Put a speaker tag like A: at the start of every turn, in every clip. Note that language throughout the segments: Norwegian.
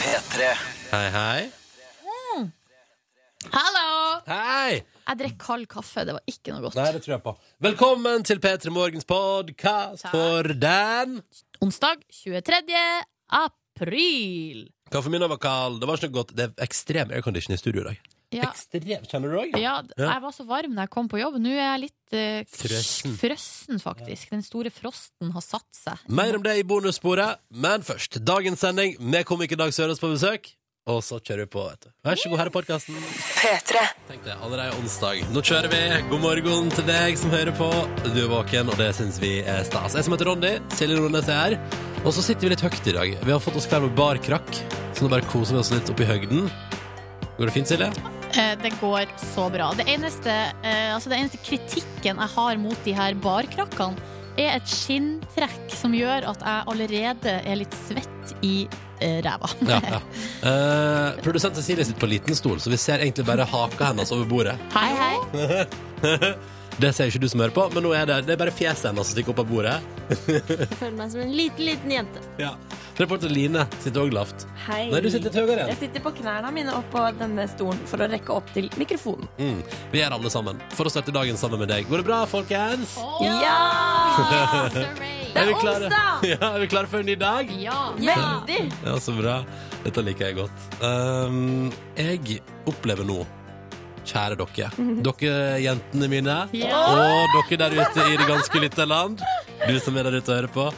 A: P3.
B: Hei, hei.
C: Hallo!
B: Hei!
C: Jeg drekk kald kaffe. Det var ikke noe godt.
B: Nei, det tror jeg på. Velkommen til P3 Morgens podkast
C: Takk.
B: for den
C: Onsdag 23. april.
B: Kaffen min var kald. Det var ikke noe godt. Det er ekstrem aircondition i studio i dag.
C: Ja,
B: Ekstrem, kjenner du òg?
C: ja, d-
B: Ja.
C: jeg var så varm da jeg kom på jobb. Nå er jeg litt eh,
B: Frøssen.
C: frøssen, faktisk. Den store frosten har satt seg.
B: Mer om det i bonussporet, men først dagens sending med komiker Dag Sørås på besøk. Og så kjører vi på, vet du. Vær så god, her er podkasten. Tenk det, allerede onsdag. Nå kjører vi. God morgen til deg som hører på. Du er våken, og det syns vi er stas. Jeg som heter Ronny, Silje Nordnes er her. Og så sitter vi litt høyt i dag. Vi har fått oss hver vår barkrakk, så nå bare koser vi oss litt oppi høgden. Går det fint, Silje?
C: Eh, Det går så bra. Det eneste, eh, altså det eneste kritikken jeg har mot de her barkrakkene, er et skinntrekk som gjør at jeg allerede er litt svett i eh, ræva.
B: Ja, ja. Eh, produsent Cecilie sitter på liten stol, så vi ser egentlig bare haka hennes over bordet.
C: Hei, hei.
B: Det ser ikke du som hører på, men nå er det, det er bare fjeset hennes som stikker opp av bordet.
D: Jeg føler meg som en liten, liten jente.
B: Ja. Reporter Line sitter òg lavt.
D: Hei.
B: Nei, du sitter litt høyere
D: Jeg
B: igjen.
D: sitter på knærne mine oppå denne stolen for å rekke opp til mikrofonen.
B: Mm. Vi er alle sammen for å starte dagen sammen med deg. Går det bra, folkens?
D: Ja!
C: Surrey.
D: Det er
B: klare?
D: onsdag!
B: Ja, er vi klare for en ny dag?
C: Ja.
D: Veldig!
B: Ja, så bra. Dette liker jeg godt. Um, jeg opplever nå, kjære dere,
D: Mhm.
B: dere jentene mine,
C: Ja.
B: og dere der ute i det ganske lytte land, du som er der ute og hører på,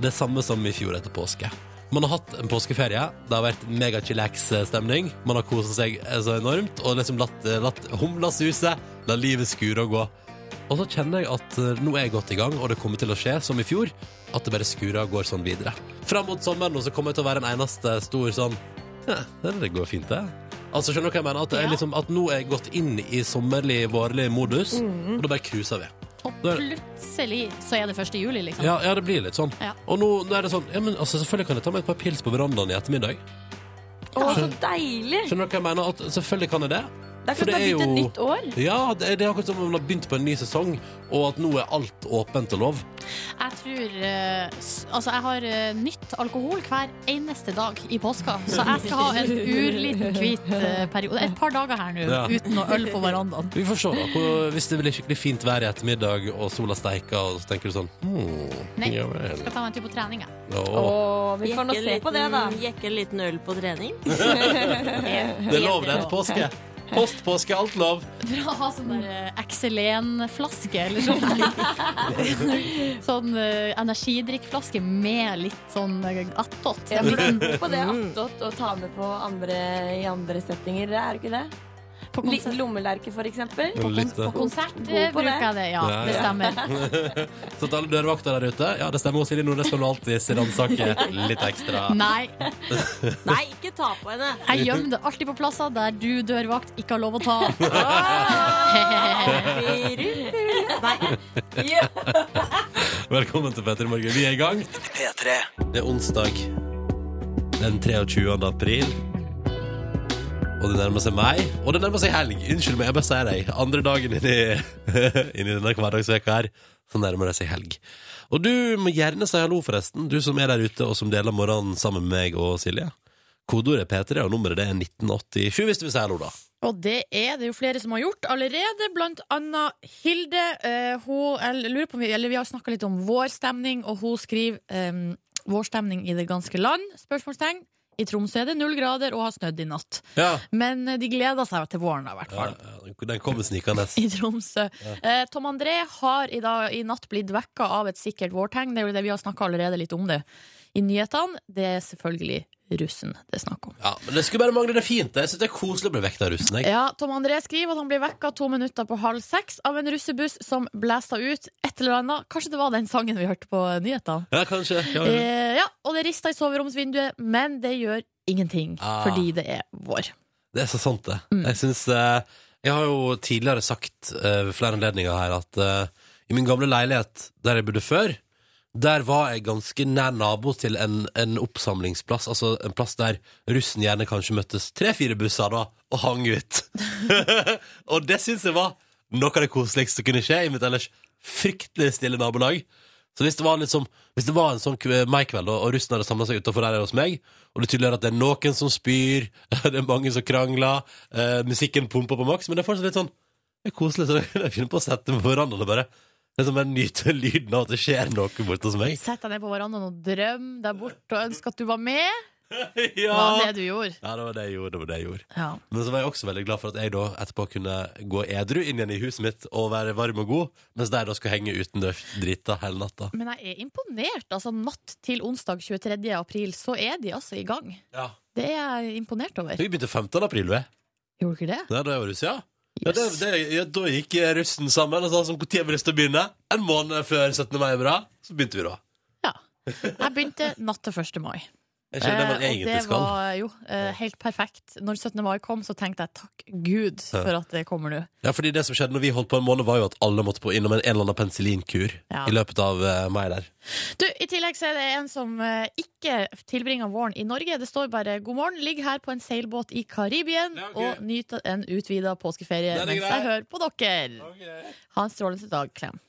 B: det samme som i fjor etter påske. Man har hatt en påskeferie, det har vært mega-chillax-stemning, man har koset seg eh, så enormt, og liksom latt, eh, latt humla suse, la livet skure og gå. Og så kjenner jeg at eh, nå er jeg godt i gang, og det kommer til å skje, som i fjor, at det bare skurer og går sånn videre. Fram mot sommeren, og så kommer jeg til å være en eneste stor sånn «Hæ, Det går fint, det. Altså, skjønner du hva jeg mener? At, det er
C: Ja.
B: liksom, at nå er jeg gått inn i sommerlig, vårlig modus, og da bare cruiser vi.
C: Og plutselig så er det 1. juli, liksom.
B: Ja, ja, det blir litt sånn.
C: Ja.
B: Og nå, nå er det sånn ja, men, altså, Selvfølgelig kan jeg ta meg et par pils på verandaen i ettermiddag.
D: Å, så deilig!
B: Skjønner du hva jeg mener? At, selvfølgelig kan jeg det.
D: Det er
B: For
D: klart det
B: det er
D: har blitt et
B: jo-
D: nytt år.
B: Ja, det, det er akkurat som om man har begynt på en ny sesong, og at nå er alt åpent og lov.
C: Jeg tror eh, s- Altså, jeg har eh, nytt alkohol hver eneste dag i påska, så jeg skal ha en urliten hvit eh, periode. Et par dager her nå
B: Ja.
C: uten noe øl på verandaen.
B: Vi får se, da. hvor- Hvis det blir skikkelig fint vær i ettermiddag, og sola steiker, og så tenker du sånn hmm,
C: Nei.
B: Ja vel.
C: Skal ta meg en tur på trening,
B: Å,
C: jeg.
D: Å, vi får nå se på det, da.
E: Jekke en liten øl på trening.
B: det er lov, det. Etter påske. Post påske, alt lov.
C: For å ha sånn der eh, Excelen-flaske, eller sånn. sånn eh, energidrikkflaske med litt sånn eh, attåt.
D: Ja,
C: En
D: for
C: liten
D: det- på det attåt å ta med på andre, i andre settinger, er det ikke det?
C: På
D: Litt
C: konsert,
D: lommelerke, for eksempel.
B: Og litt,
C: sånn på
B: eh,
C: konsert
D: God på
C: eh,
D: det.
C: bruker jeg det, ja.
B: Ja,
C: Det
B: ja.
C: stemmer.
B: Så til alle dørvakter der ute, ja, det stemmer hos Silje Nordnes, skal du alltid ransake litt ekstra.
C: Nei,
E: Nei, ikke ta på henne!
C: jeg gjemmer det alltid på plasser der du, dørvakt, ikke har lov å ta.
E: Nei,
D: Ja.
B: Velkommen til Petter i Morgen. Vi er i gang.
A: P3.
B: Det er onsdag den 23. april. Og det nærmer seg meg, og det nærmer seg helg. Unnskyld meg, jeg bare sier deg. Andre dagen inni, inni denne hverdagsveka her, så nærmer det seg helg. Og du må gjerne si hallo, forresten, du som er der ute, og som deler morgenen sammen med meg og Silje. Kodeordet er P3, og nummeret det er 1987 hvis du vil si hallo, da.
F: Og det er det jo flere som har gjort allerede, blant annet Hilde. eh, hun, jeg lurer på om vi, eller vi har snakka litt om vårstemning, og hun skriver um, 'vårstemning i det ganske land'? spørsmålstegn. I Tromsø er det null grader og har snødd i natt.
B: Ja.
F: Men eh, de gleder seg til våren, da, i hvert fall.
B: Den kommer snikende.
F: I Tromsø. Eh, Tom André har i, dag, i natt blitt vekka av et sikkert vårtegn. Det er jo det vi har snakka allerede litt om det i nyhetene. Det er selvfølgelig russen det er snakk om.
B: Ja, men det skulle bare mangle. Det er fint. det. Jeg syns det er koselig å bli vekket av russen. Jeg.
F: Ja, Tom André skriver at han blir vekka to minutter på halv seks av en russebuss som blæsta ut et eller annet. Kanskje det var den sangen vi hørte på nyhetene?
B: Ja, kanskje. Ja, ja.
F: Eh, ja, og det rista i soveromsvinduet, men det gjør ingenting,
B: Ah.
F: fordi det er vår.
B: Det er så sant, det. Jeg synes, eh, Jeg har jo tidligere sagt eh, ved flere anledninger her at eh, i min gamle leilighet der jeg bodde før, der var jeg ganske nær nabo til en, en oppsamlingsplass. Altså en plass der russen gjerne kanskje møttes tre-fire busser da, og hang ut. og det syns jeg var noe av det koseligste som kunne skje i mitt ellers fryktelig stille nabolag. Så hvis det var, litt som- hvis det var en sånn k- meg-kveld, og, og russen hadde samla seg utafor der hos meg, og det er tydelig at det er noen som spyr, det er mange som krangler, eh, musikken pumper på maks, men det er fortsatt litt sånn det er koselig, så jeg finner på å sette meg på verandaen og bare liksom bare nyte lyden av at det skjer noe borte hos meg.
C: Sett deg ned på verandaen og drøm der borte og ønske at du var med. Det var
B: Ja.
C: det du gjorde.
B: ja, det var det jeg gjorde. det var det jeg gjorde
C: Ja.
B: Men så var jeg også veldig glad for at jeg da etterpå kunne gå edru inn igjen i huset mitt og være varm og god, mens de da skulle henge utendørs drita hele natta.
C: Men jeg er imponert. Altså, natt til onsdag 23. april, så er de altså i gang.
B: Ja.
C: Det er jeg imponert over.
B: Vi begynte 15. april, vi.
C: Gjorde dere det?
B: Nei, da jeg var russ, ja. Ja, det,
C: Yes.
B: det, ja, da gikk russen sammen og sa som når vi lyst til å begynne. En måned før 17. mai er bra. Så begynte vi da.
C: Jeg begynte natt til 1. mai.
B: Jeg skjønner det
C: Eh,
B: man
C: og
B: egentlig
C: det
B: skal.
C: var jo eh, helt perfekt. Når 17. mai kom, så tenkte jeg takk Gud for at det kommer nå.
B: Ja, fordi det som skjedde når vi holdt på en måned, var jo at alle måtte på innom en, en eller annen penicillinkur
C: Ja.
B: i løpet av eh, mai der.
C: Du, I tillegg så er det en som eh, ikke tilbringer våren i Norge. Det står bare 'God morgen, ligg her på en seilbåt i Karibien'
B: Ja, ok.
C: og nyt en utvida påskeferie
B: Det er det
C: mens
B: greit.
C: jeg hører på dere. Ha en strålende dag, Klem.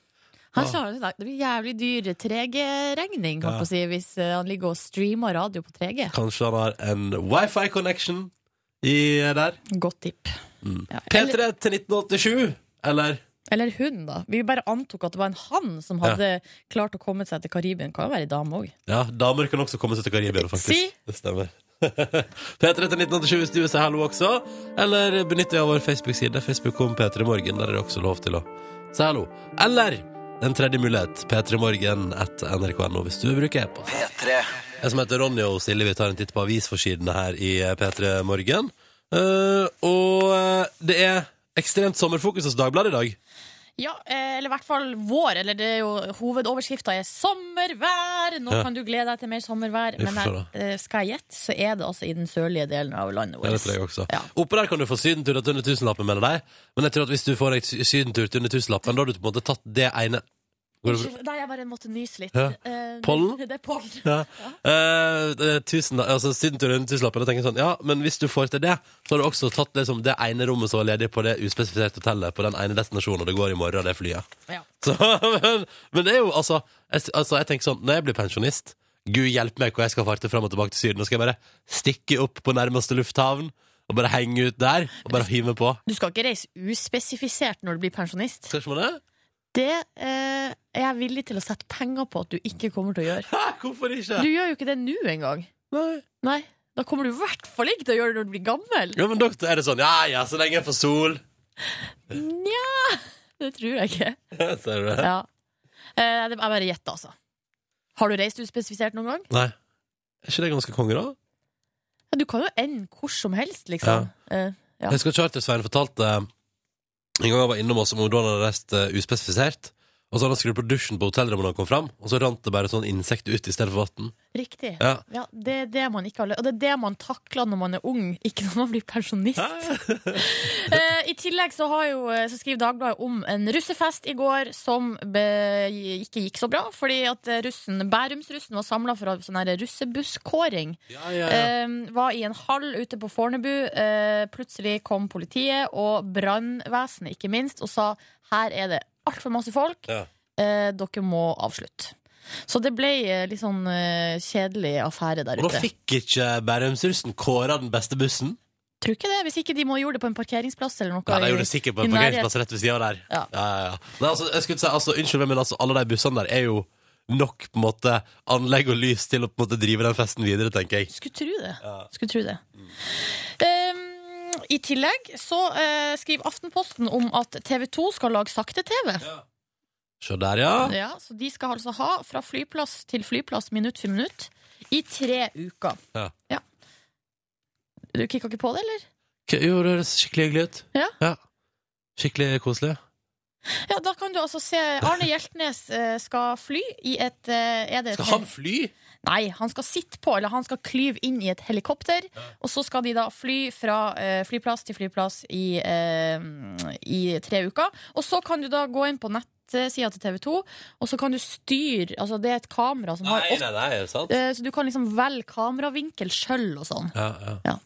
C: Ha en
B: Ah.
C: strålende dag. Det blir jævlig dyr 3G-regning, holdt
B: Ja.
C: på å si, hvis eh, han ligger og streamer radio på 3G.
B: Kanskje han har en wifi-connection i eh, der.
C: Godt tipp.
B: Mm.
C: Ja. Eller,
B: P3 til 1987, eller?
C: eller hun, da. Vi bare antok at det var en han som
B: Ja.
C: hadde klart å komme seg til Karibien. Kan jo være ei dame òg.
B: Ja, damer kan også komme seg til Karibia, faktisk.
C: Si.
B: Det stemmer. P3 til 1987 hvis du vil si hallo også. Eller benytt deg av vår Facebook-side, facebook.com p3morgen. Der er det også lov til å si hallo. Eller en tredje mulighet, p3morgen etter nrk.no, hvis du bruker e-post. Jeg som heter Ronny og Silje, vi tar en titt på avisforsidene her i P3 Morgen. Eh, og eh, det er ekstremt sommerfokus hos Dagbladet i dag.
C: Ja, eh, eller i hvert fall vår. Eller det er jo Hovedoverskrifta er 'sommervær'. Nå
B: Ja.
C: kan du glede deg til mer sommervær.
B: Vi får
C: Men
B: se
C: jeg, eh, skal jeg gjette, så er det altså i den sørlige delen av landet
B: Ja, det tror jeg
C: vårt.
B: også.
C: Ja.
B: Oppå der kan du få sydentur til under tusenlappen, mener de. Men jeg tror at hvis du får deg sy- sydentur til under tusenlappen, da har du på en måte tatt det ene Går det bra?
C: Unnskyld, Nei, jeg bare måtte nyse litt.
B: Ja.
C: Eh,
B: Pollen?
C: Det er pollen.
B: ja. Eh, det er tusen, altså, sydentur under tusenlappen, da tenker jeg sånn Ja, men hvis du får til det, så har du også tatt liksom, det ene rommet som var ledig på det uspesifiserte hotellet på den ene destinasjonen, og det går i morgen, det flyet.
C: Ja.
B: Så, men, men det er jo altså jeg, altså jeg tenker sånn, når jeg blir pensjonist Gud hjelpe meg hvor jeg skal farte frem og tilbake til syden Nå skal jeg bare stikke opp på nærmeste lufthavn Og bare henge ut der Og bare hive meg på
C: Du skal ikke reise uspesifisert når du blir pensjonist.
B: Skal ikke man det?
C: Det eh, er jeg villig til å sette penger på at du ikke kommer til å gjøre.
B: Hæ, hvorfor ikke?
C: Du gjør jo ikke det nå engang.
B: Nei.
C: Nei. Da kommer du i hvert fall ikke til å gjøre det når du blir gammel.
B: Ja, men doktor, er det sånn, ja, ja, så lenge jeg får sol
C: Nja, det tror jeg ikke.
B: Ser du det?
C: Ja. Eh, det er bare gjett, altså. Har du reist uspesifisert noen gang?
B: Nei Er ikke det ganske konger da?
C: Ja, du kan jo ende hvor som helst, liksom. Eh, Ja.
B: Jeg husker Charter-Svein fortalte eh, En gang han var innom oss om hvordan han hadde reist eh, uspesifisert Og så hadde han skrudd på dusjen på hotellrommet da han kom frem Og så rant det bare sånn insekt ut i stedet for vatten
C: riktig.
B: Ja
C: Ja, det er det man ikke har lø- Og det er det man takler når man er ung, ikke når man blir pensjonist. Eh, I tillegg så, har jo, eh, så skriver Dagbladet om en russefest i går som be, ikke gikk så bra, fordi at eh, russen, Bærumsrussen var samla for å ha sånn her russebusskåring.
B: Ja, ja, ja.
C: Eh, var i en hall ute på Fornebu. Eh, plutselig kom politiet og brannvesenet, ikke minst, og sa her er det altfor masse folk,
B: Ja.
C: eh, dere må avslutte. Så det ble eh, litt sånn eh, kjedelig affære der
B: Og da
C: ute.
B: fikk ikke Bærumsrussen kåra den beste bussen.
C: Tror ikke det, Hvis ikke de må gjøre det på en parkeringsplass eller noe.
B: Ja, de
C: i-
B: gjorde det sikkert på
C: i
B: en
C: nærhet.
B: parkeringsplass rett ved sida der.
C: Ja.
B: Ja, ja, ja. Nei, altså, jeg skulle si, altså, unnskyld meg, men altså, alle de bussene der er jo nok på en måte anlegg og lys til å på en måte drive den festen videre, tenker jeg.
C: Skulle tro det.
B: Ja.
C: Skulle tro det. Um, I tillegg så eh, skriver Aftenposten om at TV 2 skal lage sakte-TV.
B: Se der, ja.
C: Ja, så De skal altså ha fra flyplass til flyplass minutt for minutt i tre uker.
B: Ja.
C: Du kikka ikke på det, eller?
B: K- Jo, det høres skikkelig hyggelig ut.
C: Ja.
B: Skikkelig koselig.
C: Ja, Da kan du altså se Arne Hjeltnes eh, skal fly i et eh, er det et
B: Skal han fly?
C: Nei, han skal sitte på, eller han skal klyve inn i et helikopter. Og så skal de da fly fra eh, flyplass til flyplass i, eh, i tre uker. Og så kan du da gå inn på nettsida til TV 2, og så kan du styre Altså, det er et kamera som har åtte
B: nei, er det sant?
C: eh, Så du kan liksom velge kameravinkel sjøl og sånn.
B: Ja, ja.
C: Ja.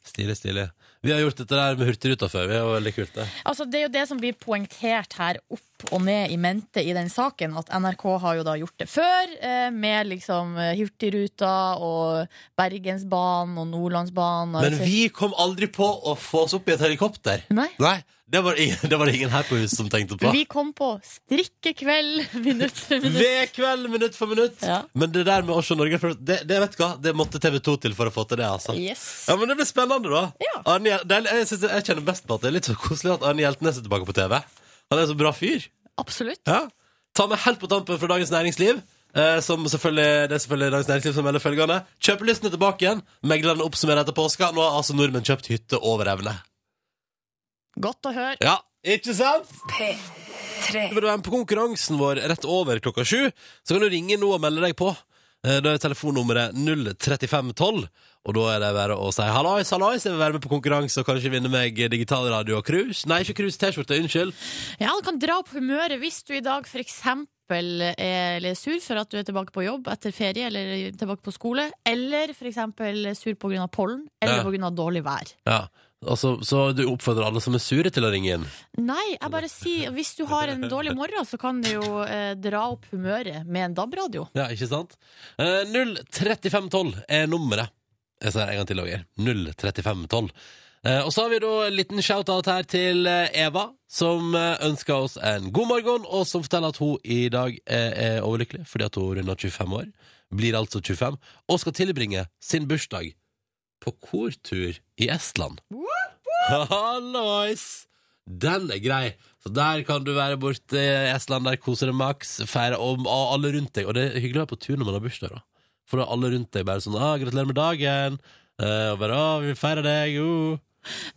B: Stilig, stilig. Vi har gjort dette der med Hurtigruta før. Vi er jo veldig kult, det.
C: Altså, det er jo det som blir poengtert her opp og ned i mente i den saken, at NRK har jo da gjort det før, eh, med liksom eh, Hurtigruta og Bergensbanen og Nordlandsbanen. og-
B: Men vi kom aldri på å få oss opp i et helikopter.
C: Nei.
B: Nei, det var ingen, det var det ingen her på huset som tenkte på.
C: Vi kom på strikkekveld minutt for minutt.
B: Ved kveld, minutt for minutt.
C: Ja.
B: Men det der med å se Norge for- det, det vet du hva, det måtte TV 2 til for å få til det. altså
C: Yes.
B: Ja, men Det blir spennende, da.
C: Ja.
B: Arne, Hjel- det er, jeg, synes, jeg kjenner best på at det er litt så koselig at Arne Hjeltnes er tilbake på TV. Han er en så bra fyr.
C: Absolutt.
B: Ja. Ta med helt på tampen fra Dagens Næringsliv. Eh, som selvfølgelig, det er selvfølgelig Dagens Næringsliv som melder følgende. Kjøpelysten er tilbake igjen. Meglerne oppsummerer etter påska. Nå har altså nordmenn kjøpt hytte over evne.
C: Godt å høre.
B: Ja, ikke sant? Vil du være med på konkurransen vår rett over klokka sju, så kan du ringe nå og melde deg på. Eh, Da er telefonnummeret 03512, og da er det bare å si hallois, hallois, jeg vil være med på konkurranse og kanskje vinne meg digital radio og krus. Nei, ikke krus, T-skjorte, unnskyld.
C: Ja, det kan dra opp humøret hvis du i dag for eksempel er litt sur for at du er tilbake på jobb etter ferie eller tilbake på skole, eller for eksempel sur på grunn av pollen, eller
B: Ja.
C: på grunn av dårlig vær.
B: Ja, altså, så du oppfordrer alle som er sure til å ringe inn.
C: Nei, jeg bare sier hvis du har en dårlig morgen, så kan det jo eh, dra opp humøret med en DAB-radio.
B: Ja, ikke sant? Eh, 03512 er nummeret. Jeg sier det en gang til, Roger. 03512. Eh, og så har vi da en liten shout-out her til eh, Eva, som eh, ønsker oss en god morgen, og som forteller at hun i dag eh, er overlykkelig fordi at hun runder 25 år. Blir altså 25, og skal tilbringe sin bursdag på kortur i Estland. Hallois! Den er grei. Så der kan du være borte i Estland, der koser det maks. Feire om og alle rundt deg. Og det er hyggelig å være på tur når man har bursdag, da. For da er alle rundt deg bare sånn ah, 'Gratulerer med dagen'. eh, og bare 'Å, vi feirer deg', jo.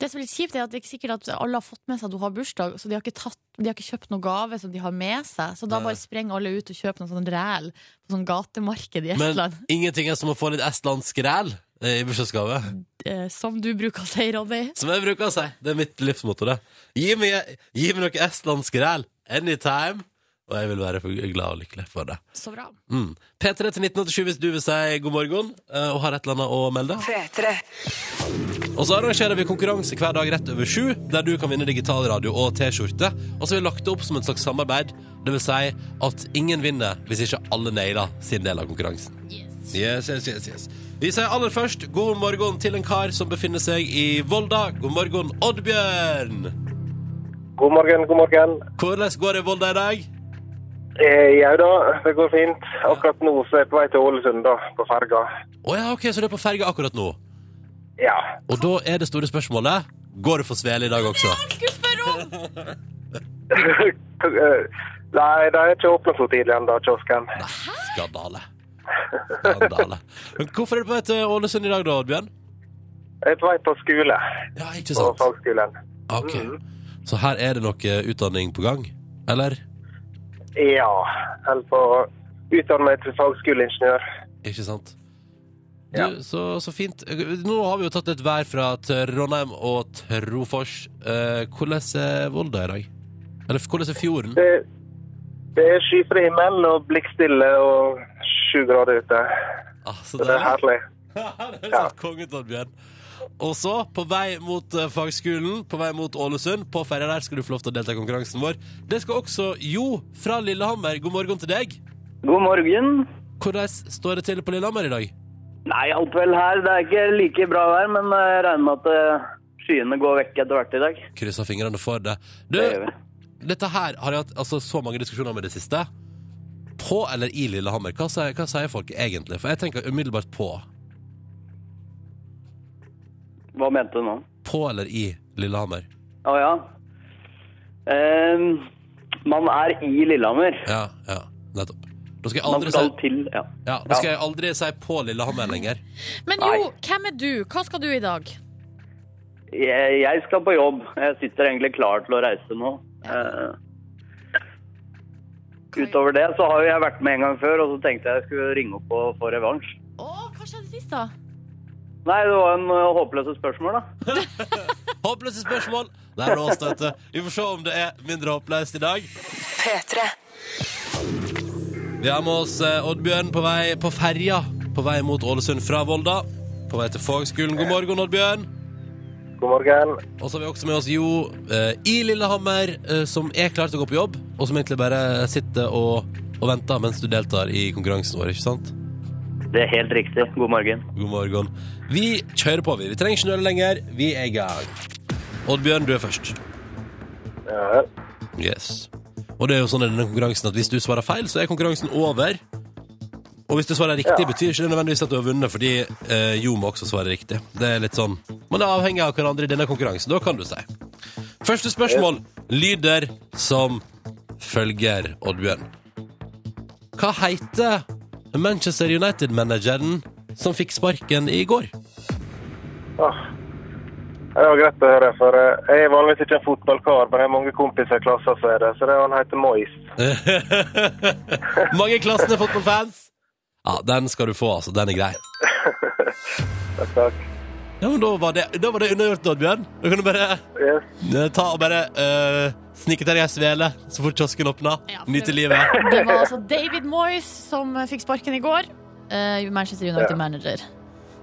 C: Det som er litt kjipt, er at det er ikke sikkert at alle har fått med seg at du har bursdag, så de har ikke, tatt, de har ikke kjøpt noen gave som de har med seg, så da
B: Nei.
C: bare sprenger alle ut og kjøper noen sånn ræl på sånn gatemarked i
B: Men
C: Estland,
B: ingenting er som å få litt estlandsk ræl eh, i bursdagsgave.
C: eh, som du bruker å si, Ronny.
B: Som jeg bruker å si. Det er mitt livsmotto, det. Gi meg, gi meg noe estlandsk ræl anytime, og jeg vil være for- glad og lykkelig for det.
C: Så bra.
B: Mm. P3 til 1987 hvis du vil si god morgen eh, og har et eller annet å melde. Og så arrangerer vi konkurranse hver dag rett over sju, der du kan vinne digital radio og T-skjorte. Og så har vi lagt det opp som et slags samarbeid. Det vil si at ingen vinner hvis ikke alle nailer sin del av konkurransen. Yes, yes, yes, yes. Vi sier aller først god morgen til en kar som befinner seg i Volda. God morgen, Oddbjørn!
A: God morgen, god morgen.
B: Hvordan går det i Volda i dag?
A: Eh, Jau da, det går fint. Akkurat nå så er jeg på vei til Ålesund, da, på ferga.
B: Å ja, OK, så du er på ferge akkurat nå.
A: Ja.
B: Og da er det store spørsmålet Går det for svele i dag også?
A: Eh, Nei, de er ikke åpne så tidlig ennå, kiosken.
B: Skandale. Skandale. Men hvorfor er du på vei til Ålesund i dag, da, Oddbjørn?
A: Jeg er på vei på skole,
B: Ja, ikke
A: på
B: sant? Ah,
A: fagskolen.
B: Ok.
A: Mm.
B: Så her er det noe utdanning på gang? Eller?
A: Ja. Holder på å utdanne meg til fagskoleingeniør.
B: Ikke sant?
A: Ja.
B: Du, så, så fint. Nå har vi jo tatt litt vær fra Trondheim og Trofors. Eh, hvordan er Volda i dag? Eller hvordan er fjorden?
A: Det, det er skyfri himmel og blikkstille og sju grader ute.
B: Ah, så
A: Så det
B: deilig.
A: er herlig.
B: det er sant, konge, Torbjørn. Og så, på vei mot eh, fagskolen, på vei mot Ålesund, på ferja der skal du få lov til å delta i konkurransen vår. Det skal også Jo fra Lillehammer. God morgen til deg.
G: God morgen.
B: Hvordan står det til på Lillehammer i dag?
G: Nei, alt vel her. Det er ikke like bra vær, men jeg regner med at eh, skyene går vekk etter hvert i dag.
B: Krysser fingrene for det. Du,
G: Det gjør vi.
B: dette her har jeg hatt altså, så mange diskusjoner med det siste. På eller i Lillehammer? Hva sier, hva sier folk egentlig? For jeg tenker umiddelbart på.
G: Hva mente du nå?
B: På eller i Lillehammer?
G: Å ja. Eh, man er i Lillehammer.
B: Ja, ja, nettopp. Da skal jeg
G: Man
B: aldri si,
G: skal til ja.
B: ja, da skal jeg aldri si på Lillehammer lenger.
C: Men
G: Nei.
C: jo, hvem er du? Hva skal du i dag?
G: jeg, jeg skal på jobb. Jeg sitter egentlig klar til å reise nå. Eh, utover det så har jo jeg vært med en gang før, og så tenkte jeg jeg skulle ringe opp og få revansj.
C: Å, hva skjedde sist, da?
G: Nei, det var en eh, håpløse spørsmål, da.
B: Håpløse spørsmål! Det er låst, vet du. Vi får se om det er mindre håpløst i dag. Vi har med oss eh, Oddbjørn på vei på ferja på vei mot Ålesund fra Volda. På vei til fagskolen. God morgen, Oddbjørn.
A: God morgen.
B: Og så har vi også med oss Jo eh, i Lillehammer, eh, som er klar til å gå på jobb, og som egentlig bare sitter og, og venter mens du deltar i konkurransen vår, ikke sant?
G: Det er helt riktig. God morgen.
B: God morgen. Vi kjører på, vi. Vi trenger ikke nøle lenger. Vi er i gang. Oddbjørn, du er først.
A: Ja,
B: Yes. Og det er jo sånn i denne konkurransen at hvis du svarer feil, så er konkurransen over. Og hvis du svarer riktig,
A: Ja.
B: betyr ikke det nødvendigvis at du har vunnet, fordi eh, Jo må også svare riktig. Det er litt sånn Man er avhengig av hverandre i denne konkurransen, da kan du si. Første spørsmål lyder som følger, Oddbjørn. Hva heter Manchester United-manageren som fikk sparken i går?
A: Åh. Ah. Det var greit å høre, for eh, jeg er vanligvis ikke en fotballkar, men jeg har mange kompiser i klassen som er det, så det er han heter Mois.
B: Mange i klassen er fotballfans. Ja, den skal du få, altså. Den er grei.
A: Takk, takk.
B: Ja, men da var det, da var det undergjort, Oddbjørn. Da kan du bare
A: Yes.
B: eh, ta og bare eh, snike deg i ei svele så fort kiosken åpner.
C: Ja, for-
B: Nyte livet.
C: Det var altså David Moyes som fikk sparken i går. Eh, Manchester United-manager.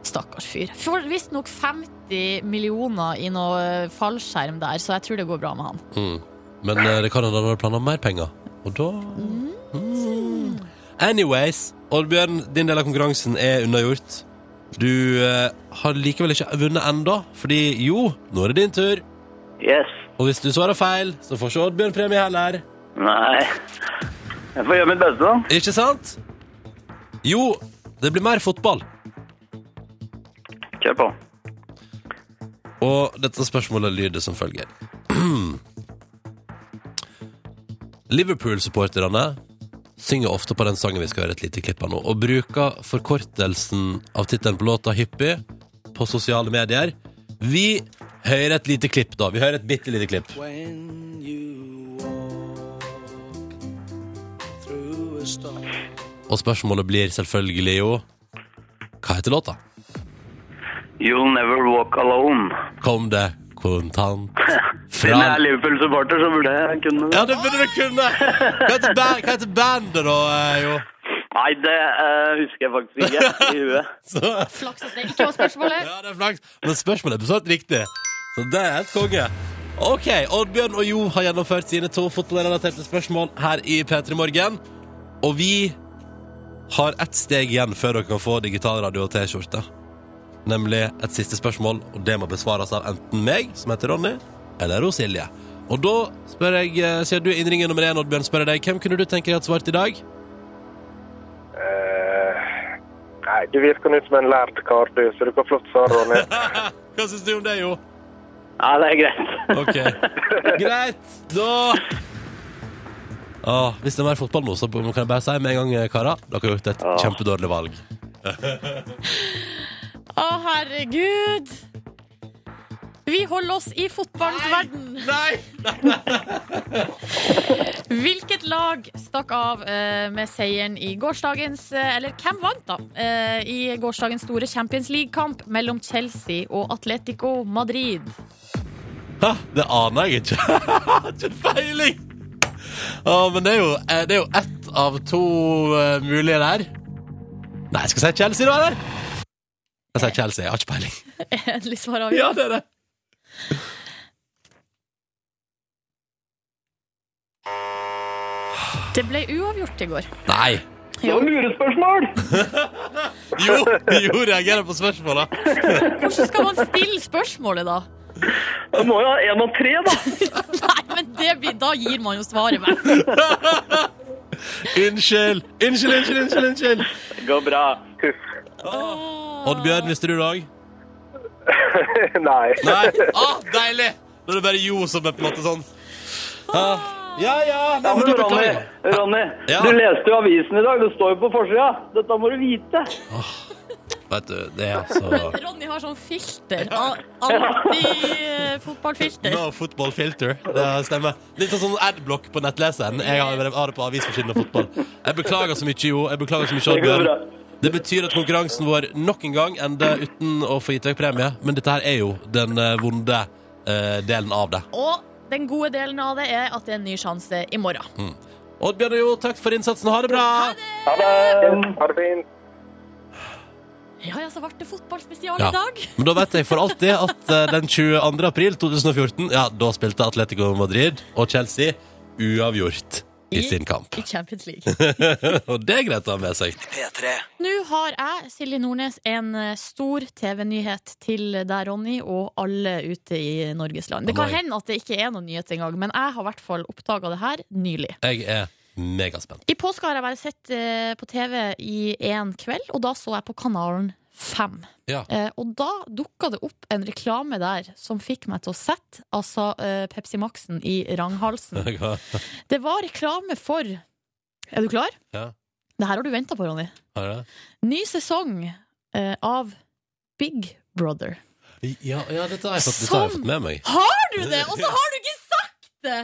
C: Stakkars fyr. Får visstnok 50 millioner i noe fallskjerm der, så jeg tror det går bra med han.
B: Mm. Men eh, det kan hende han hadde planer om mer penger. Og da mm. Anyways, Oddbjørn, din del av konkurransen er unnagjort. Du eh, har likevel ikke vunnet ennå, fordi jo, nå er det din tur.
G: Yes.
B: Og hvis du svarer feil, så får ikke Oddbjørn premie heller.
G: Nei. Jeg får gjøre mitt beste, da.
B: Ikke sant? Jo, det blir mer fotball.
G: Kjør på.
B: Og dette spørsmålet lyder som følger. Liverpool-supporterne synger ofte på den sangen vi skal høre et lite klipp av nå, og bruker forkortelsen av tittelen på låta hyppig på sosiale medier. Vi hører et lite klipp, da. Vi hører et bitte lite klipp.
H: When you walk through a storm
B: Og spørsmålet blir selvfølgelig jo Hva heter låta?
G: You'll never walk alone.
B: Kom det kontant
G: Siden jeg
B: fra
G: er Liverpool-supporter, så burde jeg kunne det.
B: Ja, det burde du kunne! Hva heter, ba hva heter bandet, da, eh, Jo?
G: Nei, det eh, husker jeg faktisk ikke i huet.
B: Så
C: Flaks at det ikke var spørsmålet.
B: Ja, det er flaks. Men spørsmålet er besvart riktig. Så det er helt konge. Ok, Oddbjørn og Jo har gjennomført sine to fotballrelaterte spørsmål her i P3 Morgen. Og vi har ett steg igjen før dere kan få digital radio og T-skjorte. Nemlig et siste spørsmål, og det må besvares av enten meg, som heter Ronny, eller hos Silje. Og da spør jeg, eh, siden du er innringer nummer én, Oddbjørn, spør jeg deg, hvem kunne du tenke deg at svarte i dag?
A: Eh, nei, du virker nå som en lærd kar, du, så du kan flott svare, Ronny.
B: Hva syns du om det, Jo?
G: Ja, det er greit.
B: Ok, greit Da Åh, Ah, Hvis det er mer fotball nå, så kan jeg bare si med en gang, eh, Kara Dere har gjort et
G: Åh.
B: kjempedårlig valg
F: Å, herregud! Vi holder oss i fotballens verden.
B: Nei!
F: Hvilket lag stakk av eh, med seieren i gårsdagens eh, Eller hvem vant, da? eh, I gårsdagens store Champions League-kamp mellom Chelsea og Atletico Madrid.
B: Hæ? Det aner jeg ikke Ikke feiling Åh, men det er, jo, eh, det er jo ett av to eh, mulige der Nei, skal jeg si Chelsea da, eller? Jeg sier Chelsea, jeg har ikke peiling
F: Endelig svar avgitt.
B: Ja, det er det
F: Det ble uavgjort i går.
B: Nei
G: Det var lurespørsmål!
B: Jo, jo reagerer på spørsmålet
F: Hvordan skal man stille spørsmålet, da?
G: Du må jo ha én av tre, da.
F: Nei, men det, blir- Da gir man jo svaret vekk.
B: Unnskyld, unnskyld, unnskyld, unnskyld, unnskyld
G: Det går bra.
B: Oddbjørn, visste du det også?
A: nei.
B: Nei, ah, deilig Da er det bare Jo som er på en måte sånn ah. Ja, ja, nei, men
G: Ja, men
B: da
G: Ronny,
B: beklager
G: Ronny
B: Ja.
G: du leste jo avisen i dag. Det står jo på forsida. Dette må du vite.
B: Vet du, det er altså
F: Ronny har sånn filter. eh, Anti-fotballfilter.
B: No football filter, det stemmer Litt sånn sånn adblock på nettleseren Jeg har jeg har det på avisforsiden av fotball Jeg beklager så mye Jo, jeg beklager så mye
G: Det går bra.
B: Oddbjørn det betyr at konkurransen vår nok en gang ender uten å få gitt vekk premie, men dette her er jo den eh, vonde eh, delen av det.
F: Og den gode delen av det er at det er en ny sjanse i morgen.
B: Oddbjørn og Jo, takk for innsatsen. Ha det bra!
A: Ha det fint.
F: Ja, ja, så ble det fotballspesial
B: Ja.
F: i dag.
B: Men da vet jeg for alltid at eh, den 22. april 2014, ja, da spilte Atletico Madrid og Chelsea uavgjort i sin kamp.
F: I Champions League.
B: Og det er greit å ha med seg.
C: Nå har jeg, Silje Nordnes, en eh, stor TV-nyhet til deg, Ronny, og alle ute i Norges land. Det kan
B: Å, nei.
C: hende at det ikke er noen nyhet engang, men jeg har i hvert fall oppdaga det her nylig.
B: Jeg er megaspent.
C: I påska har jeg bare sett eh, på TV i en kveld, og da så jeg på kanalen 5.
B: Ja.
C: Eh, og da dukka det opp en reklame der som fikk meg til å sette altså, eh, Pepsi Max-en i ranghalsen.
B: Hva?
C: Det var reklame for Er du klar?
B: Ja.
C: Det her har du venta på, Ronny.
B: Har jeg det?
C: Ny sesong eh, av Big Brother.
B: Ja, ja dette, har jeg fått, dette har jeg
C: Som-
B: fått med meg.
C: Har du det?! Og så har du ikke sagt det!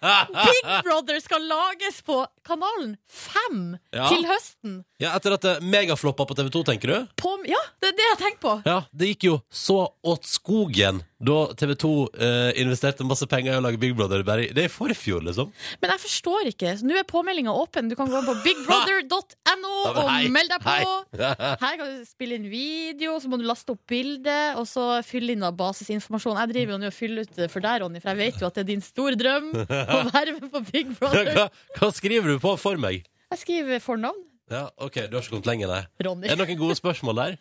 B: ja,
C: Big Brother skal lages på kanalen 5
B: Ja.
C: til høsten.
B: etter at det megafloppa på TV 2, tenker du?
C: På, ja, det er det jeg tenker på.
B: Ja, Det gikk jo så åt skogen da TV 2 eh, investerte masse penger i å lage Big Brother. Bare, i- det er i forfjor, liksom.
C: Men jeg forstår ikke. Så nå er påmeldinga åpen. Du kan gå inn på bigbrother.no
B: Ja, men
C: og
B: hei,
C: meld deg på.
B: hei.
C: Her kan du spille inn video, så må du laste opp bilde, og så fylle inn av basisinformasjon. Jeg driver jo nå og fyller ut for deg, Ronny, for jeg vet jo at det er din store drøm å være med på Big Brother.
B: Hva, hva skriver du på for meg?
C: Jeg skriver fornavn.
B: Ja, ok, Du har ikke kommet lenger, nei.
C: Ronny.
B: Er det noen gode spørsmål der?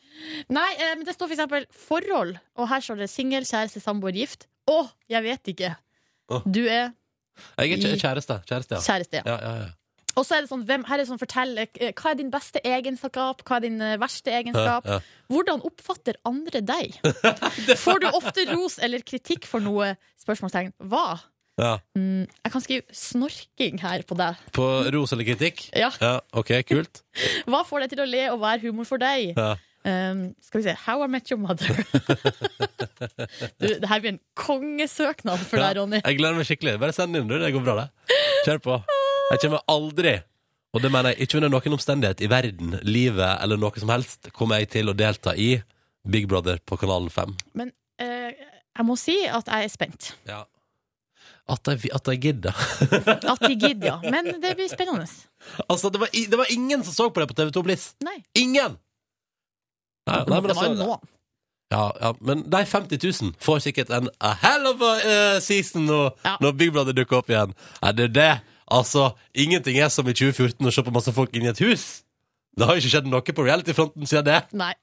C: Nei, eh, men det står for eksempel forhold, og her står det singel, kjæreste, samboer, gift. Å, jeg vet ikke.
B: Å.
C: Du er
B: Jeg er kjæ- kjæreste. Kjæreste, ja.
C: kjæreste,
B: Ja,
C: ja.
B: ja, ja.
C: Og så er det sånn, hvem, her er det sånn fortell eh, Hva er din beste egenskap? Hva er din eh, verste egenskap?
B: Ja, ja.
C: Hvordan oppfatter andre deg? Får du ofte ros eller kritikk for noe? Spørsmålstegn. Hva?
B: Ja.
C: Mm, jeg kan skrive snorking her på deg.
B: På ros eller kritikk?
C: Ja.
B: Ja, OK, kult.
C: Hva får deg til å le og hva er humor for deg?
B: Ja.
C: Um, skal vi se How I Met Your Mother. du, det her blir en kongesøknad for deg, Ronny.
B: Jeg gleder meg skikkelig. Bare send inn, du. Det går bra, det. Kjør på. Jeg kommer aldri, og det mener jeg ikke under noen omstendighet i verden, livet eller noe som helst, kommer jeg til å delta i Big Brother på kanalen 5.
C: Eh, jeg må si at jeg er spent.
B: Ja. At jeg, at jeg gidder.
C: At de gidder, ja. Men det blir spennende.
B: Altså, det var, i- det var ingen som så på det på TV2 Bliss.
C: Nei.
B: Ingen! Nei, nei, men
C: det var jo
B: altså,
C: nå.
B: ja, ja, men de 50 000 får sikkert en a hell of a eh, season nå,
C: Ja.
B: når Big Brother dukker opp igjen. Er det det? Altså, ingenting er som i 2014 å se på masse folk inni et hus. Det har jo ikke skjedd noe på reality-fronten siden det.
C: Nei.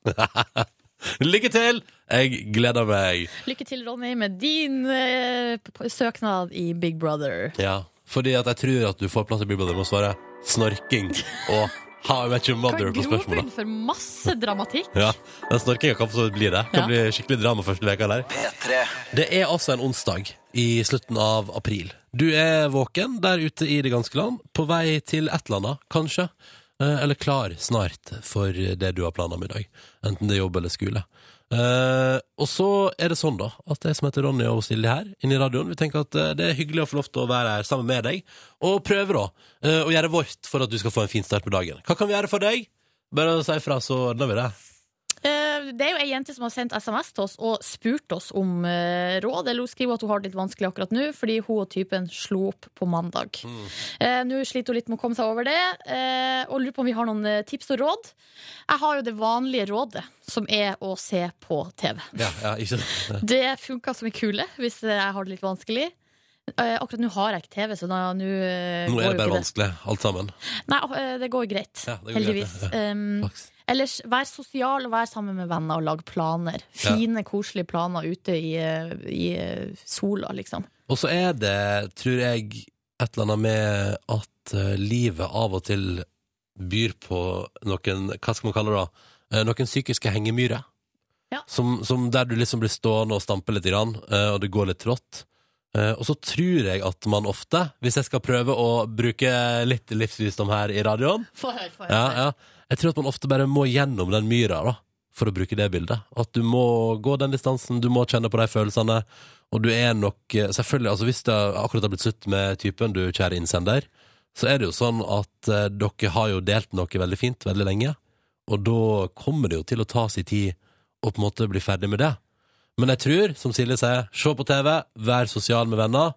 B: Lykke til! Jeg gleder meg.
C: Lykke til, Ronny, med din eh, p- p- søknad i Big Brother.
B: Ja, fordi at jeg tror at du får plass i Big Brother med å svare snorking og How I Met Your
C: Kan
B: Mother på spørsmålet.
C: grobunn for masse dramatikk.
B: Ja, den snorkinga kan for så vidt bli det. Kan
C: Ja.
B: bli skikkelig drama første veka der. Det er altså en onsdag i slutten av april. Du er våken der ute i det ganske land, på vei til et eller annet, kanskje. Eh, Eller klar snart for det du har planer om i dag. Enten det er jobb eller skole. Eh, og så er det sånn, da, at jeg som heter Ronny og Silje her, inne i radioen, vi tenker at eh, det er hyggelig å få lov til å være her sammen med deg, og prøve, da, eh, å gjøre vårt for at du skal få en fin start på dagen. Hva kan vi gjøre for deg? Bare si ifra, så ordner vi det.
C: Eh, Det er jo ei jente som har sendt SMS til oss og spurt oss om eh, råd. Eller hun skriver at hun har det litt vanskelig akkurat nå fordi hun og typen slo opp på mandag.
B: Mm.
C: Eh, Nå sliter hun litt med å komme seg over det, eh, og lurer på om vi har noen eh, tips og råd. Jeg har jo det vanlige rådet, som er å se på TV.
B: Ja, ja, ikke sant?
C: Det funka som en kule hvis eh, jeg har det litt vanskelig. Eh, Akkurat nå har jeg ikke TV, så da- nå eh,
B: Nå
C: går
B: er
C: jo
B: det bare
C: ikke
B: vanskelig, alt sammen.
C: Nei, eh, det går greit.
B: Ja, det går greit,
C: heldigvis.
B: ja.
C: Um,
B: Flaks.
C: Ellers, vær sosial og vær sammen med venner og lag planer. Fine, koselige planer ute i, eh, i eh, sola, liksom.
B: Og så er det, tror jeg, et eller annet med at eh, livet av og til byr på noen Hva skal man kalle det, da? Eh, noen psykiske hengemyrer.
C: Ja.
B: Som, som der du liksom blir stående og stampe litt, grann, eh, og det går litt trått. Eh, og så tror jeg at man ofte, hvis jeg skal prøve å bruke litt livsvisdom her i radioen,
C: Få høre, få høre.
B: ja, ja. Jeg tror at man ofte bare må gjennom den myra da, for å bruke det bildet. At du må gå den distansen, du må kjenne på de følelsene. Og du er nok eh, Selvfølgelig, altså hvis det akkurat har blitt slutt med typen du, kjære innsender, så er det jo sånn at eh, dere har jo delt noe veldig fint veldig lenge. Og da kommer det jo til å ta sin tid å på en måte bli ferdig med det. Men jeg tror, som Silje sier, se på TV, vær sosial med venner.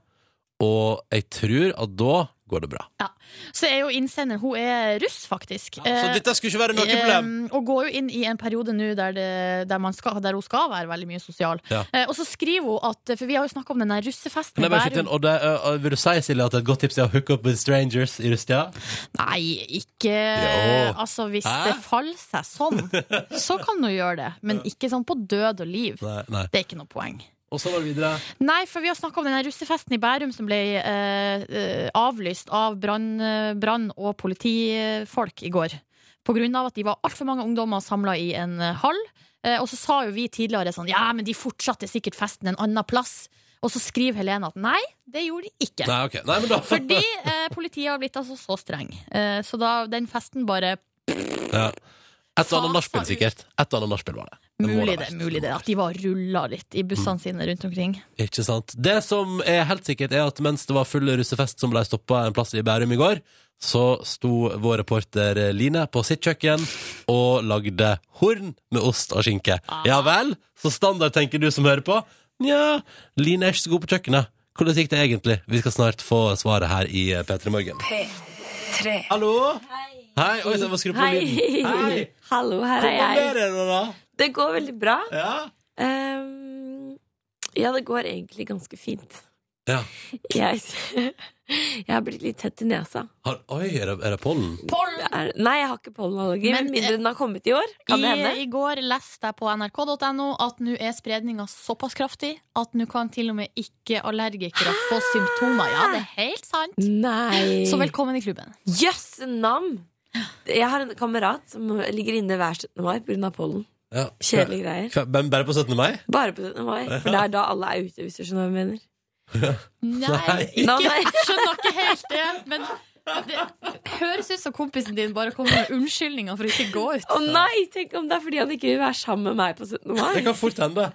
B: Og jeg tror at da går det bra.
C: Så er jo innsender Hun er russ, faktisk.
B: Så
C: Eh,
B: dette skulle ikke være noe problem.
F: Eh, og går jo inn i en periode nå der, det- der, man skal- der hun skal være veldig mye sosial.
B: Ja.
F: Eh, og så skriver hun at For vi har jo snakka om den der russefesten
B: Kan
F: i
B: jeg bare skyte inn,
F: Bærum.
B: og det, ø, ø, Vil du si Silje, at det er et godt tips er å hook up with strangers i Rustia?
F: Nei, ikke
B: Jo.
F: Altså, hvis
B: Hæ?
F: det faller seg sånn, så kan hun gjøre det. Men ikke sånn på død og liv.
B: Nei, nei.
F: Det er ikke noe poeng.
B: Og så var det videre.
F: Nei, for vi har snakka om denne russefesten i Bærum som ble eh, eh, avlyst av brann brann- og politifolk i går. På grunn av at de var altfor mange ungdommer samla i en eh, hall. Eh, og så sa jo vi tidligere sånn Ja, men de fortsatte sikkert festen en annen plass. Og så skriver Helene at nei, det gjorde de ikke.
B: Nei, ok. Nei, men da
F: Fordi eh, politiet har blitt altså så streng. Eh, så da den festen bare
B: ja. Et eller annet nachspiel,
F: Fasa ut.
B: sikkert. Et eller annet nachspiel var det. det må
F: Mulig
B: ha
F: det,
B: vært.
F: mulig det. At de var rulla litt i bussene sine rundt omkring.
B: Ikke sant. Det som er helt sikkert, er at mens det var full russefest som ble stoppa en plass i Bærum i går, så sto vår reporter Line på sitt kjøkken og lagde horn med ost og skinke. Ja vel? Så standard, tenker du som hører på. Nja, Line er ikke så god på kjøkkenet. Hvordan gikk det egentlig? Vi skal snart få svaret her i P3 Morgen. Hallo? Hei. Hei. Oi, så jeg må skru på
D: Hei.
B: lyden. Hei.
D: Hallo, her er
B: Hvordan
D: jeg.
B: er det nå, da?
D: Det går veldig bra.
B: Ja.
D: Ehm, ja, det går egentlig ganske fint.
B: ja.
D: Jeg, jeg har blitt litt tett i nesa.
B: Har, oi, er det, er det pollen?
D: Det er, nei, jeg har ikke pollenallergi,
C: Men,
D: men mindre den har kommet i år. Kan det hende?
C: I, I går leste jeg på nrk.no at nå er spredninga såpass kraftig at nå kan til og med ikke-allergikere få symptomer. Ja, det er helt sant.
D: Nei.
C: Så velkommen i klubben.
D: Jøss, nam! Jeg har en kamerat som ligger inne hver 17. mai pga. pollen.
B: Ja.
D: Kjedelige greier.
B: Hva- Men bare på 17. mai?
D: Bare på 17. mai, for det er da alle er ute, hvis du skjønner hva jeg mener.
B: Nei.
D: Nå, nei.
F: Jeg skjønner ikke helt det, men det høres ut som kompisen din bare kommer med unnskyldninger for å ikke gå ut.
D: Å nei, tenk om det er fordi han ikke vil være sammen med meg på 17.
B: Det
D: mai.
B: kan fort hende.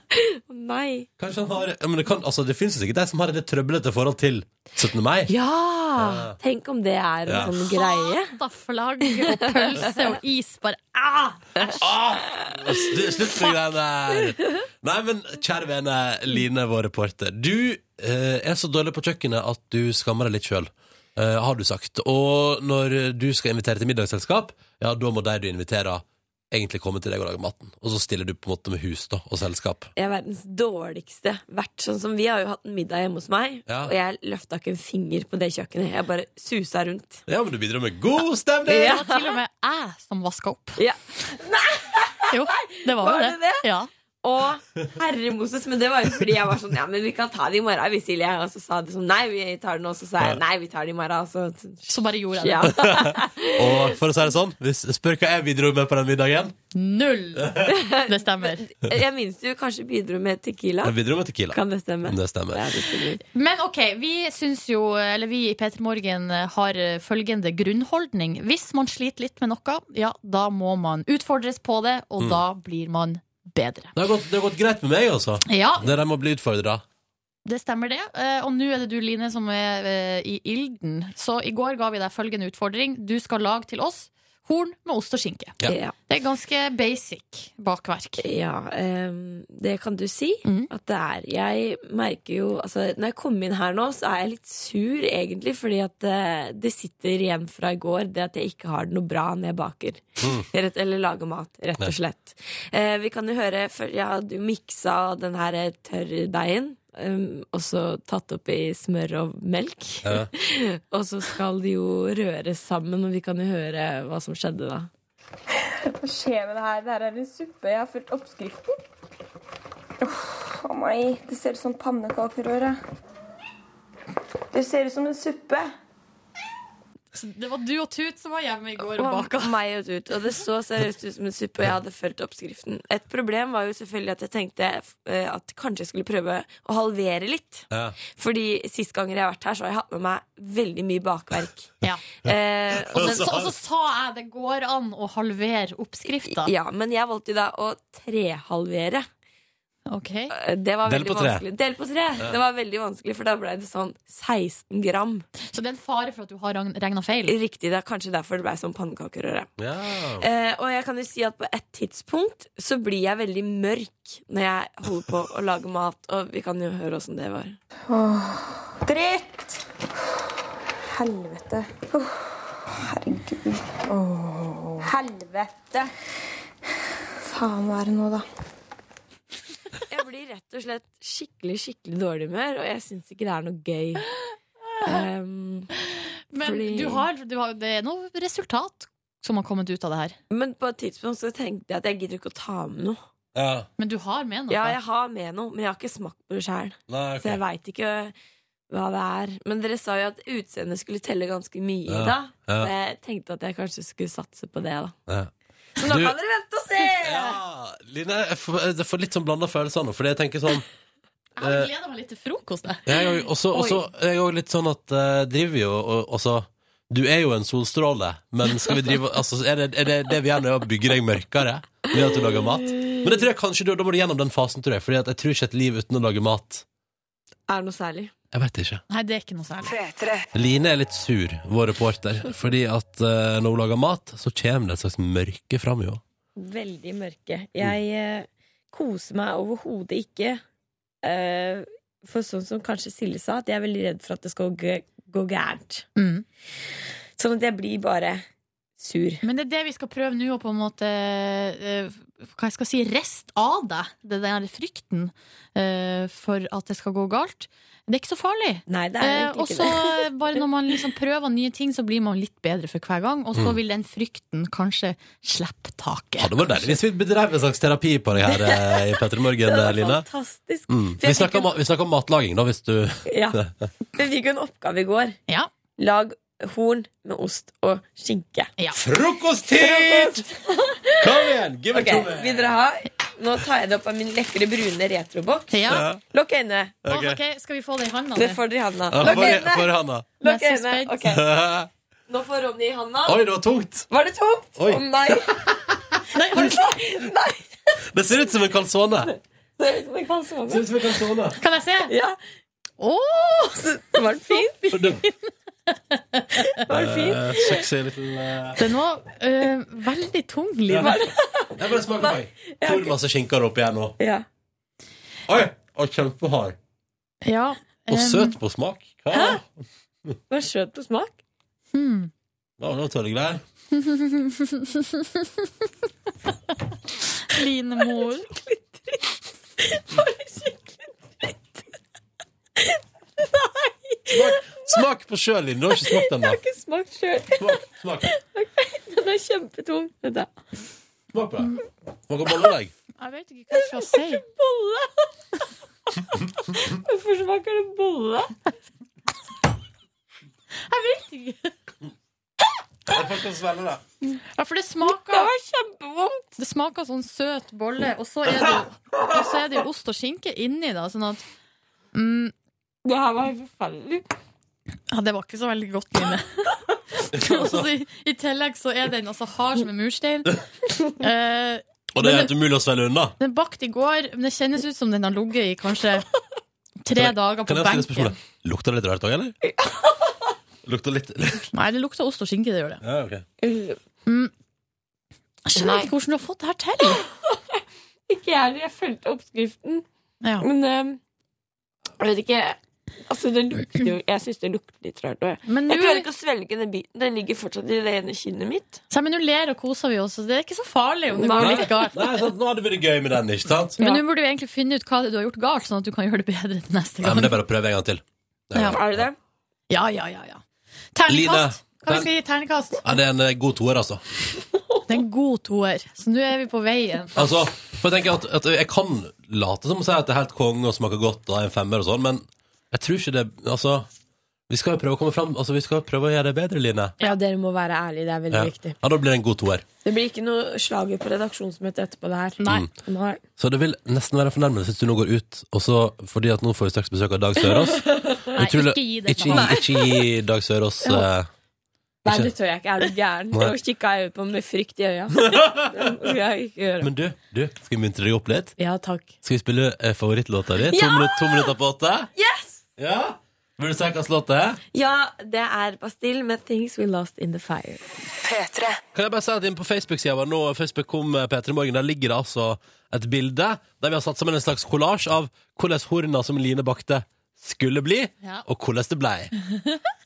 D: Å nei.
B: Kanskje han har ja, men det, kan, altså, det finnes jo sikkert de som har et litt trøblete forhold til 17. mai.
D: Ja! Tenk om det er en
B: Ja.
D: sånn greie.
F: Da flagg og pølse og is bare ah!
B: Sl slutt med greiene der! Nei, men kjære vene Line, vår reporter. Du eh, er så dårlig på kjøkkenet at du skammer deg litt sjøl, eh, har du sagt. Og når du skal invitere til middagsselskap, ja, da må de du inviterer, egentlig komme til deg og lage maten. Og så stiller du på en måte med hus da, og selskap.
D: Jeg er verdens dårligste vert. Sånn som Vi har jo hatt en middag hjemme hos meg,
B: Ja.
D: og jeg løfta ikke en finger på det kjøkkenet. Jeg bare susa rundt.
B: Ja, men du bidrar med god stemning!
D: Ja.
C: Det var til og med jeg som vaska opp.
D: Ja.
C: Jo, det var jo
D: Var
C: det.
D: det det?
C: Ja.
D: Og herre Moses, men det var jo fordi jeg var sånn Ja, men vi kan ta det i morgen, vi, Silje. Og så sa de sånn Nei, vi tar det nå. Så sa jeg nei, vi tar det i morgen. Og så
C: Så bare gjorde jeg det.
D: ja.
B: Og for å si det sånn, hvis, spør hva jeg bidro med på den middagen.
C: Null! Det stemmer.
D: Jeg minnes du kanskje bidro med tequila.
B: Jeg bidro med Tequila.
D: Kan det stemme?
B: Det stemmer.
D: Ja, det stemmer.
C: Men ok, vi syns jo, eller vi i P3 Morgen eh, har følgende grunnholdning. Hvis man sliter litt med noe, ja, da må man utfordres på det, og da blir man bedre.
B: Det har, gått, det har gått greit med meg, altså.
C: Ja,
B: Det der med å bli utfordra.
C: det stemmer det. Eh, Og nå er det du, Line, som er eh, i ilden. Så i går ga vi deg følgende utfordring. Du skal lage til oss horn med ost og skinke.
B: Ja.
D: Ja.
C: Det er ganske basic bakverk.
D: Ja, ehm, det kan du si
C: Mm.
D: at det er. Jeg merker jo altså, Når jeg kom inn her nå, så er jeg litt sur, egentlig. Fordi at eh, det sitter igjen fra i går, det at jeg ikke har det noe bra når jeg baker. Rett, eller lager mat, rett og slett. Eh, vi kan jo høre før- Jeg hadde jo miksa den her eh, tørrdeigen. Um, og så tatt opp i smør og melk.
B: Ja.
D: og så skal de jo røres sammen, og vi kan jo høre hva som skjedde da.
I: Hva skjer med det her? Det her er en suppe. Jeg har fulgt oppskriften. Åh, Å nei, det ser ut som pannekakerøre. Det ser ut som en suppe.
C: Det var du og Tut som var hjemme i går og
D: Og
C: baka.
D: meg og ut, og det så seriøst ut som en suppe, og jeg hadde fulgt oppskriften. Et problem var jo selvfølgelig at jeg tenkte eh, at kanskje jeg skulle prøve å halvere litt.
B: Ja.
D: Fordi sist ganger jeg har vært her, så har jeg hatt med meg veldig mye bakverk.
C: Ja.
D: Eh, og
C: Og så, og så sa jeg det går an å halvere oppskrifta.
D: ja, men jeg valgte jo da å trehalvere.
C: Ok.
D: Eh, Det var
B: Del
D: veldig
B: på tre.
D: vanskelig. Del på tre. Det var veldig vanskelig, for da ble det sånn 16 gram.
C: Så det er en fare for at du har regna feil?
D: Riktig, det er kanskje derfor det ble sånn pannekakerøre.
B: Ja.
D: Eh, og jeg kan jo si at på et tidspunkt så blir jeg veldig mørk når jeg holder på å lage mat, og vi kan jo høre åssen det var.
I: Dritt! helvete. Åh, herregud. Helvete! Faen, hva er det nå, da?
D: Jeg blir rett og slett skikkelig skikkelig dårlig humør, og jeg syns ikke det er noe gøy. Ehm,
C: Men
D: Fordi-
C: du har, du har, det er noe resultat som har kommet ut av det her.
D: men på et tidspunkt så tenkte jeg at jeg gidder ikke å ta med noe.
B: Ja.
C: Men du har med noe.
D: Ja, jeg har med noe, men jeg har ikke smakt på det sjøl.
B: Nei, ok.
D: Så jeg veit ikke hva det er. Men dere sa jo at utseendet skulle telle ganske mye,
B: Ja,
D: da.
B: ja.
D: Så jeg tenkte at jeg kanskje skulle satse på det, da.
B: Ja.
D: Så nå
B: Du-
D: kan dere vente og se!
B: Ja, Line, jeg får, jeg får litt sånn blanda følelser nå, fordi jeg tenker sånn
C: Jeg gleder meg litt til frokost. jeg.
B: Jeg er jo også, også, jeg er jo litt sånn at eh, driver vi jo og, også, Du er jo en solstråle, men skal vi drive altså, er, det, er det det vi gjør nå, å bygge deg mørkere ved at du lager mat? Men det tror jeg kanskje du, da må du gjennom den fasen, tror jeg. Fordi at jeg tror ikke et liv uten å lage mat
D: Er det noe særlig?
B: Jeg vet ikke.
C: Nei, det er ikke noe særlig.
B: Line er litt sur, vår reporter, fordi at eh, når hun lager mat, så kommer det et slags mørke fram, jo.
D: Veldig mørke.
B: Mm.
D: Jeg eh, koser meg overhodet ikke. eh, for sånn som kanskje Silje sa, at jeg er veldig redd for at det skal gå, gå gærent.
C: Mm.
D: Sånn at jeg blir bare sur.
C: Men det er det vi skal prøve nå, å på en måte eh, Hva jeg skal si, rest av deg. Det der frykten eh, for at det skal gå galt. Det er ikke så farlig.
D: Nei, det er
C: Eh,
D: egentlig
C: og
D: ikke
C: så
D: det.
C: bare når man liksom prøver nye ting, så blir man litt bedre for hver gang. Og så
B: Mm.
C: vil den frykten kanskje slippe taket.
B: Ja, det var deilig hvis vi bedrev en slags terapi på deg her eh, i P3 Morgen, eh, Line. Mm.
D: Fantastisk. For
B: Vi
D: jeg fikk
B: snakker om, vi snakker om matlaging, da, hvis du
D: Ja. Jeg fikk jo en oppgave i går.
C: Ja.
D: Lag horn med ost og skinke.
B: Frokosttid! Kom igjen! Give
D: Ok, Vil dere ha? Nå tar jeg det opp av min lekre brune retroboks.
C: Ja.
D: Lukk øynene.
C: Å, ok, Skal vi få det i handa?
D: Det
C: nå?
D: får dere i handa.
B: Ja,
D: Lukk
B: for, for
D: øynene.
B: handa.
D: Lukk
C: Jeg er så spent.
D: øynene. Ok. Nå får Ronny i handa.
B: Oi, det var tungt!
D: Var det tungt? Å
B: Oi.
D: nei! nei, nei.
B: Det ser ut som en calzone.
D: Det er liksom ikke han som
B: ut som en calzone.
C: Kan jeg se?
D: Ja.
C: Å!
D: Så, var den fin? Var den fin?
B: Eh, sexy liten eh,
C: Den var eh, veldig tung, Liv.
B: ja. Jeg bare smaker på meg. Hvor masse skinke har du oppi her nå?
D: Ja.
B: Oi! Og kjempehard.
C: Ja, eh,
B: Og
C: em,
B: søt på smak. Hva?
D: Var skjøt på smak.
C: hmm.
B: Ja, det var tørre greier.
C: Line Mor.
B: Smak, smak på sjøl, Linn. Du har ikke smakt den, da.
D: Ikke smakt sjøl.
B: Smak, smak,
D: Den er kjempetung. Vent da.
B: smak på det. Smaker bolledeig.
C: Jeg vet ikke hva jeg skal si.
D: Bolle! Hvorfor smaker det bolle?
C: Jeg vet ikke.
B: Jeg får ikke svelge det.
C: Ja, for det
D: Det
C: smaker,
D: var kjempevondt.
C: det smaker sånn søt bolle, og så er det, og så er det jo ost og skinke inni, da. Sånn at mm,
D: Det her var helt forferdelig.
C: Ja, det var ikke så veldig godt, Line. altså, i, I tillegg så er den altså hard som en murstein. Eh,
B: Og det er helt umulig å svelge unna.
C: den bakt i går, men det kjennes ut som den har ligget i kanskje tre
B: jeg-
C: dager på
B: Kan jeg stille
C: benken.
B: spørsmålet? Lukter det litt rart òg, eller? Lukter litt
C: Nei, det lukter ost og skinke, det gjør det.
B: Ja, ok.
C: Jeg skjønner ikke hvordan du har fått det her til.
D: Ikke jeg heller. Jeg fulgte oppskriften.
C: Ja.
D: Men eh, jeg vet ikke Altså, det lukter jo Jeg syns det lukter litt rart. og jeg-
C: Men
D: Jeg
C: nå
D: klarer ikke å svelge den biten. Den ligger fortsatt i det ene kinnet mitt.
C: Nei, men nå ler og koser vi oss, så det er ikke så farlig om det
D: Nei.
C: går litt galt.
B: Nei, sant? Nå hadde vi det gøy med den, ikke sant?
C: Men nå burde vi egentlig finne ut hva det er du har gjort galt, sånn at du kan gjøre det bedre til neste
B: Nei, men
C: gang.
B: det er bare å prøve en gang til.
C: Ja.
D: Er det det?
C: Ja, ja, ja, ja.
B: Line,
C: Terningkast. Hva
B: den-
C: vi skal gi terningkast?
B: Ja, det er en eh, god toer, altså.
C: Det er en god toer, så nå er vi på veien.
B: altså for jeg, tenker at, at jeg kan late som å si at det er helt konge og smaker godt og er en femmer og sånn, men jeg tror ikke det Altså, vi skal jo prøve å komme fram Altså, vi skal prøve å gjøre det bedre, Line.
D: Ja, dere må være ærlige. Det er veldig
B: Ja,
D: viktig.
B: ja da blir det en god toer.
D: Det blir ikke noe slager på redaksjonsmøtet etterpå det her.
C: Nei.
B: Mm.
D: Nei.
B: Så det vil nesten være en fornærmelse hvis du nå går ut, og så fordi at nå får vi straks besøk av Dag Sørås.
C: Nei,
B: Utrolig-
C: ikke gi det
B: Ikke, gi- ikke gi Dag Sørås eh,
D: Nei,
B: Ikke-
D: det tør jeg ikke. Er du gæren?
B: Nei.
D: Nå kikka jeg ut på ham med frykt i øya. Det skal jeg ikke gjøre.
B: Men du, du, skal vi muntre deg opp litt?
D: Ja, takk.
B: Skal vi spille eh, favorittlåta di? To, minutter, to minutter på åtte?
D: Yes!
B: Ja? Vil du si hvilken låt det er?
D: Ja, det er Bastille med 'Things We Lost In The Fire'.
B: Kan jeg bare si at inne på Facebook-sida vår nå, Facebook kom eh, P3 Morgen, der ligger det altså et bilde der vi har satt sammen en slags kollasj av hvordan horna som Line bakte, skulle bli,
C: Ja.
B: og hvordan det blei.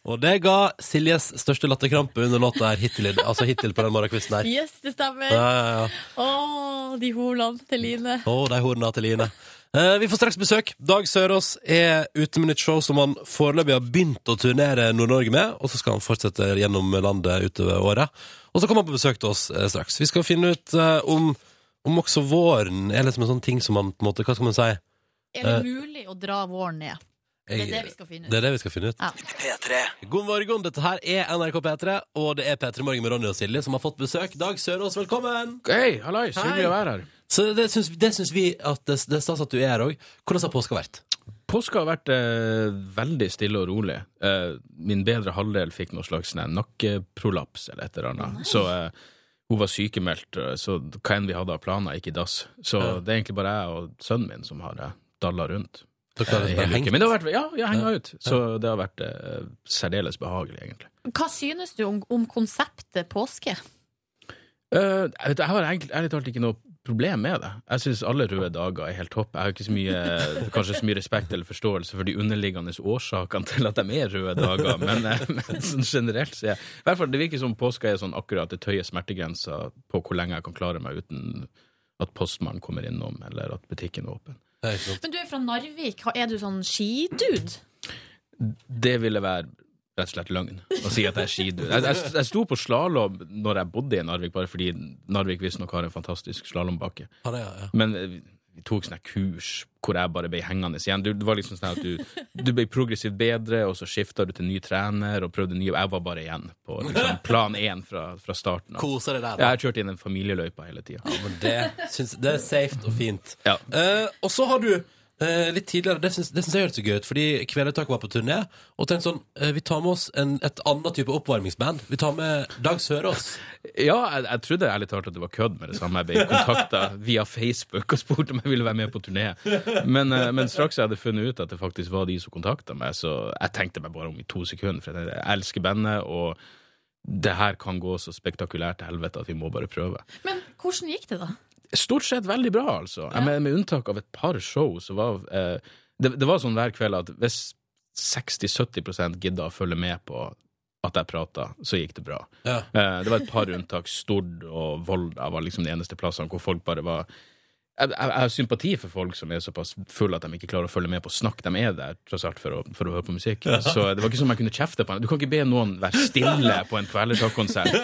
B: Og det ga Siljes største latterkrampe under låta her hittil, i- altså hittil på den morgenkvisten her.
F: Yes, det stemmer.
B: Ja,
F: Å,
B: ja, ja.
F: de holene til Line.
B: Å, de horna til Line. Eh, vi får straks besøk. Dag Sørås er ute med nytt show som han foreløpig har begynt å turnere Nord-Norge med, og så skal han fortsette gjennom landet utover året. Og så kommer han på besøk til oss eh, straks. Vi skal finne ut eh, om, om også våren er liksom en sånn ting som man på en måte, hva skal man si?
C: Er det mulig å dra våren ned? Det er det vi skal finne
B: Eh. Det
C: ut.
B: er det vi skal finne ut.
C: Ja.
B: God morgen, dette her er NRK P3, og det er P3 Morgen med Ronny og Silje som har fått besøk. Dag Sørås, velkommen!
J: Hei, hallais.
B: Hei.
J: Hyggelig å være her.
B: Så det syns, det syns vi at det, det er stas at du er her òg. Hvordan har påska vært?
J: Påska har vært eh, veldig stille og rolig. Eh, min bedre halvdel fikk noe slags nei, nakkeprolaps eller et eller annet. Så eh, hun var sykemeldt, eh, så hva enn vi hadde av planer, gikk i dass. Så
B: Ja.
J: det er egentlig bare jeg og sønnen min som har eh, dalla rundt.
B: Dere har
J: Eh,
B: liksom
J: hele
B: bare
J: uken.
B: hengt.
J: Men det har vært, ja, jeg henga ut. Så det har vært eh, særdeles behagelig, egentlig.
C: Hva synes du om, om konseptet påske?
J: Eh, jeg, vet, jeg har egentlig, ærlig talt ikke noe problem med det. Jeg syns alle røde dager er helt topp. Jeg har ikke så mye, kanskje så mye respekt eller forståelse for de underliggende årsakene til at de er røde dager, men, eh, men sånn generelt så er i hvert fall, Det virker som påska er sånn akkurat det tøyer smertegrensa på hvor lenge jeg kan klare meg uten at postmannen kommer innom, eller at butikken er åpen.
B: Det er ikke sant.
C: Men du er fra Narvik. Ha- Er du sånn skidude?
J: Det ville være rett og slett løgn å si at jeg er skidur. Jeg, jeg, jeg sto på slalåm når jeg bodde i Narvik, bare fordi Narvik visstnok har en fantastisk slalåmbakke.
B: Ja, det er- ja.
J: Men eh, vi tok sånne kurs hvor jeg bare ble hengende igjen. Du, det var liksom sånn at du, du ble progressivt bedre, og så skifta du til ny trener og prøvde nye Jeg var bare igjen på liksom, plan én fra, fra starten av.
B: Koser deg der.
J: Jeg har kjørt inn den familieløypa hele tida.
B: Ja, men det, syns, det er safe og fint.
J: Ja.
B: Eh, og så har du eh, litt tidligere Det syns, det syns jeg høres så gøy ut, fordi Kvelertak var på turné og tenkte sånn eh, Vi tar med oss en, et annet type oppvarmingsband. Vi tar med Dag Sørås.
J: Ja, jeg, jeg trodde ærlig talt at det var kødd med det samme. Jeg ble kontakta via Facebook og spurte om jeg ville være med på turné. Men, eh, men straks jeg hadde funnet ut at det faktisk var de som kontakta meg, så jeg tenkte meg bare om i to sekunder. For jeg elsker bandet, og det her kan gå så spektakulært til helvete at vi må bare prøve.
C: Men hvordan gikk det, da?
J: Stort sett veldig bra, altså. Jeg mener, med unntak av et par show, så var eh, det, det var sånn hver kveld at hvis 60-70 gidda å følge med på at jeg prata, så gikk det bra.
B: Ja.
J: Eh, det var et par unntak. Stord og Volda var liksom de eneste plassene hvor folk bare var jeg, jeg, jeg har sympati for folk som er såpass fulle at de ikke klarer å følge med på snakk. De er der tross alt for å, for å høre på musikk. Så det var ikke som om jeg kunne kjefte på dem. Du kan ikke be noen være stille på en Kvelertak-konsert.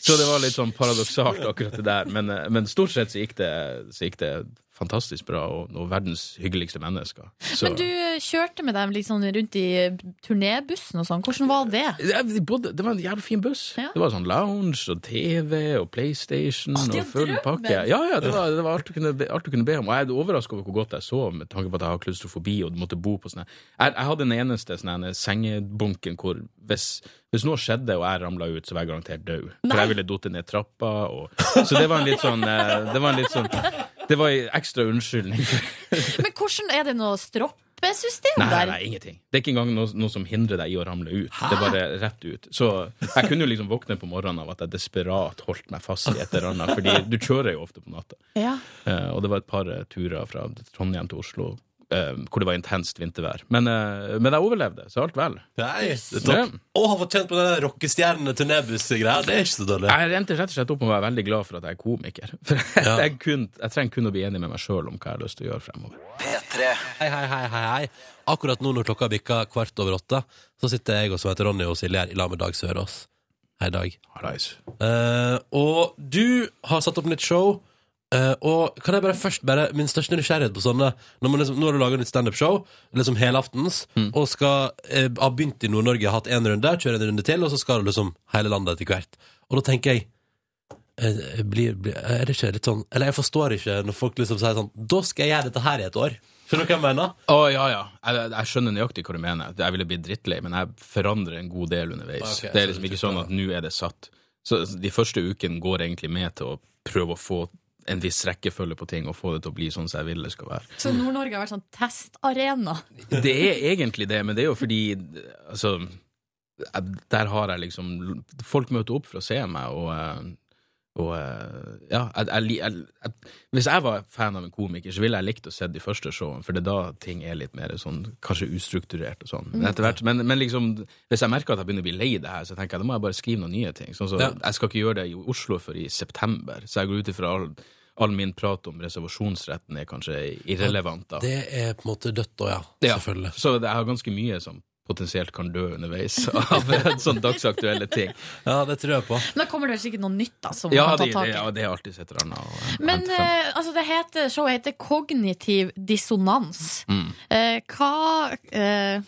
J: Så det var litt sånn paradoksalt, akkurat det der. Men, eh, men stort sett så gikk det, så gikk det fantastisk bra, og, og verdens hyggeligste mennesker. Så-
C: Men du kjørte med dem liksom rundt i turnébussen og sånn. Hvordan var det?
J: Ja, vi bodde, det var en jævlig fin buss.
C: Ja.
J: Det var sånn lounge og TV og PlayStation
C: det er
J: og full
C: drømmen!
J: pakke. Ja, ja, det var, det var alt, du kunne, be- alt du kunne be om. Og jeg er overrasket over hvor godt jeg sov, med tanke på at jeg har klaustrofobi og måtte bo på sånne Jeg, jeg hadde den eneste sånne sengebunken hvor hvis, hvis noe skjedde og jeg ramla ut, så var jeg garantert død. For jeg ville datt ned trappa, og Så det var en litt sånn eh, Det var en litt sånn Det var en ekstra unnskyldning.
C: Men hvordan er det noe stroppesystem
J: Nei, nei,
C: der?
J: nei, ingenting. Det er ikke engang noe, noe som hindrer deg i å ramle ut. Det er bare rett ut. Så jeg kunne jo liksom våkne på morgenen av at jeg desperat holdt meg fast i et eller annet, fordi du kjører jo ofte på natta.
C: Ja.
J: Eh, og det var et par eh, turer fra Trondheim til Oslo eh, hvor det var intenst vintervær. Men, eh, men jeg overlevde, så alt vel.
B: Nei, det er
J: Ja.
B: topp. Og har fått kjent på den rockestjerne-turnébuss-greia. Det er ikke så dårlig.
J: Jeg endte rett og slett opp med å være veldig glad for at jeg er komiker. For jeg, jeg, kun, jeg trenger kun å bli enig med meg sjøl om hva jeg har lyst til å gjøre fremover.
B: Hei, hei, hei, hei, hei. Akkurat nå når klokka bikker kvart over åtte, så sitter jeg og som heter Ronny og Silje her i lag med Dag Sørås. Hei, Dag.
J: Hallais.
B: Eh, og du har satt opp nytt show. eh, og kan jeg bare først bare Min største nysgjerrighet på sånne Når man liksom, Nå har du laga nytt standup-show, liksom helaftens, og skal eh, ha begynt i Nord-Norge, hatt én runde, kjøre en runde til, og så skal du liksom hele landet etter hvert. Og da tenker jeg eh, blir, blir, Er det ikke litt sånn Eller jeg forstår ikke når folk liksom sier sånn Da skal jeg gjøre dette her i et år. Skjønner du hva jeg mener?
J: Å, ja, ja. Jeg, jeg skjønner nøyaktig hva du mener. Jeg ville blitt drittlei, men jeg forandrer en god del underveis.
B: Ok,
J: det er
B: så
J: liksom
B: du
J: ikke
B: tror
J: sånn
B: på
J: at nå er det satt. Så de første ukene går egentlig med til å prøve å få en viss rekkefølge på ting og få det til å bli sånn som jeg vil det skal være.
C: Så Nord-Norge har vært sånn testarena.
J: Det er egentlig det, men det er jo fordi Altså, jeg- der har jeg liksom Folk møter opp for å se meg, og eh, Og eh, ja, jeg, jeg, li- jeg, jeg, hvis jeg var fan av en komiker, så ville jeg likt å se de første showene, for det er da ting er litt mer sånn, kanskje ustrukturert og sånn. Men
B: Mm.
J: etter hvert, men, men liksom, hvis jeg merker at jeg begynner å bli lei det her, så tenker jeg da må jeg bare skrive noen nye ting. Sånn, så,
B: Ja.
J: Jeg skal ikke gjøre det i Oslo før i september, så jeg går ut ifra all, all min prat om reservasjonsretten er kanskje irrelevant da.
B: Det er på en måte dødt da, ja.
J: Ja, Så jeg har ganske mye som potensielt kan dø underveis av sånn dagsaktuelle ting.
B: Ja, det tror jeg på.
C: Men da kommer det vel sikkert noe nytt da, som
J: Ja,
C: man kan ta
J: det, det,
C: tak i.
J: ja, det er alltid et eller annet. å hente
C: Men
J: frem.
C: eh, altså, det heter, showet heter Kognitiv dissonans.
J: Mm.
C: Eh, hva, eh,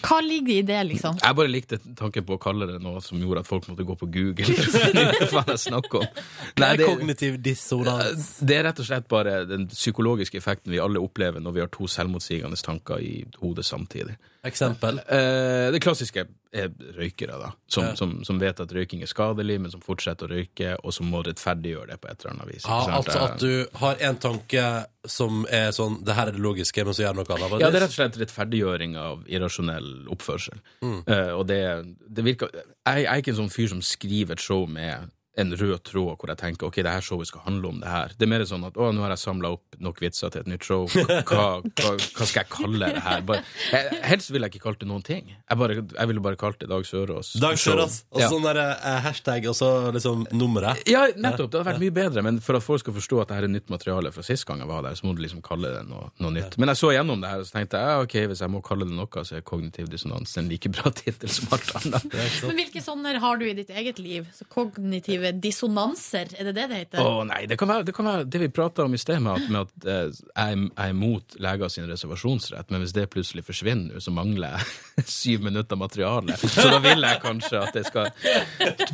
C: hva ligger i det, liksom?
J: Jeg bare likte tanken på å kalle det noe som gjorde at folk måtte gå på Google. Hva faen jeg snakker om? Nei, det,
B: Kognitiv dissonans.
J: det er rett og slett bare den psykologiske effekten vi alle opplever når vi har to selvmotsigende tanker i hodet samtidig.
B: Eksempel?
J: Eh, det klassiske er røykere, da. Som,
B: Ja.
J: som, som vet at røyking er skadelig, men som fortsetter å røyke, og som må rettferdiggjøre det på et eller annet vis. ikke
B: Ja,
J: sant?
B: altså at du har en tanke som er sånn Det her er det logiske, men så gjør du noe annet.
J: Ja, det er rett og slett rettferdiggjøring av irrasjonell oppførsel.
B: Mm.
J: Eh, og det, det virker jeg, jeg er ikke en sånn fyr som skriver et show med en rød tråd hvor jeg tenker ok, det her showet skal handle om det her. Det er mer sånn at å, nå har jeg samla opp nok vitser til et nytt show. Hva, hva, hva skal jeg kalle det her? Bare, jeg, helst ville jeg ikke kalt det noen ting. Jeg, bare, jeg ville bare kalt det Dag Sørås.
B: Dag
J: show.
B: Sørås. Og
J: Ja.
B: sånn der eh, hashtag, og så liksom nummeret.
J: Ja, nettopp. Det hadde vært mye bedre. Men for at folk skal forstå at det her er nytt materiale fra sist gang jeg var der, så må du liksom kalle det noe, noe nytt. Men jeg så gjennom det her, og så tenkte jeg ja, ok, hvis jeg må kalle det noe, så er kognitiv dissonans en like bra tittel som alt annet.
C: Men Hvilke sånne har du i ditt eget liv? Så kognitive dissonanser, er det det det
J: Å
C: heter?
J: nei, det kan, være, det kan være det vi prata om i sted, med at, med at eh, jeg, er- jeg er imot leger sin reservasjonsrett, men hvis det plutselig forsvinner nå, så mangler jeg syv minutter materiale. Så da vil jeg kanskje at det skal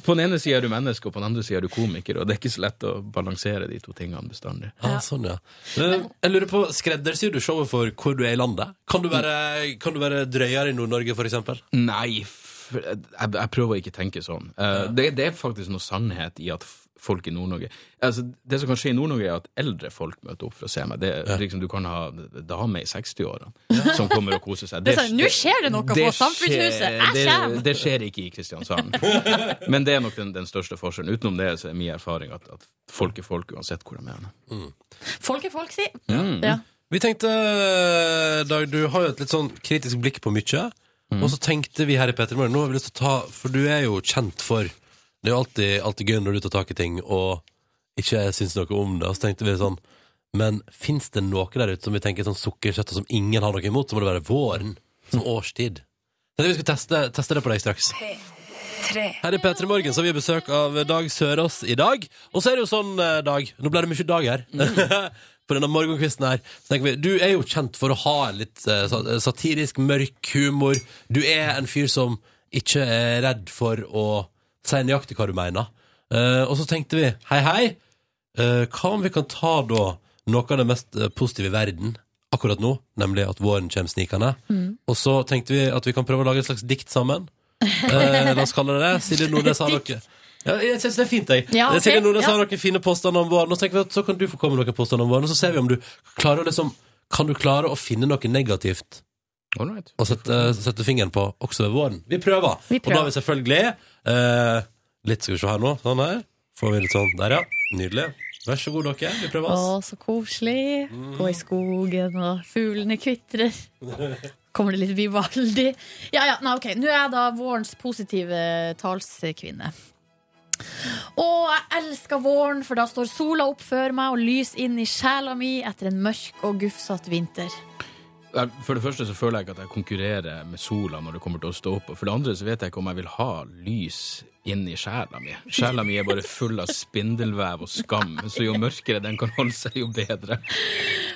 J: På den ene sida er du menneske, og på den andre sida er du komiker, og det er ikke så lett å balansere de to tingene bestandig.
B: Ja, sånn, ja. Eh, Jeg lurer på, Skreddersyr du showet for hvor du er i landet? Kan du være, kan du være drøyere i Nord-Norge, for eksempel?
J: Nei, f- jeg, jeg prøver å ikke tenke sånn. Eh, det, det er faktisk noe sannhet i at f- folk i Nord-Norge altså, Det som kan skje i Nord-Norge, er at eldre folk møter opp for å se meg. Det, er liksom, du kan ha dame i 60-årene som kommer og koser seg.
C: Det er sånn, nå skjer det noe på
J: det
C: Samfunnshuset.
J: skjer-
C: Jeg
J: Det,
C: kommer.
J: det skjer ikke i Kristiansand. Men det er nok den, den største forskjellen. Utenom det så er min erfaring at, at folk er folk uansett hvor de er.
C: Folk er folk, si.
J: Mm.
C: Ja.
B: Vi tenkte, Dag, du har jo et litt sånn kritisk blikk på mye. Og så tenkte vi her i Petter Morgen, nå har vi lyst til å ta For du er jo kjent for Det er jo alltid, alltid gøy når du tar tak i ting og ikke syns noe om det. Og så tenkte vi sånn Men fins det noe der ute som vi tenker sånn sukkerkjøtt og som ingen har noe imot, så må det være våren som årstid. Tenkte vi skulle teste, teste det på deg straks. Her i Petter Morgen så har vi besøk av Dag Sørås i dag. Og så er det jo sånn, eh, Dag Nå ble det mye dag her. På denne morgenkvisten her Så tenker vi, Du er jo kjent for å ha en litt eh, sa- satirisk, mørk humor. Du er en fyr som ikke er redd for å si nøyaktig hva du mener. Eh, og så tenkte vi hei, hei, eh, hva om vi kan ta da noe av det mest eh, positive i verden akkurat nå? Nemlig at våren kommer snikende.
C: Mm.
B: Og så tenkte vi at vi kan prøve å lage et slags dikt sammen. Eh, la oss kalle det det. Silje Nordnes har dere ja, jeg synes det er fint, jeg. Eh,
C: Ja, ok,
B: Silje Nordnes
C: ja.
B: har noen fine påstander om våren. Og så tenker vi at så kan du få komme med noen påstander om våren, og så ser vi om du klarer å liksom Kan du klare å finne noe negativt
J: All right.
B: å sette, sette fingeren på også ved våren? Vi prøver.
C: Vi
B: Og da
C: prøver.
B: har vi selvfølgelig eh, Litt skal vi se her nå. Sånn her. Får vi litt sånn. Der, ja. Nydelig. Vær så god, dere. Vi prøver
C: Å,
B: oss.
C: så koselig. Gå i skogen, og fuglene kvitrer. Kommer det litt Vivaldi? Ja, ja, nei, ok. Nå er jeg da vårens positive talskvinne. Å, jeg elsker våren, for da står sola opp før meg og lyser inn i sjela mi etter en mørk og gufsete vinter.
J: Jeg- For det første så føler jeg ikke at jeg konkurrerer med sola når det kommer til å stå opp. Og for det andre så vet jeg ikke om jeg vil ha lys inn i sjela mi. Sjela mi er bare full av spindelvev og skam, så jo mørkere den kan holde seg, jo bedre.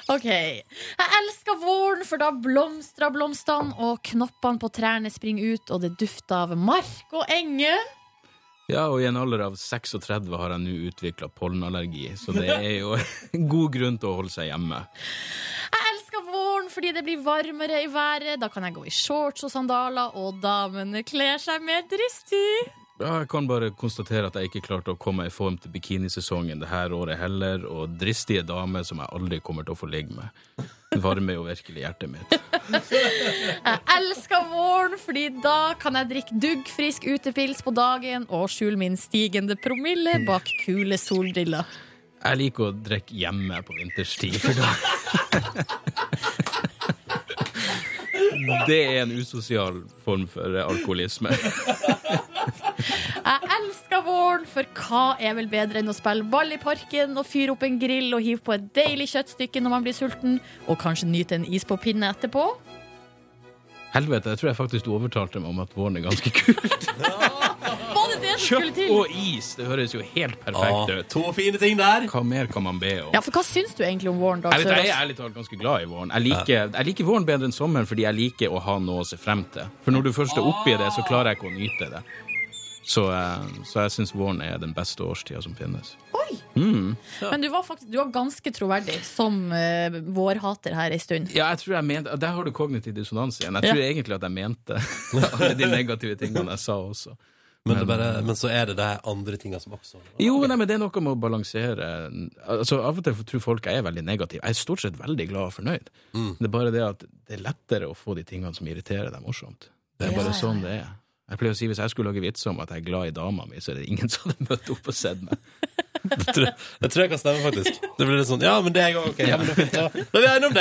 C: Ok. Jeg elsker våren, for da blomstrer blomstene, og knoppene på trærne springer ut, og det dufter av mark og enger.
J: Ja, og i en alder av 36 har jeg nå utvikla pollenallergi, så det er jo en god grunn til å holde seg hjemme.
C: Jeg elsker våren fordi det blir varmere i været. Da kan jeg gå i shorts og sandaler, og damene kler seg mer dristig.
J: Ja, Jeg kan bare konstatere at jeg ikke klarte å komme i form til bikinisesongen det her året heller, og dristige damer som jeg aldri kommer til å få ligge med. varmer jo virkelig hjertet mitt.
C: Jeg elsker våren, fordi da kan jeg drikke duggfrisk utepils på dagen og skjule min stigende promille bak kule solbriller.
J: Jeg liker å drikke hjemme på vinterstid, for da Det er en usosial form for alkoholisme.
C: Jeg elsker våren, for hva er vel bedre enn å spille ball i parken og fyre opp en grill og hive på et deilig kjøttstykke når man blir sulten, og kanskje nyte en is på pinne etterpå?
J: Helvete, jeg tror jeg faktisk du overtalte meg om at våren er ganske kul.
C: Var det det som skulle
J: Kjøtt
C: til?
J: og is! Det høres jo helt perfekt ut.
B: To fine ting der.
J: Hva mer kan man be om?
C: Ja, for hva syns du egentlig om våren, Dag
J: Jeg, vet, jeg er
C: Sørås?
J: ærlig talt ganske glad i våren. Jeg liker, jeg liker våren bedre enn sommeren fordi jeg liker å ha noe å se frem til. For når du først er oppi det, så klarer jeg ikke å nyte det. Så, eh, så jeg syns våren er den beste årstida som finnes. Mm.
C: Men du var faktisk du var ganske troverdig som eh, vårhater her ei stund.
J: Ja, jeg tror jeg mente Der har du kognitiv dissonans igjen. Jeg tror
C: Ja.
J: egentlig at jeg mente alle de negative tingene jeg sa også.
B: Men, det bare, men så er det de andre tinga som også
J: Jo, nei, men det er noe med å balansere Altså, Av og til tror folk jeg er veldig negativ. Jeg er stort sett veldig glad og fornøyd.
C: Mm.
J: Det er bare det at det er lettere å få de tingene som irriterer deg, morsomt. Det er
C: Ja,
J: bare
C: ja,
J: sånn det er. Jeg pleier å si Hvis jeg skulle lage vitser om at jeg er glad i dama mi, så er det ingen som hadde møtt opp og sett meg.
B: Det tror jeg- det tror jeg kan stemme, faktisk. Det blir litt sånn Ja, men det er jeg òg. Ok, ja, men da, da, da er vi enige om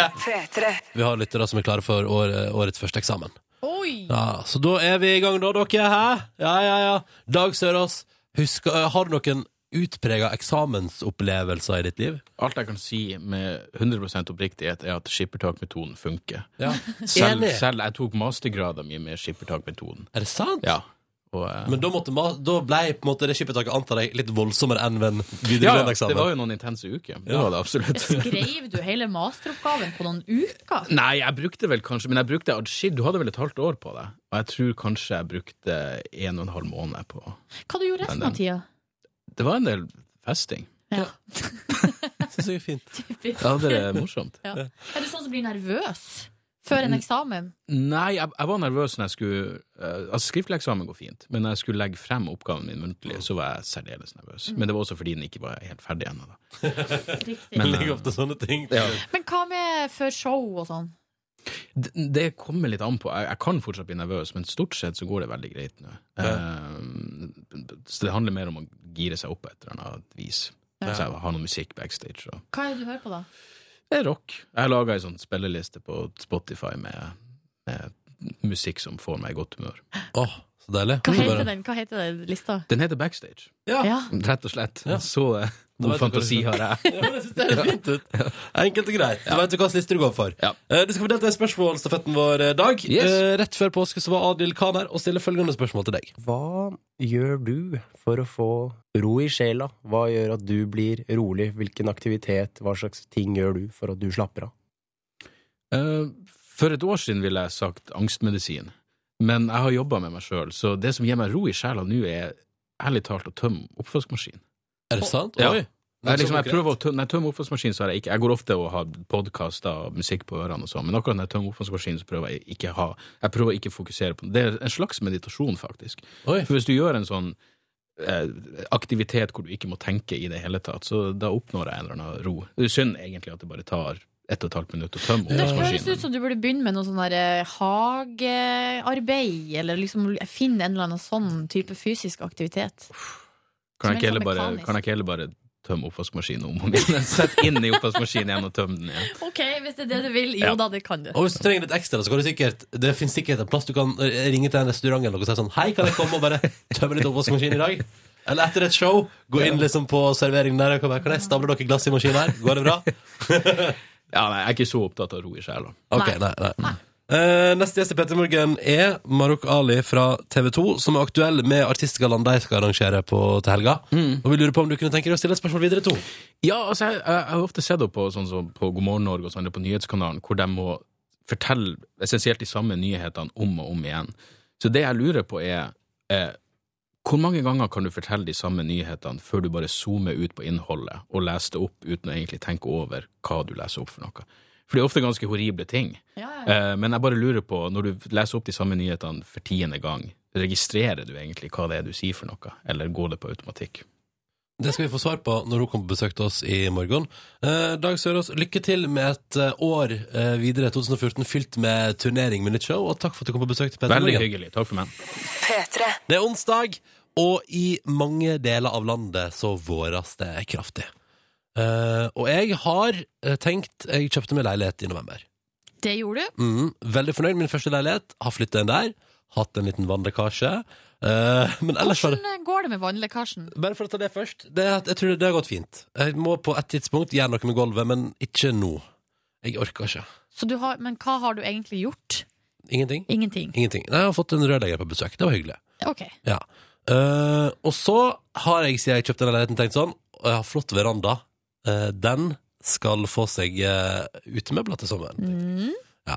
B: det. Vi har lyttere som er klare for år, eh, årets første eksamen.
C: Oi!
B: Ja, Så da er vi i gang, da, dere. Hæ? Ja, ja, ja. Dag Sørås, husker, har du noen utprega eksamensopplevelser i ditt liv?
J: Alt jeg kan si med 100 oppriktighet, er at skippertakmetoden funker.
B: Ja.
J: Selv,
B: Enig.
J: selv jeg tok mastergrada mi med skippertakmetoden.
B: Er det sant?
J: Ja. Og, eh,
B: Men da, måtte, ma- da ble på en måte det skippertaket, antar jeg, litt voldsommere enn ved en
J: ja, ja,
B: videregående eksamen.
J: det var jo noen intense uker. Det
B: Ja.
J: var det absolutt.
C: Skrev du hele masteroppgaven på noen uker?
J: Nei, jeg brukte vel kanskje Men jeg brukte adskill. Du hadde vel et halvt år på deg? Og jeg tror kanskje jeg brukte en og en halv måned på
C: Hva du gjorde resten av tida?
J: Det var en del festing.
C: Ja.
B: Synes jeg er fint.
J: Jeg hadde det morsomt.
C: Ja. Er du sånn som blir nervøs før en eksamen?
J: Nei, jeg, jeg var nervøs når jeg skulle eh, Altså, skriftlig eksamen går fint, men når jeg skulle legge frem oppgaven min muntlig, så var jeg særdeles nervøs. Men det var også fordi den ikke var helt ferdig ennå, da.
C: Riktig.
B: Det
J: Men, eh,
B: ligger ofte sånne ting.
J: Ja.
C: Men hva med før show og sånn?
J: D- Det kommer litt an på. Jeg, jeg kan fortsatt bli nervøs, men stort sett så går det veldig greit nå. Eh, så det handler mer om å gire seg opp på et eller annet vis.
C: Ja.
J: Så jeg har noe musikk backstage og
C: Hva er det du hører på, da?
J: Det er rock. Jeg har laga ei sånn spilleliste på Spotify med, med musikk som får meg i godt humør.
B: Åh, så deilig.
C: Hva
B: Så bare-
C: heter den, Hva heter den lista?
J: Den heter Backstage,
B: Ja.
C: Ja.
J: rett og slett.
B: Ja.
J: Så eh,
B: Da vet
J: god
B: du
J: fantasi
B: hva
J: har jeg.
B: Ja, men jeg synes det høres fint ut. Enkelt og greit. Du vet jo hva siste du går for.
J: Ja.
B: Eh, Du skal få delta i spørsmålstafetten vår, eh, Dag.
J: Yes.
B: Eh, Rett før påske så var Adil Khan her og stiller følgende spørsmål til deg.
K: Hva gjør du for å få ro i sjela? Hva gjør at du blir rolig? Hvilken aktivitet, hva slags ting gjør du for at du slapper av?
J: Eh, For et år siden ville jeg sagt angstmedisin, men jeg har jobba med meg sjøl, så det som gir meg ro i sjela nå, er ærlig talt å tømme oppvaskmaskinen.
B: Er det sant?
J: Ja.
B: Oi.
J: Jeg, liksom, jeg prøver å tømme, når jeg tømmer oppvaskmaskinen, så har jeg ikke Jeg går ofte og har podkaster og musikk på ørene og sånn, men akkurat når jeg tømmer oppvaskmaskinen, så prøver jeg ikke ha Jeg prøver å ikke fokusere på det. Det er en slags meditasjon, faktisk.
B: Oi.
J: For hvis du gjør en sånn eh, aktivitet hvor du ikke må tenke i det hele tatt, så da oppnår jeg en eller annen ro. Det er synd egentlig at det bare tar ett og et halvt minutt å tømme
C: Det høres ut
J: oppvaskmaskinen.
C: som du burde begynne med noe sånn der, eh, hagearbeid, eller liksom finne en eller annen sånn type fysisk aktivitet.
J: Kan
C: som en
J: jeg ikke
C: sånn
J: heller bare,
C: mekanisk.
J: kan jeg ikke heller bare tømme oppvaskmaskinen om og om igjen? Sett inn i oppvaskmaskinen igjen og tøm den igjen.
C: Ok, hvis det er det du vil,
J: Ja.
C: jo da, det kan du.
B: Og hvis du trenger litt ekstra, så kan du sikkert Det finnes sikkert en plass du kan eh, ringe til en restaurant eller noe og si sånn Hei, kan jeg komme og bare tømme litt oppvaskmaskin i dag? Eller etter et show, gå inn liksom på serveringen der og kan bare Kan jeg stable dere glass i maskinen her? Går det bra?
J: Ja, nei, jeg er ikke så opptatt av ro i sjela.
B: Ok, nei, nei. Eh, neste gjest i Petter Morgen er Marok Ali fra TV 2, som er aktuell med artistgallaen de skal arrangere på til helga.
C: Mm.
J: Mm.
B: Og vi lurer på om du kunne tenke deg å stille et spørsmål videre, to.
J: Ja, altså, jeg, jeg har ofte sett det på, sånn som på God morgen Norge og sånn, eller på nyhetskanalen, hvor de må fortelle essensielt de samme nyhetene om og om igjen. Så det jeg lurer på er, eh, hvor mange ganger kan du fortelle de samme nyhetene før du bare zoomer ut på innholdet og leser det opp uten å egentlig tenke over hva du leser opp for noe? For det er ofte ganske horrible ting.
C: Ja, ja, ja.
J: Eh, men jeg bare lurer på, når du leser opp de samme nyhetene for tiende gang, registrerer du egentlig hva det er du sier for noe, eller går det på automatikk?
B: Det skal vi få svar på når hun kommer på besøk til oss i morgen. Eh, Dag Sørås, lykke til med et eh, år eh, videre, 2014, fylt med turnering med nytt show, og takk for at du kom på besøk til Petter
J: Veldig hyggelig. Takk for meg.
B: Det er onsdag, og i mange deler av landet så våres det kraftig. Eh, og jeg har eh, tenkt Jeg kjøpte meg leilighet i november.
F: Det gjorde du.
B: Mm, veldig fornøyd med min første leilighet. Har flytta inn der. Hatt en liten vannlekkasje. Eh, men ellers var det
F: Hvordan går det med vannlekkasjen?
B: Bare for å ta det først. det, Jeg tror det har gått fint. Jeg må på et tidspunkt gjøre noe med gulvet, men ikke nå. Jeg orker ikke.
F: Så du har, men hva har du egentlig gjort?
B: Ingenting.
F: Ingenting.
B: Ingenting. Nei, jeg har fått en rørlegger på besøk. Det var hyggelig.
F: Ok.
B: Ja. Eh, og så har jeg, siden jeg kjøpte den leiligheten, tenkt sånn Og jeg har flott veranda. Eh, den skal få seg uh, utemøbler til sommeren.
F: Mm.
B: Ja.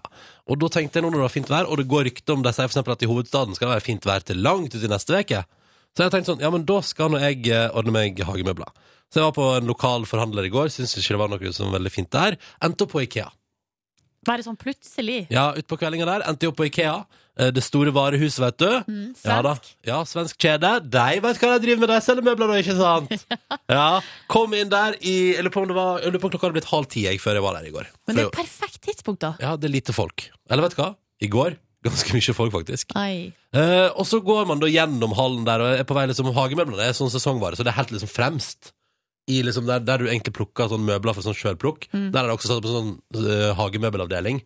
B: Og da tenkte jeg nå når det var fint vær, og det går rykter om de sier for eksempel at i hovedstaden skal det være fint vær til langt ut i neste uke. Så jeg tenkte sånn, ja, men da skal nå jeg eh, ordne meg hagemøbler. Så jeg var på en lokal forhandler i går, syntes ikke det var noe som var veldig fint der. Endte opp på Ikea.
F: Bare sånn plutselig.
B: Ja, ut på kveldinga der endte jeg opp på Ikea. eh, Det store varehuset, vet du.
F: svensk.
B: Ja, da. ja, svensk kjede. De vet hva de driver med, de selger møbler nå, ikke sant? ja. Kom inn der i Jeg lurer på om det var, jeg lurer på om klokka hadde blitt halv ti jeg, før jeg var der i går.
F: Men det er
B: For
F: et perfekt tidspunkt, da.
B: jeg- ja, det er lite folk. Eller vet du hva? I går ganske mye folk, faktisk.
F: Ai.
B: Eh, og så går man da gjennom hallen der og er på vei liksom hagemøblene. er sånn sesongvare, så det er helt liksom fremst. I liksom der, der du egentlig plukker sånn møbler for sånn sjølplukk.
F: Mm.
B: Der er det også satt opp en sånn eh, hagemøbelavdeling.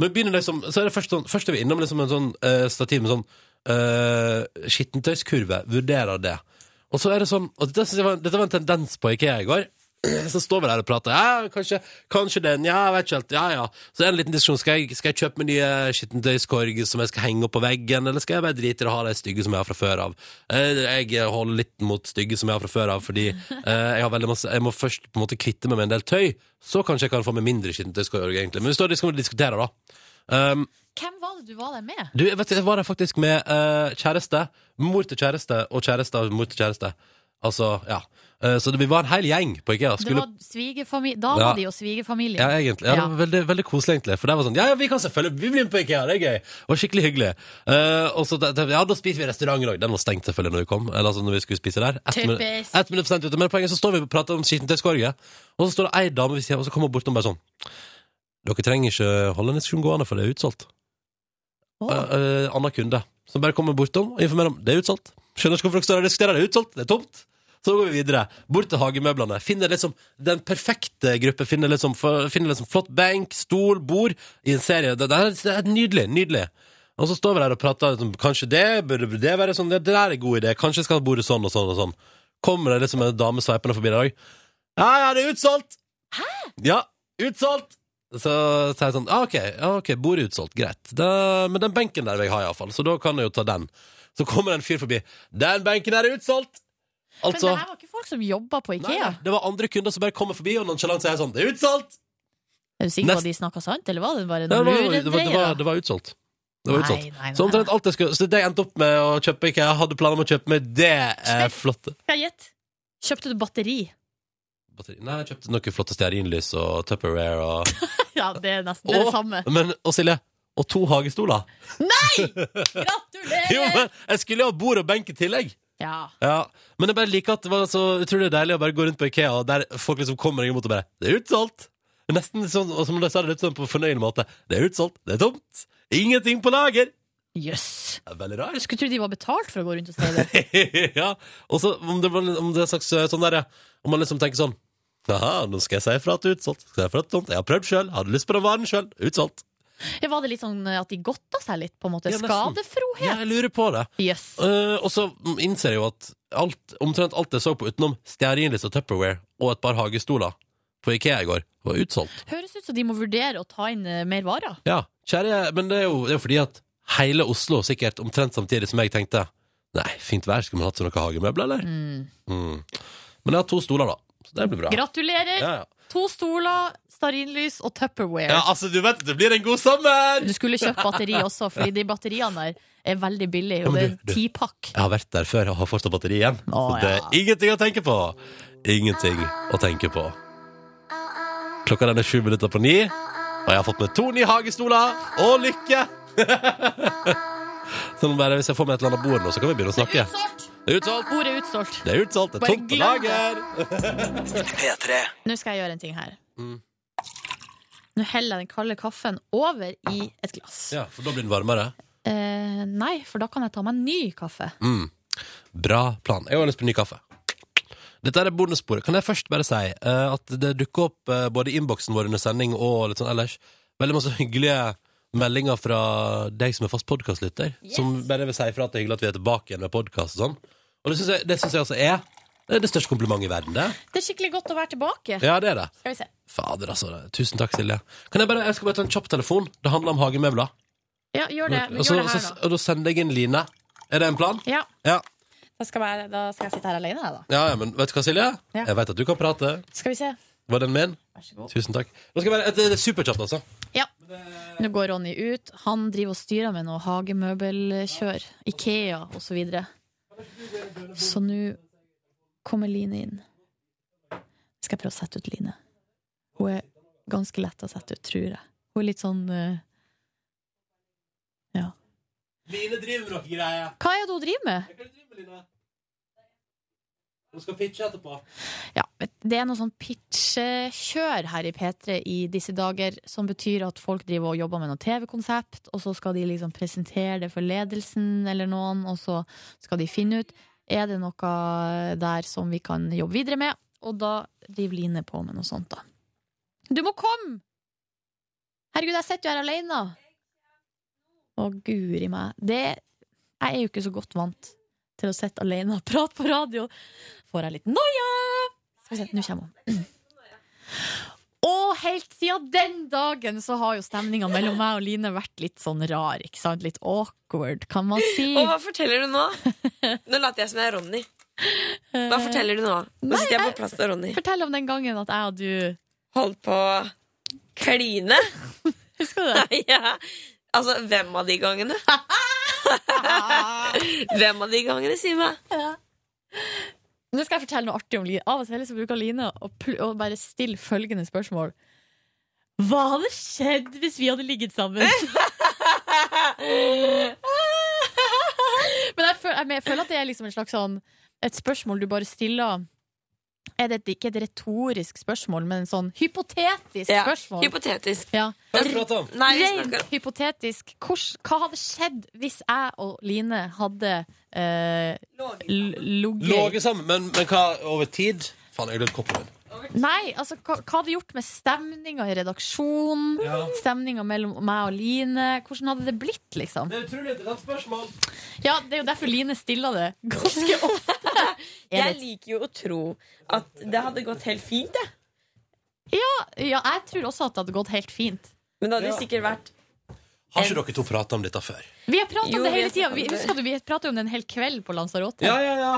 B: Men begynner liksom, så er det først, sånn, først er vi innom liksom en sånn eh, stativ med sånn eh, skittentøyskurve. Vurderer det. Og så er det sånn, og dette, synes jeg var, dette var en tendens på Ikea i går. Så står vi der og prater. Ja, kanskje, kanskje den. Ja, jeg vet ikke helt. Ja, ja. Så er det en liten diskusjon. Skal jeg, skal jeg kjøpe meg nye skittentøyskorg som jeg skal henge opp på veggen, eller skal jeg bare drite i å ha de stygge som jeg har fra før av? Eh, Jeg holder litt mot stygge som jeg har fra før av, fordi eh, jeg, har veldig masse, jeg må først på en måte kvitte meg med en del tøy. Så kanskje jeg kan få meg mindre skittentøyskorg, egentlig. Men vi står og dis- diskuterer, da. Um,
F: Hvem var det du var der med?
B: du, vet du, jeg var der faktisk med eh, kjæreste, mor til kjæreste og kjæreste av mor til kjæreste. Altså, ja. Eh, så det, vi var en hel gjeng på Ikea.
F: Det var svigerfamil- Dama
B: Ja.
F: di og svigerfamilien.
B: Ja, egentlig. Ja, det
F: Ja.
B: var Veldig, veldig koselig, egentlig. For det var sånn Ja, ja, vi kan selvfølgelig Vi blir med på IKEA, det er gøy. Og skikkelig hyggelig. Eh, og så, da- da- ja, da spiser vi i restauranten òg. Den var stengt selvfølgelig når vi kom. Eller altså når vi skulle spise der. Ett minutt,
F: Typisk.
B: ett minutt for sent ute. Men poenget så står vi og prater om skittentøyskorget, og så står det ei dame ved siden av, og så kommer hun bortom bare sånn Dere trenger ikke holde en diskusjon gående, for det er utsolgt. Eh, eh, Anna kunde. Som bare kommer bortom og informerer om det er utsolgt. Skjønner ikke hvorfor dere står her og diskuterer, det er utsolgt, det er tomt. Så går vi videre, bort til hagemøblene. Finner liksom den perfekte gruppe. Finner liksom, finner liksom flott benk, stol, bord i en serie. Det, det, er, det er nydelig. Nydelig. Og så står vi der og prater liksom, Kanskje det, burde det være sånn, det, det der er en god idé. Kanskje skal bordet sånn og sånn og sånn. Kommer det liksom en dame sveipende forbi der òg. Ja, ja, det er utsolgt! Hæ? Ja, utsolgt! Så sier jeg sånn, ah, ok, ja, ok, bordet er utsolgt, greit. Da, men den benken der vil jeg ha i hvert fall, så da kan jeg jo ta den. Så kommer det en fyr forbi, den benken der er utsolgt! Altså,
F: Men det her var ikke folk som jobba på
B: nei,
F: Ikea.
B: nei, det var andre kunder som bare kommer forbi, og nonchalant sier sånn, det er utsolgt!
F: Er du sikker på
B: Nest-
F: at de snakka sant, eller var det bare
B: Det
F: noen
B: var, det, var, det, var,
F: luredreier?
B: det var utsolgt. Det var
F: Nei,
B: utsolgt.
F: nei, nei.
B: Så omtrent alt jeg skulle, så det jeg endte opp med å kjøpe, ikke jeg hadde planer om å kjøpe med, det eh, er flott.
F: Skal jeg gjette? Kjøpte du batteri?
B: Batteri. Nei, jeg kjøpte noen flotte stearinlys og Tupperware og...
F: ja, det er nesten det, er
B: Og-
F: det samme.
B: Men, og Silje, og to hagestoler.
F: Nei!
B: Jo, men jeg skulle jo ha bord og benk i tillegg.
F: Ja.
B: Ja, men jeg bare liker at det var så utrolig deilig å bare gå rundt på Ikea, og der folk liksom kommer imot og bare 'Det er utsolgt!' Nesten sånn, og som de sa det litt sånn på en fornøyelig måte. 'Det er utsolgt, det er tomt, ingenting på lager'.
F: Jøss.
B: Det er Veldig rart.
F: Jeg skulle tro de var betalt for å gå rundt og si det.
B: ja, og så om det, var- om det er en slags eh, sånn derre Om man liksom tenker sånn Jaha, nå skal jeg si ifra at det er utsolgt. Skal jeg, si ifra at det er tomt. jeg har prøvd sjøl, hadde lyst på den varen sjøl. Utsolgt.
F: Ja, var det litt sånn at de godta seg litt, på en måte?
B: Ja, nesten.
F: Skadefrohet?
B: Ja, jeg lurer på det.
F: Yes.
B: Eh, og så innser jeg jo at alt, omtrent alt jeg så på utenom stearinlys og Tupperware og et par hagestoler på Ikea i går, var utsolgt.
F: Høres ut som de må vurdere å ta inn eh, mer varer.
B: Ja, kjære, men det er jo, det er jo fordi at hele Oslo sikkert omtrent samtidig som jeg tenkte Nei, fint vær, skulle man hatt sånne hagemøbler, eller?
F: Mm.
B: Mm. Men jeg har to stoler, da. Så det blir bra.
F: Gratulerer!
B: Ja, ja.
F: To stoler, stearinlys og Tupperware.
B: Ja, altså, du vet, det blir en god sommer!
F: Du skulle kjøpt batteri også, fordi de batteriene der er veldig billige.
B: Ja,
F: Og det
B: men
F: er
B: du- du-
F: tipakk.
B: Jeg har vært der før og har fortsatt batteri igjen. så det er ingenting å tenke på. Ingenting å tenke på. Klokka den er sju minutter på ni, og jeg har fått med to nye hagestoler og lykke! så nå bare, hvis jeg får med et eller annet bord nå, så kan vi begynne å snakke. Det er utsolgt.
C: Ordet er utsolgt.
B: Det er utsolgt. Det er
C: Bare
B: tomt på
C: glem det.
B: lager. P3.
C: Nå skal jeg gjøre en ting her.
B: Mm.
C: Nå heller jeg den kalde kaffen over i et glass.
B: Ja, for da blir den varmere.
C: Eh, nei, for da kan jeg ta meg en ny kaffe.
B: Mm. Bra plan. Jeg har lyst på ny kaffe. Dette er bonussporet. Kan jeg først bare si eh, at det dukker opp eh, både i innboksen vår under sending og litt sånn ellers veldig masse hyggelige meldinger fra deg som er fast podkastlytter, som bare vil si ifra at det er hyggelig at vi er tilbake igjen med podkast og sånn. Og det syns jeg, det synes jeg altså er det, er det største komplimentet i verden, det.
C: Det er skikkelig godt å være tilbake.
B: Ja, det er det.
C: Skal vi se.
B: Fader, altså. Tusen takk, Silje. Kan jeg bare, jeg skal bare ta en kjapp telefon. Det handler om hagemøbler.
C: Ja, gjør det. Men
B: Og så-
C: gjør det her,
B: så- Og da sender jeg inn Line. Er det en plan?
C: da. Ja,
B: Ja.
C: da skal, jeg, da skal jeg sitte her alene, jeg, da.
B: Ja, ja, men vet du hva, Silje?
C: Ja.
B: Jeg vet at du kan prate.
C: Skal vi se.
B: Var den min?
C: Vær så god.
B: Tusen takk. Nå skal jeg bare, det er superkjapt, altså.
C: Ja. Nå går Ronny ut. Han driver og styrer med noe hagemøbelkjør. Ikea og Så, videre. så nå kommer Line inn. Skal jeg prøve å sette ut Line? Hun er ganske lett å sette ut, tror jeg. Hun er litt sånn eh,
B: Line driver med noe greier.
C: Hva er det hun driver med?
B: Hun skal pitche etterpå.
C: Ja, det er noe sånn pitchekjør her i P3 i disse dager, som betyr at folk driver og jobber med noe TV-konsept, og så skal de liksom presentere det for ledelsen eller noen, og så skal de finne ut er det noe der som vi kan jobbe videre med, og da driver Line på med noe sånt, da. Du må komme! Herregud, jeg sitter jo her alene! Å, guri meg. Det, jeg er jo ikke så godt vant til å sitte alene og prate på radio. Får jeg litt noia! Skal vi se, nå kommer hun. Og helt siden den dagen så har jo stemninga mellom meg og Line vært litt sånn rar, ikke sant? Litt awkward, kan man si.
D: Og hva forteller du nå? Nå later jeg som jeg er Ronny. Hva forteller du nå? Nå sitter jeg på plass til Ronny.
C: Fortell om den gangen at jeg og du
D: Holdt på å kline.
C: Husker du
D: det? ja. Altså, hvem av de gangene? hvem av de gangene, si meg?
C: Nå skal jeg fortelle noe artig om Line. Av og til så bruker Line å pl- å bare stille følgende spørsmål. Hva hadde skjedd hvis vi hadde ligget sammen? Men jeg føler, jeg, men jeg føler at det er liksom en slags sånn et spørsmål du bare stiller er det et- ikke et retorisk spørsmål, men en sånn hypotetisk
D: Ja,
C: spørsmål.
D: hypotetisk.
C: Ja.
D: Hva skal vi prate om? Nei, vi snakker
C: Rent hypotetisk. Hvordan, hva hadde skjedd hvis jeg og Line hadde eh, l- ligget
B: Låge sammen, men, men hva over tid? Faen, jeg glemte koppen min.
C: Nei, altså hva, hva hadde gjort med stemninga i redaksjonen?
B: Ja.
C: Stemninga mellom meg og Line? Hvordan hadde det blitt, liksom?
B: er utrolig interessant spørsmål.
C: Ja, det er jo derfor Line stiller det.
D: Jeg liker jo å tro at det hadde gått helt fint, jeg.
C: Ja, ja, jeg tror også at det hadde gått helt fint.
D: Men det hadde jo sikkert vært
B: Har ikke dere to prata om dette før?
C: Vi har prata
D: Jo,
C: om det
D: vi
C: hele
D: har
C: tida.
D: snakket
C: Vi,
D: om det.
C: husker du, vi prata jo om det en hel kveld på Lanzarote.
B: Ja, ja, ja.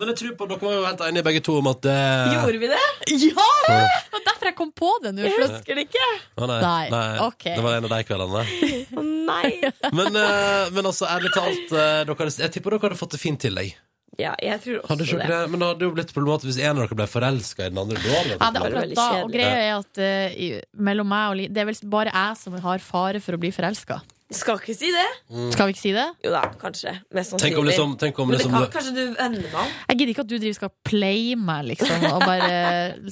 B: Men jeg tror på dere var jo helt enige begge to om at det
D: Gjorde vi det?
C: Ja! Det var derfor jeg kom på det nå.
D: Jeg husker det ikke.
B: Å, nei.
C: Nei,
B: nei.
C: ok.
B: Det var en av de kveldene.
D: Å nei.
B: Men, eh, men altså, ærlig talt, eh, dere, hadde- jeg tipper dere hadde fått det fint til deg.
D: Ja, jeg tror også
B: Hadde ikke dere det? Men det hadde jo blitt problematisk hvis en av dere ble forelska i den andre. Da hadde
C: Ja, det er
B: vært
C: akkurat
B: problematisk.
C: da. Og greia er at eh, i, mellom meg og Line Det er vel bare jeg som har fare for å bli forelska.
D: Skal ikke si det.
B: Mm.
C: Skal vi ikke si det?
D: Jo da, kanskje. Mest sannsynlig.
B: Tenk om liksom- tenk om
D: Men
B: liksom-
D: det kan, kanskje du vender meg om.
C: Jeg gidder ikke at du driver skal play meg, liksom. Og bare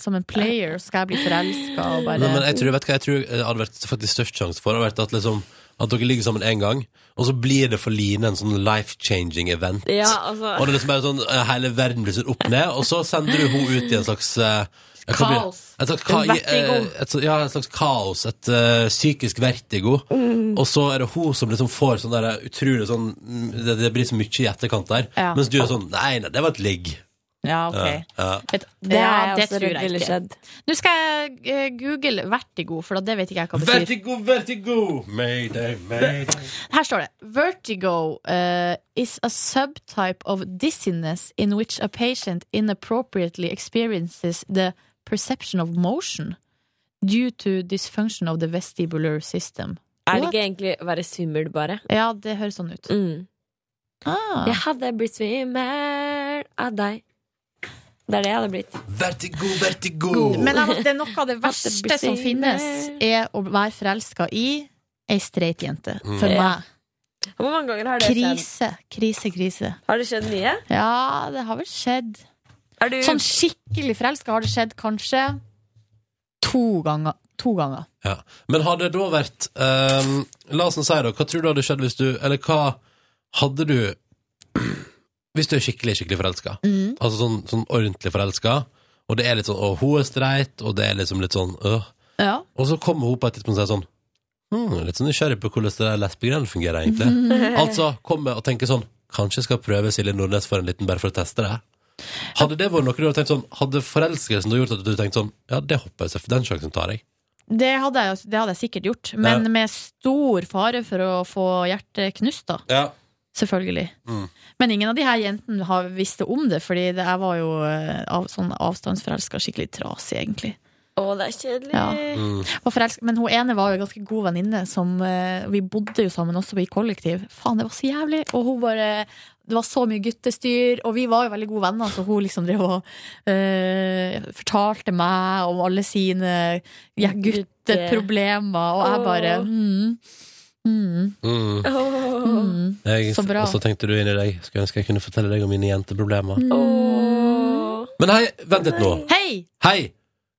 C: Som en player skal jeg bli forelska og bare
B: Nei, men jeg tror, vet du hva, jeg tror det hadde vært faktisk størst sjanse for hadde vært at, liksom, at dere ligger sammen én gang, og så blir det for Line en sånn life-changing event.
D: Ja, altså.
B: Og det er liksom bare sånn eh, Hele verden blir sånn opp ned, og så sender du henne ut i en slags eh, jeg kan bli-
C: Kaos.
B: Et slags, ka
C: En vertigo.
B: eh, et, så- ja, et slags kaos. Et eh, psykisk vertigo.
C: Mm.
B: Og så er det hun som liksom får sånn der utrolig sånn mm, det, det blir så mye i etterkant der.
C: Ja.
B: Mens du er sånn Nei, nei, det var et ligg.
C: Ja, ok.
B: Ja, ja.
C: Vet,
D: Det er jeg
C: det
D: også
C: tror
D: redd
C: jeg
D: ville
C: ikke.
D: skjedd.
C: Nå skal jeg eh, google vertigo, for det vet ikke jeg hva det betyr.
B: Vertigo, vertigo! Mayday, mayday.
C: Her står det Vertigo eh, is a subtype of dizziness in which a patient inappropriately experiences the perception of motion due to dysfunction of the vestibular system.
D: Er det
C: What?
D: ikke egentlig å være svimmel, bare?
C: Ja, det høres sånn ut.
D: Mm.
C: Ah.
D: Jeg hadde blitt svimmel av deg. Det er det jeg hadde blitt.
B: Vertigo, vertigo!
C: Men at det er noe av det verste
D: blir
C: som
D: sinne.
C: finnes, er å være forelska i ei streit jente.
B: Mm.
C: For
B: Ja.
C: meg.
D: Hvor mange ganger har det skjedd?
C: Krise, krise, krise.
D: Har det skjedd mye?
C: Ja, det har vel skjedd. Sånn skikkelig forelska har det skjedd kanskje to ganger. To ganger.
B: Ja. Men hadde det da vært ehm, La oss nå si, da, hva tror du hadde skjedd hvis du Eller hva hadde du Hvis du er skikkelig, skikkelig forelska,
C: Mm.
B: altså sånn, sånn ordentlig forelska, og det er litt sånn Å, hun er streit, og det er liksom litt sånn øh.
C: Ja.
B: Og så kommer hun på et tidspunkt og sier sånn hm, Litt sånn nysgjerrig på hvordan det der lesbegreiene fungerer, egentlig. altså kommer og tenker sånn Kanskje jeg skal prøve Silje Nordnes for en liten, bare for å teste det. Hadde det vært noe du hadde tenkt sånn Hadde forelskelsen da gjort at du tenkte sånn Ja, det hopper jeg, selv- den sjansen tar jeg.
C: Det hadde, jeg, det hadde jeg sikkert gjort, men
B: Ja.
C: med stor fare for å få hjertet knust, da.
B: Ja.
C: Selvfølgelig.
B: Mm.
C: Men ingen av de her jentene har visste om det, fordi det, jeg var jo eh, av, sånn avstandsforelska, skikkelig trasig, egentlig.
D: Å, det er kjedelig.
C: Ja.
B: Mm,
C: Var forelska- Men hun ene var jo en ganske god venninne. som, eh, Vi bodde jo sammen også i kollektiv. Faen, det var så jævlig! Og hun bare Det var så mye guttestyr, og vi var jo veldig gode venner, så hun liksom drev og eh, fortalte meg om alle sine ja, gutteproblemer, og jeg bare mm, mm,
B: Mm.
C: mm.
B: Jeg,
C: Så bra.
B: Og så tenkte du inn i deg Skulle ønske jeg kunne fortelle deg om mine jenteproblemer
C: Mm. Åh.
B: Men hei, vent litt nå
C: Hei!
B: Hei,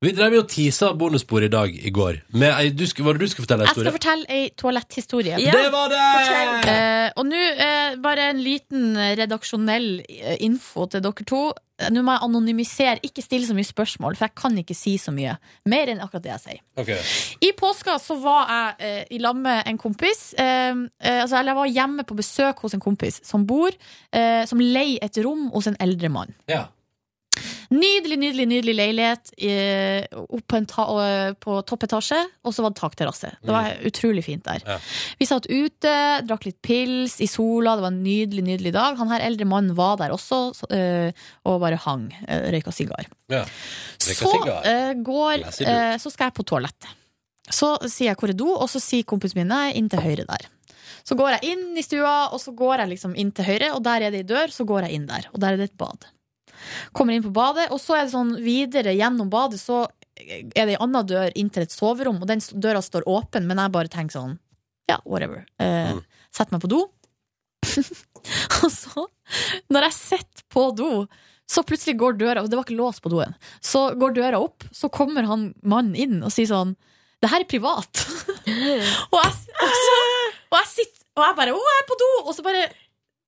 B: vi drev jo og tisa bonusbord i dag i går Med, ei, du, sk- Var det du skulle fortelle en
C: Jeg skal
B: historie?
C: fortelle ei toaletthistorie.
B: Ja, Det var det! fortell.
C: Eh, og nå eh, bare en liten redaksjonell eh, info til dere to. Eh, Nå må jeg anonymisere, ikke stille så mye spørsmål, for jeg kan ikke si så mye. Mer enn akkurat det jeg sier. I påska så var jeg eh, i lag med en kompis. Eh, eh, altså, eller jeg var hjemme på besøk hos en kompis som bor eh, Som leier et rom hos en eldre mann.
B: Ja.
C: Nydelig, nydelig nydelig leilighet eh, opp på, en ta eh, på toppetasje, og så var det takterrasse. Det var utrolig fint der. Vi satt ute, drakk litt pils i sola, det var en nydelig, nydelig dag. Han her eldre mannen var der også så, eh, og bare hang, eh, røyka sigar.
B: Ja.
C: Så, eh, går,
B: Glass i lut.
C: eh, så skal jeg på toalettet. Så sier jeg hvor er do, og så sier kompisen min nei, inn til høyre der. Så går jeg inn i stua, og så går jeg liksom inn til høyre, og der er det ei dør, så går jeg inn der. Og der er det et bad. Kommer inn på badet, og så er det sånn videre gjennom badet, så er det ei anna dør inn til et soverom, og den s- døra står åpen, men jeg bare tenker sånn ja, whatever. Eh, Setter meg på do. og så, når jeg sitter på do, så plutselig går døra Og det var ikke låst på doen. Så går døra opp, så kommer han mannen inn og sier sånn Det her er privat. og, jeg, s- og, så, og jeg sitter Og jeg bare Å, jeg er på do! Og så bare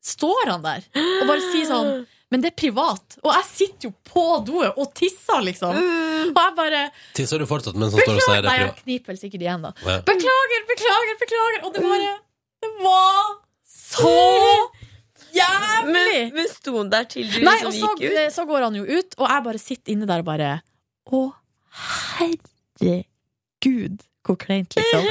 C: står han der og bare sier sånn Men det er privat. Og jeg sitter jo på doen og tisser, liksom. Og jeg bare
B: Tisser du fortsatt mens han står og
C: Beklager,
B: sier det
C: nei, jeg
B: privat?
C: kniper vel sikkert igjen da
B: Ja.
C: Beklager, beklager, beklager Og det bare, det var så jævlig
D: Men, men sto hun der til du
C: Nei,
D: liksom
C: og så, eh,
D: gikk ut?
C: så går han jo ut Og jeg bare sitter inne der og bare Å, herregud Hvor kleint liksom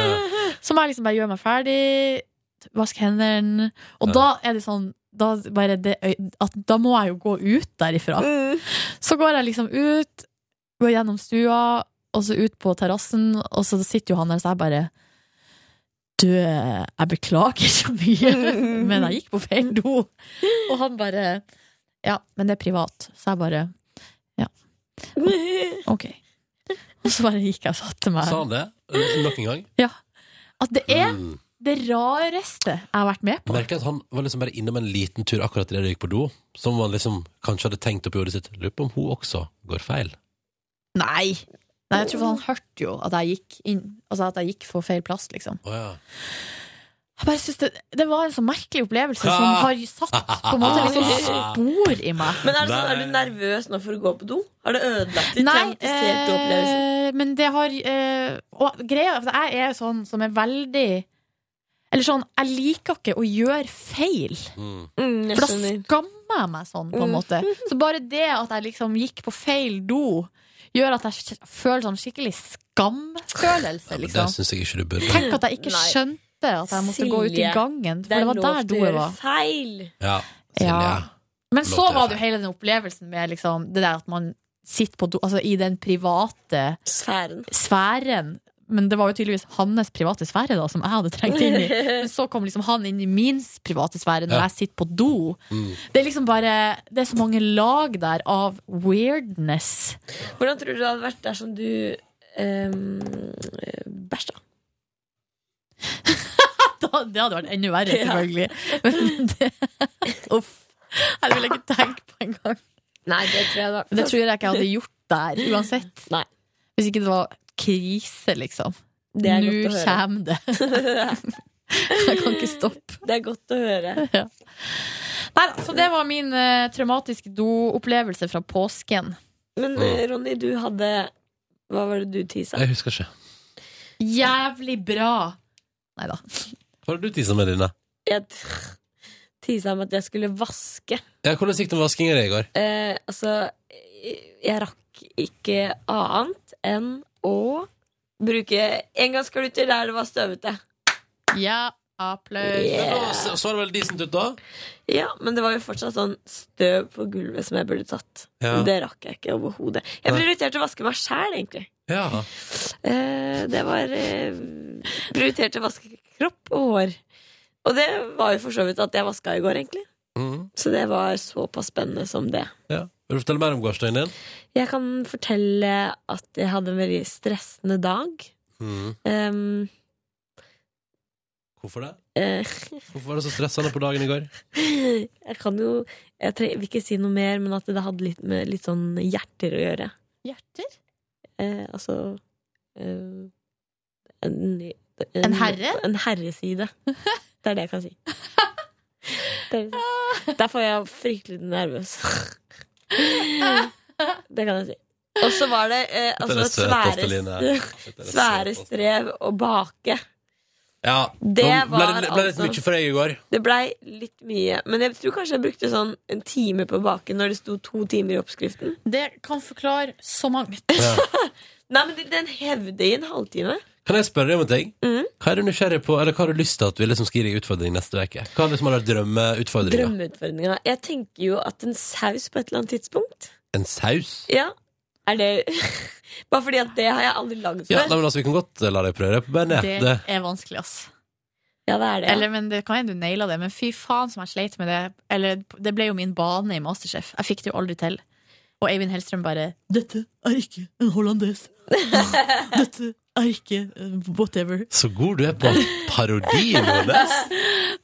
C: Så må jeg liksom bare gjøre meg ferdig Vask hendene Og
F: Ja.
C: da er det sånn da, bare det, øy- at, da må jeg jo gå ut derifra
D: Mm.
C: Så går jeg liksom ut Går gjennom stua Og så ut på terrassen Og så sitter jo han der så jeg bare Du, jeg beklager så mye Men jeg gikk på feil do Og han bare Ja, men det er privat Så jeg bare Ja Ok Og så bare gikk jeg og satte meg
B: Sa han det? Eh, Nok en gang?
C: Ja At det er
B: Mm.
C: det rareste jeg har vært med på
B: Merker at han var liksom bare innom en liten tur akkurat da det gikk på do Som han liksom kanskje hadde tenkt opp i hodet sitt Lurer på om hun også går feil
C: Nei Nei, jeg tror han hørte jo at jeg gikk inn Altså at jeg gikk for feil plass liksom
B: Åja
C: Jeg bare synes det, det var en så merkelig opplevelse som
B: Ah.
C: har satt på en måte liksom spor i meg.
D: Men er, det sånn, er du nervøs nå for å gå på do? Har det ødelagt ditt
C: Nei,
D: traumatiserte opplevelse?
C: eh, men det har eh, Og greia for jeg er jo sånn som er veldig Eller sånn, jeg liker ikke å gjøre feil.
B: Mm.
D: Mm, jeg
C: for da
D: skjønner.
C: skammer jeg meg sånn, på en
D: Mm.
C: måte. Så bare det at jeg liksom gikk på feil do, gjør at jeg kj- føler sånn skikkelig skamfølelse,
B: Men det
C: liksom.
B: synes jeg ikke du burde
C: Tenk at jeg ikke skjønte at jeg måtte gå ut i
D: Silje,
C: gangen,
D: det
C: for det
D: er
C: var
D: lov
C: der
D: til å
C: doet
D: gjøre
C: var.
D: Feil!
B: Ja,
C: Ja. Men
B: Lov
C: så
B: til å
C: var det jo hele den opplevelsen med liksom, det der at man sitter på do, altså, i den private
D: sfæren.
C: Men det var jo tydeligvis hans private sfære da, som jeg hadde trengt inn i. Men så kom liksom han inn i min private sfære når
B: Ja.
C: jeg sitter på do. Det er liksom bare Det er så mange lag der av weirdness.
D: Hvordan tror du det hadde vært dersom ehm, eh, du um, bæsja?
C: Da, det hadde vært enda verre, selvfølgelig. Men det, uff. Det vil jeg ikke tenke på engang.
D: Nei, det tror jeg
C: Det tror jeg ikke jeg hadde gjort der, uansett. Hvis ikke det var krise, liksom.
D: Det er
C: Nå
D: godt å høre.
C: kommer det. Jeg kan ikke stoppe.
D: Det er godt å høre.
C: Ja. Nei da, så det var min eh, traumatiske do-opplevelse fra påsken.
D: Men eh, Ronny, du hadde Hva var det du tisa?
B: Mm. Jeg husker ikke.
C: Jævlig bra! Nei da.
B: Hva har du tisa med dine?
D: Jeg tisa om at jeg skulle vaske.
B: Ja, hvordan gikk det med vaskingen i går?
D: Eh, altså, jeg rakk ikke annet enn å bruke engangsgluter der det var støvete.
C: Ja, applaus.
D: Yeah.
B: Så, så det vel decent ut, da?
D: Ja, men det var jo fortsatt sånn støv på gulvet som jeg burde tatt.
B: Ja.
D: Det rakk jeg ikke overhodet. Jeg prioriterte å vaske meg sjæl, egentlig.
B: Ja.
D: Eh, det var eh, prioriterte å vaske kropp og hår. Og det var jo for så vidt at jeg vaska i går, egentlig.
B: Mhm.
D: Så det var såpass spennende som det.
B: ja. Vil du fortelle mer om gårsdagen din?
D: Jeg kan fortelle at jeg hadde en veldig stressende dag.
B: Mhm.
D: Ehm,
B: Hvorfor det?
D: eh,
B: Hvorfor var det så stressende på dagen i går?
D: jeg kan jo Jeg tre- vil ikke si noe mer, men at det hadde litt med litt sånn hjerter å gjøre.
C: Hjerter?
D: Eh, altså eh, en,
C: En herre?
D: En herreside. Det er det jeg kan si. Det er, det. Derfor er jeg fryktelig nervøs. Det kan jeg si. Og så var det eh,
B: Dette er
D: altså,
B: det søteste, Line.
D: svære,
B: Dette er det
D: svære strev å bake.
B: Ja,
D: Det
B: nå ble
D: var
B: det, ble det litt
D: altså-
B: mye for deg i går.
D: Det blei litt mye, men jeg tror kanskje jeg brukte sånn en time på å bake når det sto to timer i oppskriften.
F: Det kan forklare så mangt.
D: Nei, men det- den hevde i en halvtime.
B: Kan jeg spørre deg om en ting?
D: Mhm.
B: Hva er du nysgjerrig på, eller hva har du lyst til at vi liksom skal gi deg utfordring neste uke? Hva har liksom vært drømmeutfordringa?
D: Drømmeutfordringa. Jeg tenker jo at en saus på et eller annet tidspunkt
B: En saus?
D: Ja, er det Bare fordi at det har jeg aldri lagd
B: Ja,
D: før.
B: nei, men altså, vi kan godt eh, la deg prøve det på bandet.
C: Det
B: Det.
C: er vanskelig, ass.
D: Ja, det er det.
C: Eller, men det kan hende du naila det, men fy faen som jeg sleit med det. Eller, det ble jo min bane i Masterchef. Jeg fikk det jo aldri til. Og Eivind Hellstrøm bare 'Dette er ikke en hollandes'. Dette er ikke en whatever.
B: Så god du er på parodi, Nordnes.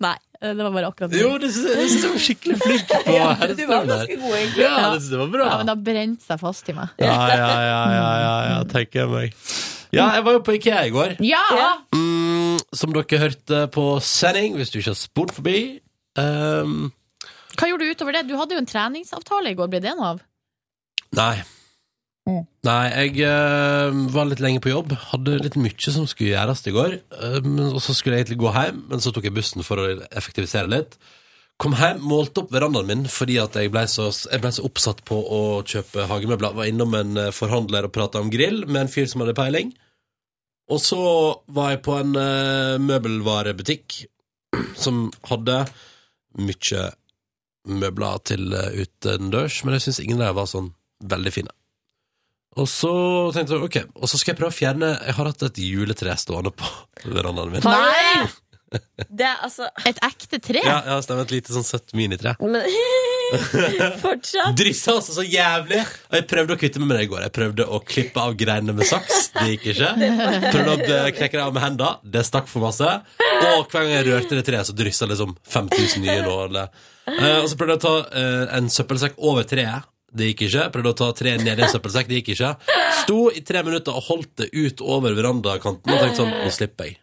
C: Nei, Eh, det var bare akkurat
B: Jo, det synes jeg- det synes jeg var skikkelig flink på
C: Ja,
B: Hellstrøm
C: du var
B: der.
C: ganske god, egentlig.
B: Ja, det synes jeg var bra.
C: Ja, men det har brent seg fast i meg.
B: Ja, ja, ja, ja, ja, ja tenker jeg meg. Ja, jeg var jo på IKEA i går.
C: Ja!
B: Mm, som dere hørte på sending, hvis du ikke har spolt forbi. Um,
C: Hva gjorde du utover det? Du hadde jo en treningsavtale i går, ble det noe av?
B: nei. Nei, jeg eh, var litt lenge på jobb. Hadde litt mye som skulle gjøres i går. Um, og så skulle jeg egentlig gå hjem, men så tok jeg bussen for å effektivisere litt. Kom hjem, målte opp verandaen min fordi at jeg ble så, jeg ble så oppsatt på å kjøpe hagemøbler. Var innom en eh, forhandler og prata om grill med en fyr som hadde peiling. Og så var jeg på en eh, møbelvarebutikk som hadde mye møbler til eh, utendørs, men jeg syns ingen av dem var sånn veldig fine. Og så tenkte jeg, ok, og så skal jeg prøve å fjerne Jeg har hatt et juletre stående på verandaen min.
D: Nei! Det er altså
C: Et ekte tre?
B: Ja, ja, stemmer. Et lite sånn søtt minitre.
D: Men fortsatt
B: Drissa altså så jævlig! Og jeg prøvde å kvitte meg med det i går. Jeg prøvde å klippe av greinene med saks. Det gikk ikke. Prøvde å eh, knekke det av med hendene. Det stakk for masse. Og hver gang jeg rørte det treet, så dryssa liksom 5000 nye nåler. Eh, og så prøvde jeg å ta eh, en søppelsekk over treet. Det gikk ikke. Prøvde å ta treet ned i en søppelsekk. Det gikk ikke. Sto i tre minutter og holdt det ut over verandakanten og tenkte sånn Nå slipper jeg.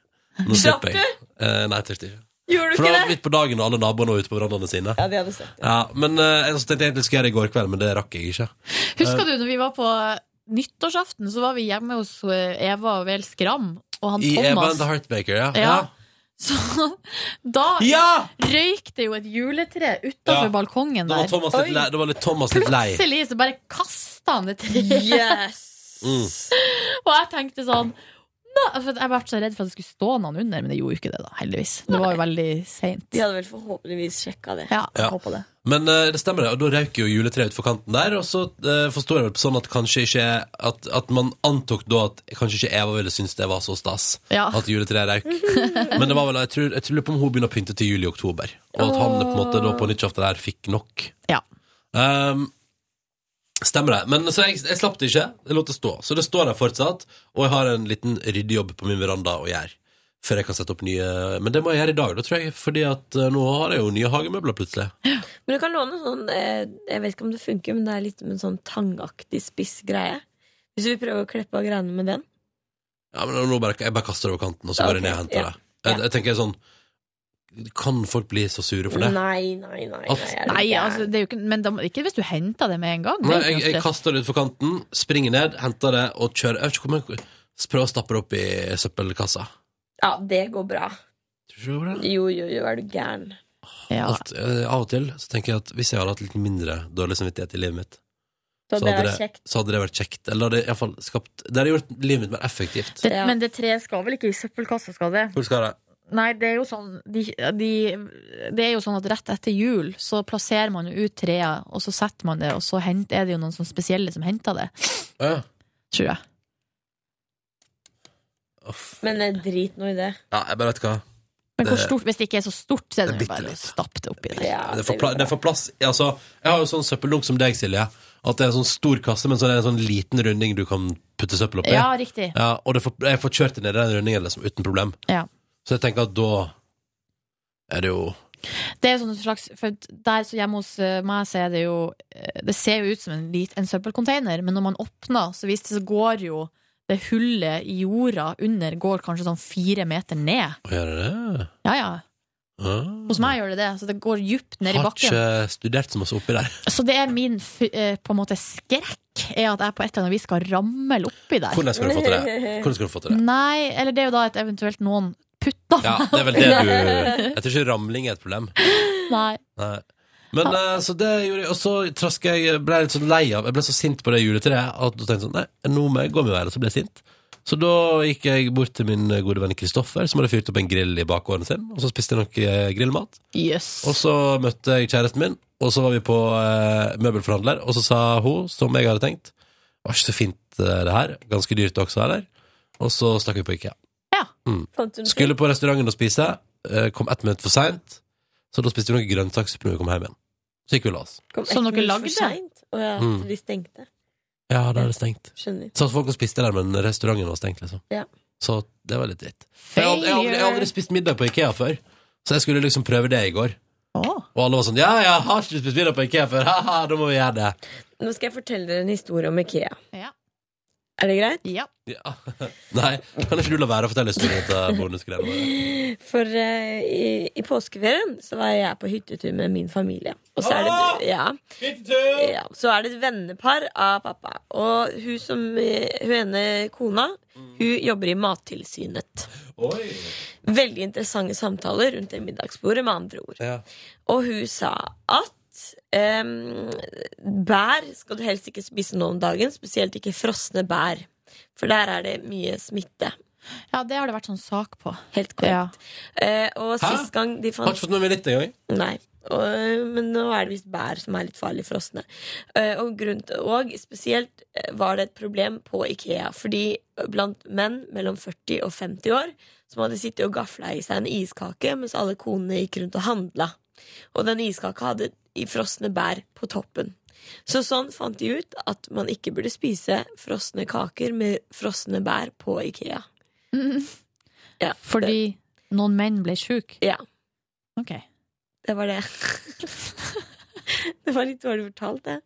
B: Nå
D: Slapp
B: slipper jeg. Eh, nei, til ikke.
D: Gjorde du
B: For det
D: ikke
B: var
D: det?
B: midt på dagen, og alle naboene var ute på verandaene sine.
D: Ja, de hadde sett det.
B: Ja, men eh, jeg tenkte jeg egentlig skulle gjøre det i går kveld, men det rakk jeg ikke. eh.
C: Husker du når vi var på nyttårsaften, så var vi hjemme hos eh, Eva Vel Skram og han
B: I Evan
C: Thomas.
B: the Heartmaker, ja.
C: Ja. Så da
B: Ja!
C: røyk det jo et juletre utafor
B: Ja.
C: balkongen
B: Da
C: der.
B: var Thomas litt
C: Oi.
B: lei. Da var litt Thomas litt lei.
C: Plutselig så bare kasta han det treet.
B: Mm.
C: Og jeg tenkte sånn «Nå», for Jeg ble så redd for at det skulle stå noen under, men det gjorde jo ikke det, da, heldigvis. Det var jo veldig seint.
D: De hadde vel forhåpentligvis sjekka det.
C: Ja,
B: Ja.
C: håper det.
B: Men eh, det stemmer, det. Og da røyk jo juletreet utfor kanten der. Og så uh, forstår jeg vel på sånn at kanskje ikke at, at man antok da at kanskje ikke Eva ville synes det var så stas
C: Ja.
B: at juletreet røyk. Men det var vel, jeg tror, jeg tror på om hun begynner å pynte til jul i oktober. Og at han på en måte da på nyttårsaften der fikk nok.
C: Ja.
B: Ehm, stemmer det. Men så jeg, jeg slapp det ikke. Jeg lot det stå. Så det står der fortsatt, og jeg har en liten ryddejobb på min veranda å gjøre. før jeg kan sette opp nye Men det må jeg gjøre i dag, da, tror jeg. Fordi at eh, nå har jeg jo nye hagemøbler plutselig.
D: Men du kan låne sånn eh, Jeg vet ikke om det funker, men det er litt med en sånn tangaktig spiss greie. Hvis du vil prøve å kleppe av greiene med den.
B: Ja, men nå bare, Jeg bare kaster det over kanten, og så går jeg ned og henter
D: ja,
B: det. Jeg, jeg tenker sånn Kan folk bli så sure for det?
D: Nei, nei, nei.
B: At-
D: nei, er du
C: Nei,
D: gæren?
C: altså, det er jo ikke, men da, må- ikke hvis du henter det med en gang. Det
B: Nei,
C: er jo
B: jeg,
C: ikke noe
B: jeg
C: stress.
B: kaster det utfor kanten, springer ned, henter det og kjører. Jeg vet ikke hvor jeg prøver å stappe det opp i søppelkassa.
D: Ja, det går bra.
B: Tror du det?
D: Jo, jo, jo, er du gæren.
B: Alt, eh, av og til så tenker jeg at hvis jeg hadde hatt litt mindre dårlig samvittighet i livet mitt,
D: Så det
B: hadde
D: er kjekt.
B: så hadde det vært kjekt. Eller det hadde iallfall skapt Det hadde gjort livet mitt mer effektivt.
F: Det, Men det treet skal vel ikke i søppelkassa, skal det?
B: Hvor skal det?
F: Nei, det er jo sånn de, de,
C: Det er jo sånn at rett etter jul så plasserer man jo ut trærne, og så setter man det, og så hent, er det jo noen sånn spesielle som henter det.
B: Å ja.
C: Tror jeg.
D: Men eh, drit nå i det.
B: Ja, jeg bare vet hva.
C: Men hvor
B: Det-
C: stort, hvis det ikke er så stort, så er
B: Det
C: det,
B: er
C: jo bare å stappe det oppi der.
B: det får, pla det får plass altså, Jeg har jo sånn søppeldunk som deg, Silje At det er en sånn stor kasse Men så er det en sånn liten runding du kan putte søppel opp i
C: Ja, riktig.
B: ja, Og det får, jeg får kjørt det ned i den rundingen liksom, Uten problem
C: Ja.
B: Så jeg tenker at da Er det jo
C: Det er jo sånn slags For der så hjemme hos eh, meg så er det jo eh, Det ser jo ut som en, lit, en søppelcontainer, men når man åpner, så viser det seg så går jo det hullet i jorda under går kanskje sånn fire meter ned.
B: Å gjøre det
C: Ja, ja.
B: ah,
C: Hos meg gjør det det. Så det går djupt ned i
B: Har
C: bakken.
B: ikke studert så masse oppi der
C: Så det er min f- eh, på en måte skrekk, er at jeg på et eller annet vis skal ramle oppi der.
B: Hvordan skal du få til det? Hvordan skal du få til det?
C: Nei, eller det er jo da et eventuelt noen putter
B: Ja, det er vel det du Jeg tror ikke ramling er et problem
C: Nei.
B: Nei. Men eh, så det gjorde jeg Og så traska jeg ble jeg litt sånn lei av Jeg ble så sint på det juletreet at jeg tenkte sånn Nei, nå må jeg gå med været, så ble jeg sint. Så da gikk jeg bort til min gode venn Kristoffer, som hadde fyrt opp en grill i bakgården sin. Og så spiste jeg noe eh, grillmat.
C: Yes.
B: Og så møtte jeg kjæresten min, og så var vi på eh, møbelforhandler, og så sa hun, som jeg hadde tenkt, det var ikke så fint eh, det her, ganske dyrt også her, og så stakk vi på IKEA. Mm.
D: Fant du noe
B: Skulle på restauranten og spise, eh, kom ett minutt for seint, så da spiste vi noe grønnsakssuppe når vi kom hjem igjen. Så gikk vi og la oss.
D: Kom
C: Som
D: ett
C: dere
D: minutt for
C: lagde?
D: sent, Og ja,
B: Mm.
D: de stengte.
B: Ja, da er det stengt.
D: Skjønner.
B: Satt folk og spiste der, men restauranten var stengt, liksom.
D: Ja.
B: Så det var litt dritt. Jeg har aldri, jeg har aldri, jeg har aldri spist middag på Ikea før, så jeg skulle liksom prøve det i går. Og alle var sånn Ja, ja, har ikke du spist middag på Ikea før? Haha, da må vi gjøre det.
D: Nå skal jeg fortelle dere en historie om Ikea.
C: Ja.
D: Er det greit?
C: Ja.
B: Ja. Nei, kan ikke du la være å fortelle historien til bonusgreiene våre?
D: For eh, i, i påskeferien så var jeg på hyttetur med min familie. Og så er det, ja, ja, så er det et vennepar av pappa. Og hun, som, eh, hun ene kona, hun jobber i Mattilsynet.
B: Oi.
D: Veldig interessante samtaler rundt det middagsbordet, med andre ord.
B: Ja.
D: Og hun sa at ehm, bær skal du helst ikke spise nå om dagen, spesielt ikke frosne bær. For der er det mye smitte.
C: Ja, det har det vært sånn sak på.
D: Helt korrekt. Eh, og sist gang de
B: Har
D: fant
B: ikke fått med meg litt engang.
D: Nei. Og, eh, men nå er det visst bær som er litt farlig frosne. Eh, Og, grunn til- og spesielt eh, var det et problem på Ikea. Fordi blant menn mellom 40 og 50 år som hadde sittet og gafla i seg en iskake mens alle konene gikk rundt og handla. Og den iskaka hadde i frosne bær på toppen. Så sånn fant de ut at man ikke burde spise frosne kaker med frosne bær på Ikea. Ja,
C: Fordi noen menn ble sjuke?
D: Ja.
C: Ok.
D: Det var det. det var litt dårlig fortalt, det.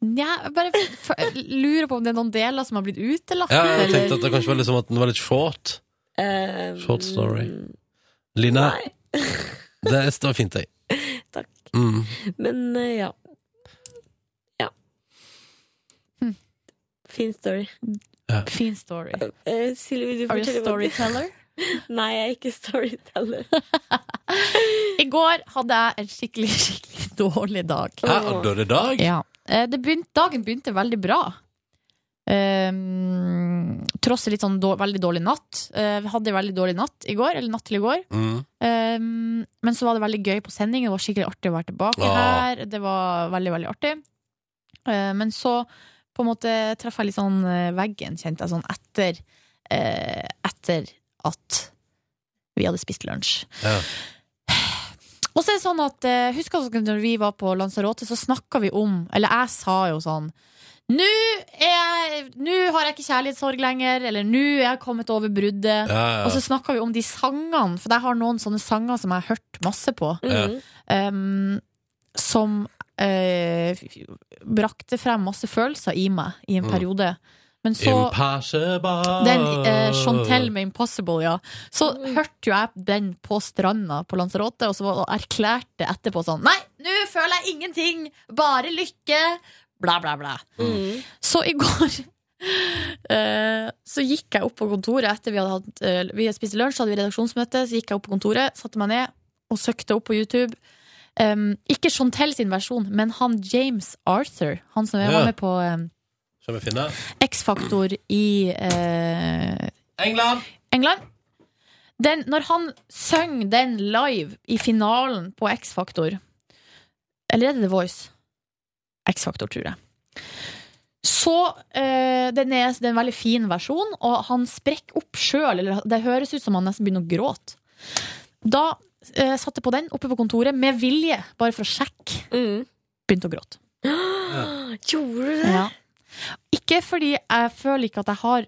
C: Nja, jeg bare f- f- lurer på om det er noen deler som har blitt utelatt.
B: Ja, jeg
C: eller-
B: tenkte at det kanskje var liksom at den var litt short.
D: Ehm,
B: Short story. Line, det var fint, jeg.
D: Takk.
B: Mm.
D: Men eh, ja. Ja.
C: Hm.
D: Fin story.
C: Fin story.
D: Eh, Silje, vil du
C: Are you
D: fortelle hva-
C: storyteller?
D: Nei, jeg er ikke storyteller.
C: I går hadde jeg en skikkelig, skikkelig dårlig dag.
B: Hæ, har du dårlig dag?
C: Ja. Eh, Det begynte, dagen begynte veldig bra. Um, tross en litt sånn dår, veldig dårlig natt. Eh, Vi hadde en veldig dårlig natt i går, eller natt til i går.
B: Mm.
C: Um, men så var det veldig gøy på sending. Det var skikkelig artig å være tilbake
F: Ja.
C: her. Det var veldig, veldig artig. Uh, men så på en måte traff jeg litt sånn eh, veggen, kjente jeg sånn, etter, eh, etter at vi hadde spist lunsj. Og så er det sånn at eh, Husker dere når vi var på Lanzarote, så snakka vi om Eller jeg sa jo sånn Nå er jeg- nå har jeg ikke kjærlighetssorg lenger, eller nå er jeg kommet over
L: Ja,
C: bruddet.
L: ja.
C: Og så snakka vi om de sangene, for jeg har noen sånne sanger som jeg har hørt masse på.
L: Mhm.
C: Um, som eh, brakte frem masse følelser i meg i en
B: Mm.
C: periode. Men så
B: Impossible.
C: den
B: Ah.
C: eh, Chantel med 'Impossible', ja. Så hørte jo jeg den på stranda på Lanzarote, og så var- og erklærte etterpå sånn Nei, nå føler jeg ingenting! Bare lykke! Bla, bla, bla. Så i går eh, så gikk jeg opp på kontoret etter vi hadde hatt eh, Vi hadde spist lunsj, så hadde vi redaksjonsmøte, så gikk jeg opp på kontoret, satte meg ned og søkte opp på YouTube. Um, ikke Chantel sin versjon, men han James Arthur, han som
B: Ja.
C: var med på um,
B: Skal vi finne?
C: X-Faktor i eh,
B: England.
C: Den, når han søng den live i finalen på X-Faktor Eller er det The Voice? X-Faktor, tror jeg. Så eh, den er, det er en veldig fin versjon, og han sprekker opp sjøl. Det høres ut som han nesten begynner å gråte. Da eh, satte jeg på den oppe på kontoret med vilje, bare for å sjekke. Begynte å gråte.
M: Gjorde du det?
C: Ja. Ikke fordi jeg føler ikke at jeg har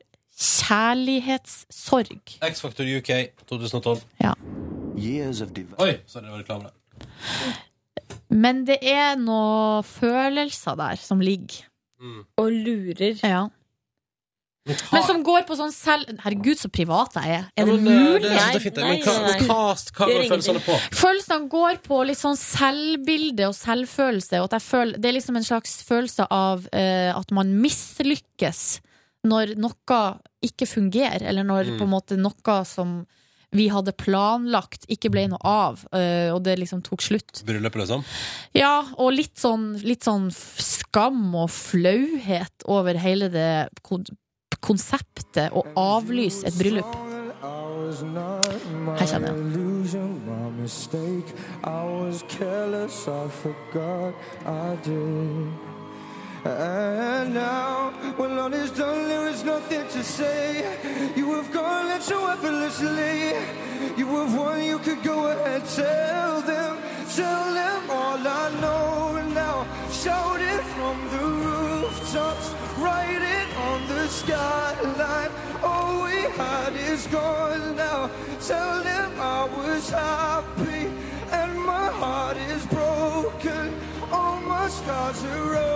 C: kjærlighetssorg.
B: X-Factor UK 2012.
C: Ja.
B: Oi, sorry, det var reklame. der.
C: Men det er noen følelser der som ligger.
M: Og lurer.
C: Ja. Men som går på sånn selv Herregud, så privat jeg er.
B: Ja,
C: Er det
B: men, eh, det
C: mulig?
B: er så fint, men hva- hva- hva går Gjør følelsene ingenting. på?
C: Følelsene går på litt sånn selvbilde og selvfølelse. Og at jeg føl- det er liksom en slags følelse av eh, at man mislykkes når noe ikke fungerer, eller når
L: Mm.
C: på en måte noe som vi hadde planlagt, ikke ble noe av, eh, og det liksom tok slutt.
B: Bryllup, liksom.
C: Ja, og litt sånn, litt sånn f- skam og flauhet over hele det kon konseptet å avlyse et bryllup.
J: Her
C: kjenner jeg.
J: And now, when all is done, there is nothing to say. You have gone let so effortlessly. You have won, you could go ahead, tell them, tell them all I know. And now, shout it from the rooftops, write it on the skyline. All we had is gone now. Tell them I was happy, and my heart is broken. All my scars are open.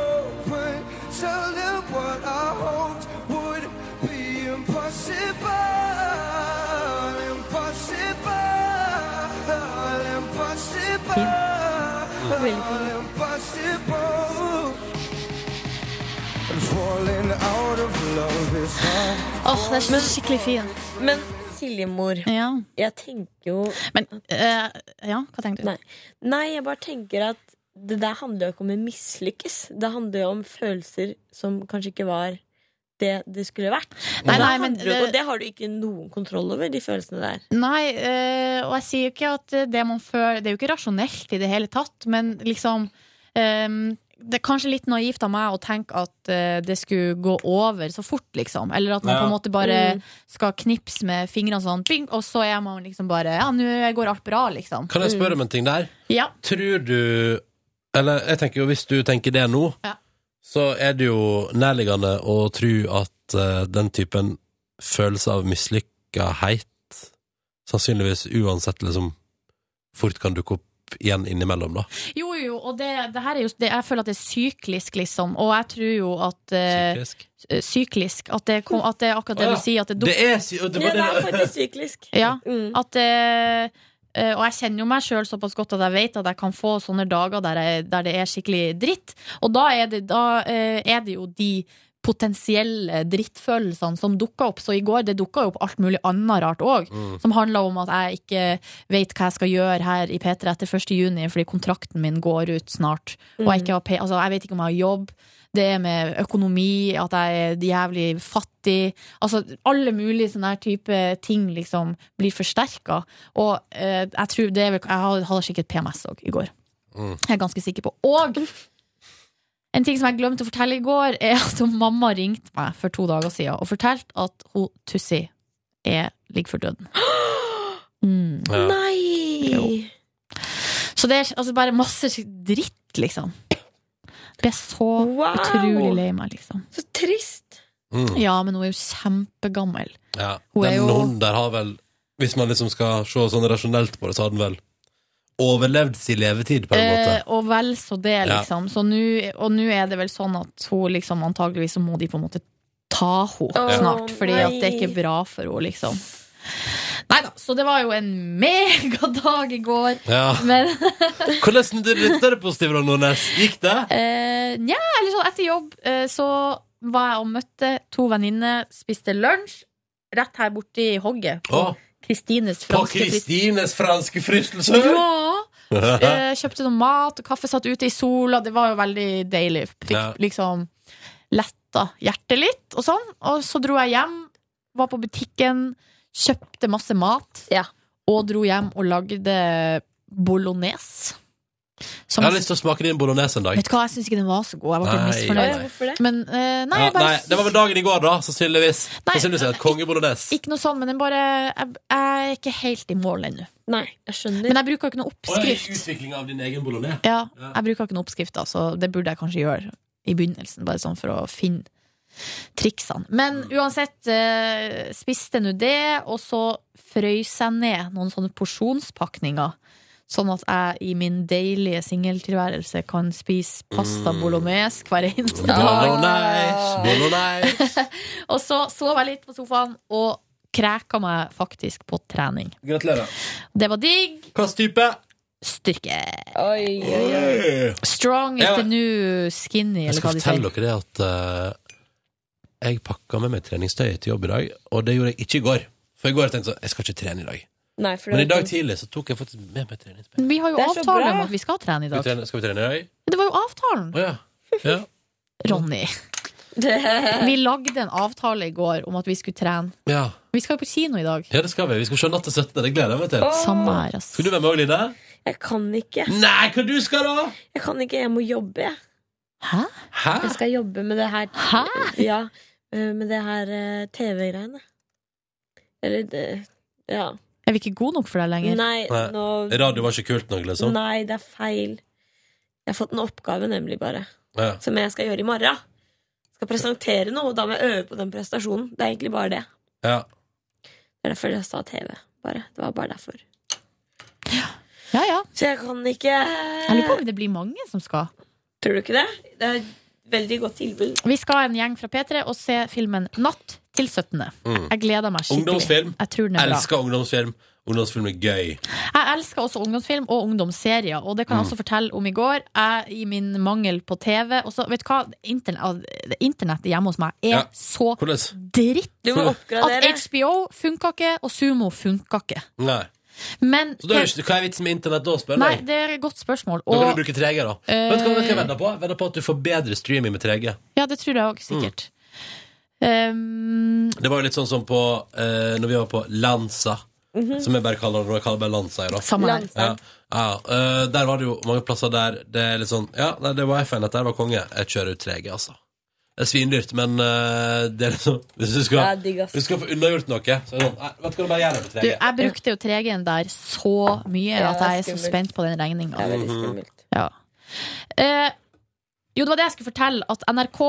J: Tell them what I hoped would be impossible. Impossible. Impossible. Impossible. And falling out of love is hard.
C: Åh, det er skikkelig fint.
D: Men Siljemor, jeg tenker jo
C: Men eh, ja, hva tenker du?
D: Nei. Nei, jeg bare tenker at det der handler jo ikke om å mislykkes. Det handler jo om følelser som kanskje ikke var det det skulle vært.
C: Nei,
D: Og da
C: nei, men
D: handler jo-
C: det-
D: og det har du ikke noen kontroll over, de følelsene der.
C: Nei, eh, og jeg sier jo ikke at eh, det man føler Det er jo ikke rasjonelt i det hele tatt, men liksom ehm, Det er kanskje litt naivt av meg å tenke at eh, det skulle gå over så fort, liksom. Eller at man
L: Ja.
C: på en måte bare
L: Mm.
C: skal knipse med fingrene sånn, bing, og så er man liksom bare Ja, nå går alt bra, liksom.
B: Kan jeg spørre om en ting der?
C: Ja.
B: Tror du Eller jeg tenker jo, hvis du tenker det nå, så er det jo nærliggende å tro at eh, den typen følelse av mislykkahet sannsynligvis uansett liksom fort kan dukke opp igjen innimellom, da.
C: Jo, jo, og det, det her er jo det, Jeg føler at det er syklisk, liksom. Og jeg tror jo at eh,
B: Syklisk?
C: eh, Syklisk. At det, kom, at det er akkurat det
B: Å, ja.
C: du sier. At det,
B: Det er sy- det var Ja, det- det er faktisk
D: syklisk.
C: Ja,
E: Mm.
C: at eh, eh, og jeg kjenner jo meg sjøl såpass godt at jeg vet at jeg kan få sånne dager der, jeg, der det er skikkelig dritt. Og da er det, da, eh, er det jo de potensielle drittfølelsene som dukka opp. Så i går det dukka jo opp alt mulig annet rart òg,
L: Mm.
C: som handla om at jeg ikke vet hva jeg skal gjøre her i P3 etter 1. juni, fordi kontrakten min går ut snart. Og jeg, ikke har, pe- altså, jeg vet ikke om jeg har jobb. Det er med økonomi, at jeg er jævlig fattig. Altså alle mulige sånne her type ting liksom blir forsterka. Og eh, jeg tror det er vel Jeg hadde- hadde sikkert PMS òg i går. Jeg er ganske sikker på. Og en ting som jeg glemte å fortelle i går, er at mamma ringte meg for to dager siden og fortalte at hun Tussi er, ligger for døden. Mm.
D: Nei!
C: Jo. Så Så det er altså bare masse dritt, liksom. Blir så utrolig lei meg, liksom.
E: Så trist!
B: Mm.
C: Ja, men hun er jo kjempegammel.
B: Ja,
C: Hun er
B: den
C: jo-
B: hunden der har vel Hvis man liksom skal se sånn rasjonelt på det, så har den vel overlevd sin levetid, på en måte.
C: Eh, og vel så det,
B: Ja.
C: liksom. Så nå- og nå er det vel sånn at hun liksom antageligvis så må de på en måte ta henne
B: Åh,
C: snart, fordi at det er
B: nei.
C: ikke bra for henne, liksom. Nei da, så det var jo en megadag i går.
B: Ja.
C: Men
B: Hvordan det litt større positiv rolle, Nordnes? Gikk det?
C: Eh, Nja, eller sånn etter jobb eh, så var jeg og møtte to venninner, spiste lunsj rett her borte i hogget. På
B: Åh.
C: Kristines
B: På
C: franske frist-
B: Kristines franske fristelse?
C: Ja! Eh, kjøpte noe mat og kaffe, satt ute i sola. Det var jo veldig deilig. Fikk
B: Ja.
C: liksom letta hjertet litt og sånn. Og så dro jeg hjem, var på butikken, kjøpte masse mat. Og dro hjem og lagde bolognese.
B: Jeg har lyst til å smake din bolognese en dag.
C: Vet du hva, jeg syns ikke den var så god. Jeg var
B: Nei,
C: litt misfornøyd.
B: nei.
C: Hvorfor det? Men, eh, nei,
B: ja,
C: jeg bare,
B: nei, det var vel dagen i går, da, sannsynligvis.
C: Nei,
B: Sannsynligvis er det et kongebolognese.
C: Ikke noe sånn, men den bare Jeg, jeg er ikke helt i mål ennå.
E: Nei, jeg skjønner.
C: Men jeg bruker jo ikke noe oppskrift.
B: Utvikling av din egen bolognese.
C: Ja, jeg bruker ikke noen oppskrift, da, så det burde jeg kanskje gjøre i begynnelsen, bare sånn for å finne triksene. Men
B: Mm.
C: uansett, eh, spiste nå det, og så frøys jeg ned noen sånne porsjonspakninger. Sånn at jeg i min deilige singeltilværelse kan spise pasta
B: Mm.
C: bolognese hver eneste
B: Bolognese,
C: dag.
B: bolognese.
C: og så sov jeg litt på sofaen og kræka meg faktisk på trening.
B: Gratulerer.
C: Det var digg.
B: Hvilken type?
C: Styrke.
B: oi.
C: Strong is
B: Ja.
C: the new skinny,
B: Jeg
C: eller hva
B: skal
C: de
B: fortelle
C: sier.
B: dere det at eh, jeg pakka med meg treningstøy til jobb i dag, og det gjorde jeg ikke i går. For i går tenkte jeg sånn, jeg skal ikke trene i dag.
E: Nei, for det
B: Men i
E: var
B: dag
E: sånn-
B: tidlig så tok jeg faktisk med meg trening.
C: Vi har jo
E: Det er så
C: avtale
E: bra.
C: om at vi skal trene i
B: Skal vi
C: dag.
B: trene, skal vi trene i dag?
C: Men Det var jo avtalen!
B: Å ja. ja.
C: Ronny. Vi lagde en avtale i går om at vi skulle trene.
B: Ja.
C: Vi skal jo på kino i dag.
B: ja, det skal vi. Vi skal se Natt til 17. Det gleder jeg meg til.
E: Åh. Samme her,
C: ass.
B: Skal du være med òg, Line?
E: Jeg kan ikke.
B: Nei, hva du skal da?
E: Jeg kan ikke, jeg må jobbe, jeg.
C: Hæ?
B: Hæ?
E: Jeg skal jobbe med det her
C: Hæ?
E: Ja, eh, med det her eh, TV-greiene. Eller det Ja.
C: Er vi ikke gode nok for deg lenger?
E: Nei, nå
B: Radio var ikke kult nok, liksom?
E: Nei, det er feil. Jeg har fått en oppgave, nemlig, bare.
B: Ja.
E: Som jeg skal gjøre i morgen. Skal presentere noe, og da må jeg øve på den prestasjonen. Det er egentlig bare det.
B: ja.
E: Det er derfor jeg sa TV. Bare. Det var bare derfor.
C: Ja, ja.
E: Så jeg kan ikke
C: Jeg lurer på om det blir mange som skal.
E: Tror du ikke det? Det er et veldig godt tilbud.
C: Vi skal en gjeng fra P3 og se filmen Natt til 17.
B: Mm.
C: Jeg gleder meg skikkelig.
B: Ungdomsfilm.
C: Jeg tror den er bra.
B: Elsker ungdomsfilm. Ungdomsfilm er gøy.
C: Jeg elsker også ungdomsfilm og ungdomsserier, og det kan jeg
B: Mm.
C: også fortelle om i går. Jeg, I min mangel på TV og så, Vet du hva? Internett, internettet hjemme hos meg er
B: Ja.
C: så
B: Hvordan?
C: dritt
B: Du må oppgradere.
C: at HBO funka ikke, og Sumo funka ikke.
B: Nei.
C: Men
B: Så da er det ikke, hva er vitsen med internett da, spør
C: Nei,
B: jeg?
C: det er et godt spørsmål.
B: Da kan
C: Og,
B: du bruke 3G, da.
C: Eh,
B: Vet du hva vet du hva jeg vedder på? Jeg vedder på at du får bedre streaming med 3G.
C: ja, det tror jeg òg, sikkert.
B: Mm.
C: Um,
B: Det var jo litt sånn som på eh, Når vi var på Lanza,
C: Mhm.
B: som jeg bare kaller det. Jeg kaller det bare Lanza i dag.
C: Samme her. Lanza.
B: Ja. Ja, eh, der var det jo mange plasser der det er litt sånn Ja, nei, det var FN, dette her var konge. Jeg kjører ut 3G, altså. Det er svindyrt, men eh, det er liksom Hvis du skal,
C: Det er digg, ass.
B: hvis du skal få unnagjort noe, så er det sånn Nei, vet du hva du bare gjør det på
C: du, eh,
B: 3G.
C: jeg brukte jo 3G-en der så mye
B: Ja,
C: at
B: det er
C: jeg er så
B: skummelt.
C: spent på den regninga.
B: Mhm.
C: Ja. Eh, jo, det var det jeg skulle fortelle, at NRK,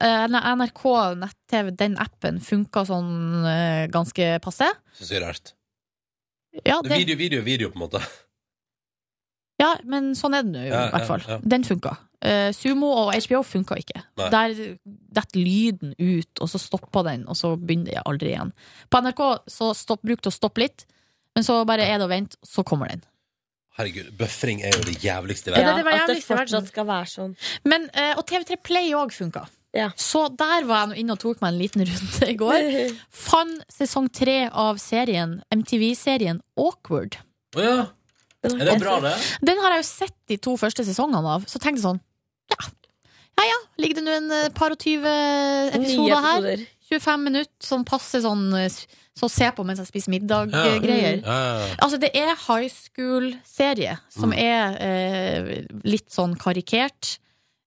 C: eh, nei, NRK nett-TV, den appen, funka sånn eh, ganske passe.
B: Syns jeg er rart.
C: Ja,
B: Det er Video,
C: det,
B: video, video, på en måte.
C: ja, men sånn er det nå, i
B: Ja, ja,
C: hvert fall.
B: ja.
C: Den funka. Eh, Sumo og HBO funka ikke.
B: Nei.
C: Der detter lyden ut, og så stoppa den, og så begynner det aldri igjen. På NRK så stopp, brukte det å stoppe litt, men så bare er det å vente, så kommer den.
B: Herregud, buffering er jo det jævligste i verden.
C: Ja, det, det var
E: at det
C: jævligste i verden.
E: fortsatt skal være sånn.
C: Men, eh, og TV3 Play òg funka. Så der var jeg nå inne og tok meg en liten runde i går. Fant sesong tre av serien, MTV-serien Awkward.
B: Å ja. Er det bra, det?
C: Den har jeg jo sett de to første sesongene av, så tenkte jeg sånn Ja ja, ja ligger det nå en eh, par og tyve episoder her?
E: episoder.
C: 25 minutter, sånn passe sånn eh, s- så se på mens jeg spiser middag-greier.
B: Ja, ja, ja.
C: Altså, det er high school-serie som
B: Mm.
C: er eh, litt sånn karikert.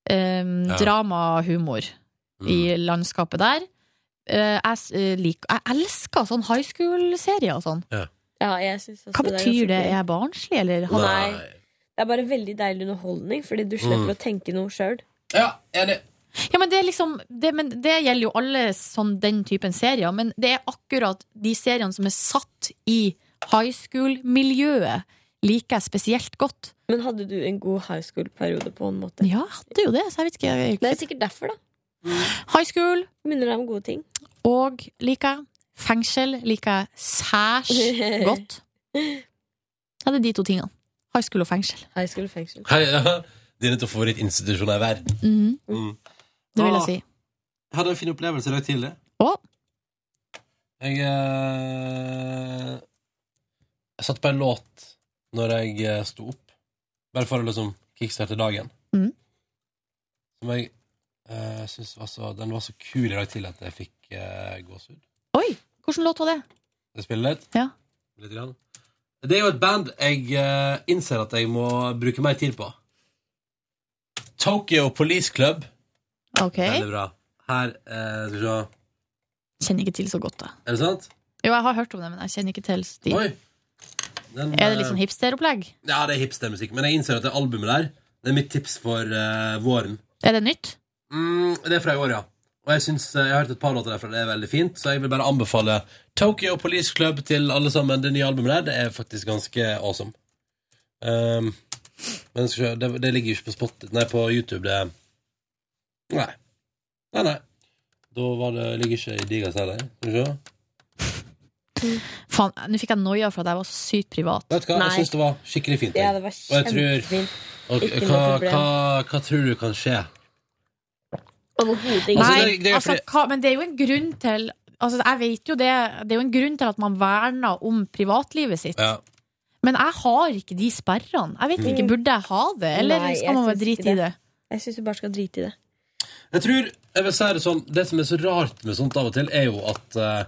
C: Eh,
B: Ja.
C: Dramahumor i landskapet der. Eh, jeg, s- eh, lik, jeg elsker sånn high school-serier og sånn.
B: Ja.
E: Ja, jeg synes også
C: Hva
E: er
C: betyr det?
E: ganske
C: Er jeg barnslig, eller?
E: Nei. Det er bare veldig deilig underholdning, fordi du
B: Mm.
E: slipper å tenke noe sjøl.
J: Ja, enig.
C: Ja, men det, er liksom, det, men det gjelder jo alle sånn, den typen serier, men det er akkurat de seriene som er satt i high school-miljøet, liker jeg spesielt godt.
E: Men hadde du en god high school-periode på en måte?
C: Ja, jeg hadde jo det. Så jeg vet ikke, jeg,
E: Det er sikkert derfor, da.
C: High school
E: Minner deg om gode ting.
C: og liker jeg. Fengsel liker jeg særs godt. Ja, det er de to tingene. High school og fengsel.
E: High school og fengsel.
B: Hei, ja. Dine to favorittinstitusjoner i verden.
C: Mhm,
B: Mm.
C: det vil
B: Ah.
C: jeg si.
B: Jeg hadde en fin opplevelse i dag tidlig.
C: Å,
B: Jeg, eh, jeg satt på en låt når jeg eh, sto opp, bare for å liksom kickstarte dagen.
C: Mhm.
B: Som jeg eh, synes var så Den var så kul i dag tidlig at jeg fikk eh, gåsehud.
C: oi! Hvordan låt var det?
B: Skal jeg spille litt?
C: Ja.
B: Litt grann. Det er jo et band jeg eh, innser at jeg må bruke mer tid på. Tokyo Police Club.
C: Ok.
B: Veldig bra. Her eh, Skal vi se.
C: Kjenner ikke til så godt, da.
B: Er det sant?
C: Jo, jeg har hørt om det, men jeg kjenner ikke til stil.
B: Oi. Den,
C: Er
B: eh,
C: det litt sånn hipsteropplegg?
B: Ja, det er hipstermusikk. Men jeg innser at det albumet der Det er mitt tips for eh, våren.
C: Er det nytt?
B: Mm, det er fra i år, ja. Og jeg, synes, eh, jeg har hørt et par låter derfra. Det er veldig fint. Så jeg vil bare anbefale Tokyo Police Club til alle sammen. Det nye albumet der Det er faktisk ganske awesome. Um, men skal vi se, det, det ligger jo ikke på spot Nei, på YouTube. Det Nei. Nei, nei. Da var det, ligger ikke i Digas heller. Skal vi se.
C: Faen, nå fikk jeg noia for at jeg var så sykt privat.
B: Vet du hva? Jeg syns det var skikkelig fint.
C: Ja,
B: jeg.
C: det var
B: og jeg tror,
C: kjempefint.
B: og,
C: Ikke
B: hva,
C: noe problem.
B: hva, hva tror du kan skje?
E: Overhodet
B: ikke.
C: Nei,
B: Altså, det- det er
C: altså,
B: fordi-
C: hva, men det er jo en grunn til Altså, jeg vet jo det, det er jo en grunn til at man verner om privatlivet sitt.
B: Ja.
C: Men jeg har ikke de sperrene. Jeg vet ikke,
E: Mm.
C: Burde jeg ha det, eller
E: Nei, jeg
C: skal man bare
E: syns
C: drite
E: ikke
C: i det?
E: Jeg syns du bare skal drite i det.
B: Jeg tror, jeg vil si Det sånn Det som er så rart med sånt av og til, er jo at eh,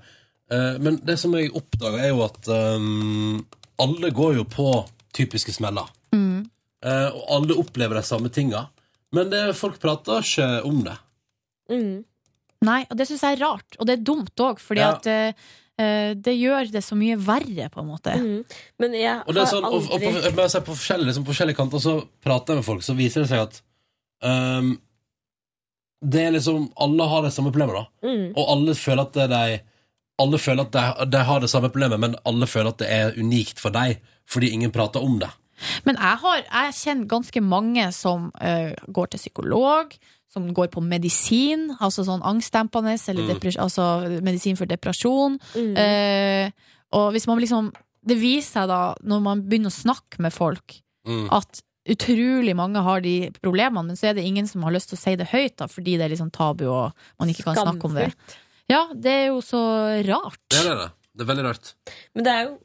B: eh, Men det som jeg oppdaga, er jo at eh, alle går jo på typiske smeller.
C: Mm.
B: Eh, og alle opplever de samme tinga. Men det, folk prater ikke om det.
E: Mm.
C: Nei, og det syns jeg er rart, og det er dumt òg, fordi
B: Ja.
C: at eh, eh, det gjør det så mye verre, på en måte.
E: Mm. Men jeg
B: Og det er sånn, og, og på, men jeg ser på forskjellige, liksom, på forskjellige kanter så prater jeg med folk, så viser det seg at ehm, det er liksom, alle har det samme problemet da.
E: Mm.
B: Og alle føler at det er de, alle føler at de, de har det samme problemet, men alle føler at det er unikt for deg, fordi ingen prater om det.
C: Men jeg, har, jeg kjenner ganske mange som eh, går til psykolog, som går på medisin, altså sånn angstdempende, eller
E: Mm.
C: depres- altså medisin for depresjon.
E: Mm.
C: Eh, og hvis man liksom Det viser seg da, når man begynner å snakke med folk,
B: Mm.
C: at utrolig mange har de problemene, men så er det ingen som har lyst til å si det høyt, da, fordi det er liksom tabu, og man ikke kan snakke om det. Ja, det er jo så rart.
B: Det er det. Det er veldig rart.
E: Men det er jo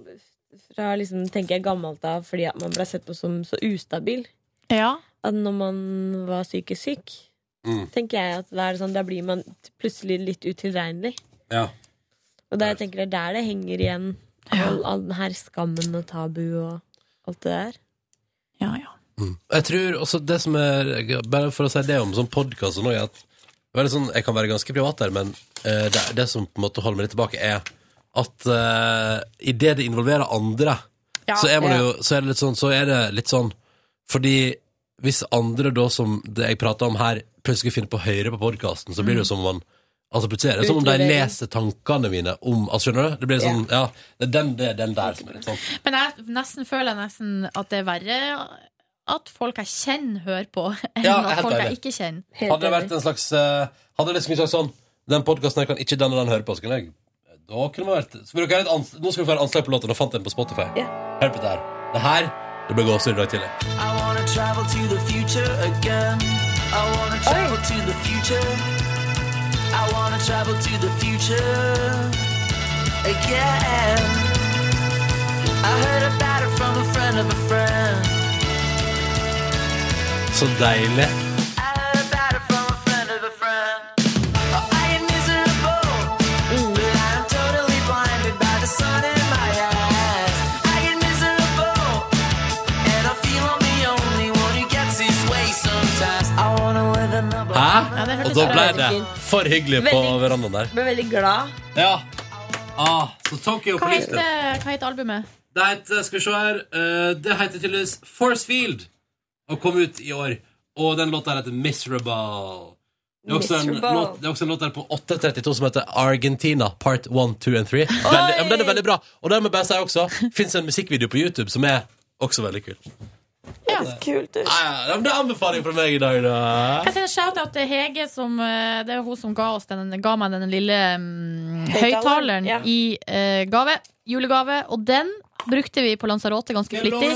E: fra liksom, tenker jeg, gammelt av fordi at man ble sett på som så ustabil. At når man var psykisk syk,
B: Mm.
E: tenker jeg at da er det sånn, da blir man t- plutselig litt utilregnelig.
B: Ja.
E: Og da jeg tenker det er der det henger igjen, all, all den her skammen og tabu og alt det der.
C: Ja, ja.
B: Jeg tror også det som er Bare for å si det om sånn podkast og noe, er at det er veldig sånn, jeg kan være ganske privat der, men eh, det, det som på en måte holder meg litt tilbake, er at uh, idet det involverer andre,
N: Ja.
B: så, er man
N: Ja.
B: jo, så er det litt sånn Så er det litt sånn Fordi hvis andre da, som det jeg prater om her, plutselig finner på å høre på podkasten, så blir det
N: Mm.
B: jo som om man Altså plutselig er det som om de
C: Utlevering.
B: leser tankene mine om altså, Skjønner du? Det blir sånn Ja, det er den, det er den der som er litt sånn
C: Men jeg nesten føler jeg nesten at det er verre at folk jeg kjenner, hører på, enn
B: Ja,
C: at
B: helt
C: folk jeg
B: enig.
C: ikke kjenner.
B: Hadde det vært en slags eh, Hadde det liksom ikke vært sånn Den podcasten her kan ikke den og den høre på Så kunne jeg Da kunne det vært så vil dere ha et ans- Nå skal vi få et anslag på låten Nå fant jeg den på Spotify Hør på dette her Det her Det ble gåser i dag tidlig
H: I wanna travel to the future again. I wanna travel to the future. I wanna travel to the future again. I heard about it from a friend of a friend.
B: Så deilig
H: I heard about it from a friend of a friend. Oh, I am miserable, but I'm totally blinded by the sun in my eyes. I am miserable, and I feel I'm the only one who gets his way sometimes. I wanna live in the
B: Hæ?
E: Ja, det hørtes
B: Og da ble
E: veldig
B: det
E: fint.
B: For hyggelig på
E: Veldig-
B: verandaen der
E: Jeg ble veldig glad.
B: Ja Ah, så Tokyo
C: Hva
B: Police
C: heter, hva heter albumet?
B: Det heter, skal vi se her eh, Det heter tydeligvis Force Field og kom ut i år. Og den låta her heter Miserable. Det er, også en
H: Miserable.
B: låt, det er også en låt der på 8.32 som heter Argentina Part 1, 2 and 3. Veldig, ja, men den er veldig bra. Og den må jeg bare si også fins en musikkvideo på YouTube som er også veldig kul.
E: Ja. Kult,
B: Ja, ja, men det anbefaler jeg fra meg i dag, da.
C: Jeg sender shout-out til Hege, som, eh, det er hun som ga, oss den, ga meg den lille mm,
E: Høyttaleren,
C: høyttaleren
E: ja.
C: i eh, gave, julegave. Og den brukte vi på Lanzarote ganske flittig.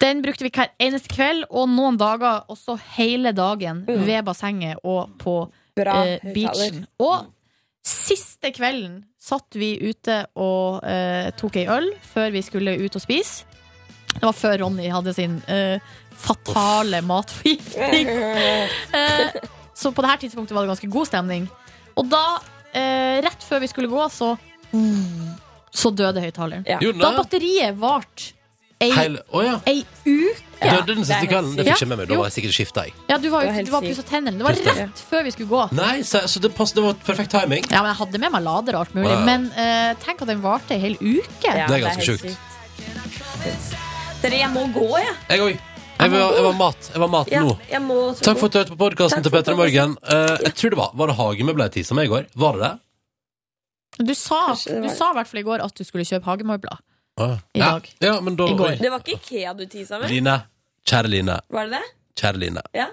C: Den brukte vi hver eneste kveld, og noen dager også hele dagen
E: Mm.
C: ved bassenget og på
E: Bra
C: eh, beachen. Og siste kvelden satt vi ute og eh, tok ei øl før vi skulle ut og spise. Det var før Ronny hadde sin eh, fatale matforgiftning. Eh, så på det her tidspunktet var det ganske god stemning. Og da, eh, rett før vi skulle gå, så Så døde høyttaleren.
B: Gjorde den
C: Da
B: det?
C: batteriet varte ei,
B: Hele- Å, ja.
C: ei uke.
B: Døde den siste kvelden? Det fikk jeg ikke med meg. Da var jeg sikkert skifta, jeg.
C: Ja, du var,
B: Det var
C: ute,
B: helt
C: du var og
B: sykt.
C: pussa tennene. Det var
B: Pussa.
C: rett før vi skulle gå.
B: Nei, så, så det, pass, det var perfekt timing.
C: Ja, men Jeg hadde med meg lader og alt mulig,
B: Wow.
C: men eh, tenk at den varte ei hel uke.
B: Ja, Det er ganske det er helt sjukt.
D: Dere, jeg må gå, jeg.
B: Jeg òg. Jeg, var- jeg var mat. Jeg var mat
D: Ja,
B: nå.
D: jeg må også
B: Takk for
D: gå.
B: at du hørte på podkasten til Petter i morgen. Eh, jeg tror det var Var det hagemøbler jeg tisa med i går? Var det det?
C: Du sa du sa i hvert fall i går at du skulle kjøpe hagemøbler.
B: Ah.
C: I
B: ja.
C: dag.
B: Ja, men da
C: I går.
B: oi.
D: Det var ikke Ikea du tisa med?
B: Line. Kjære Line.
D: Var det det?
B: Kjære Line.
D: Ja.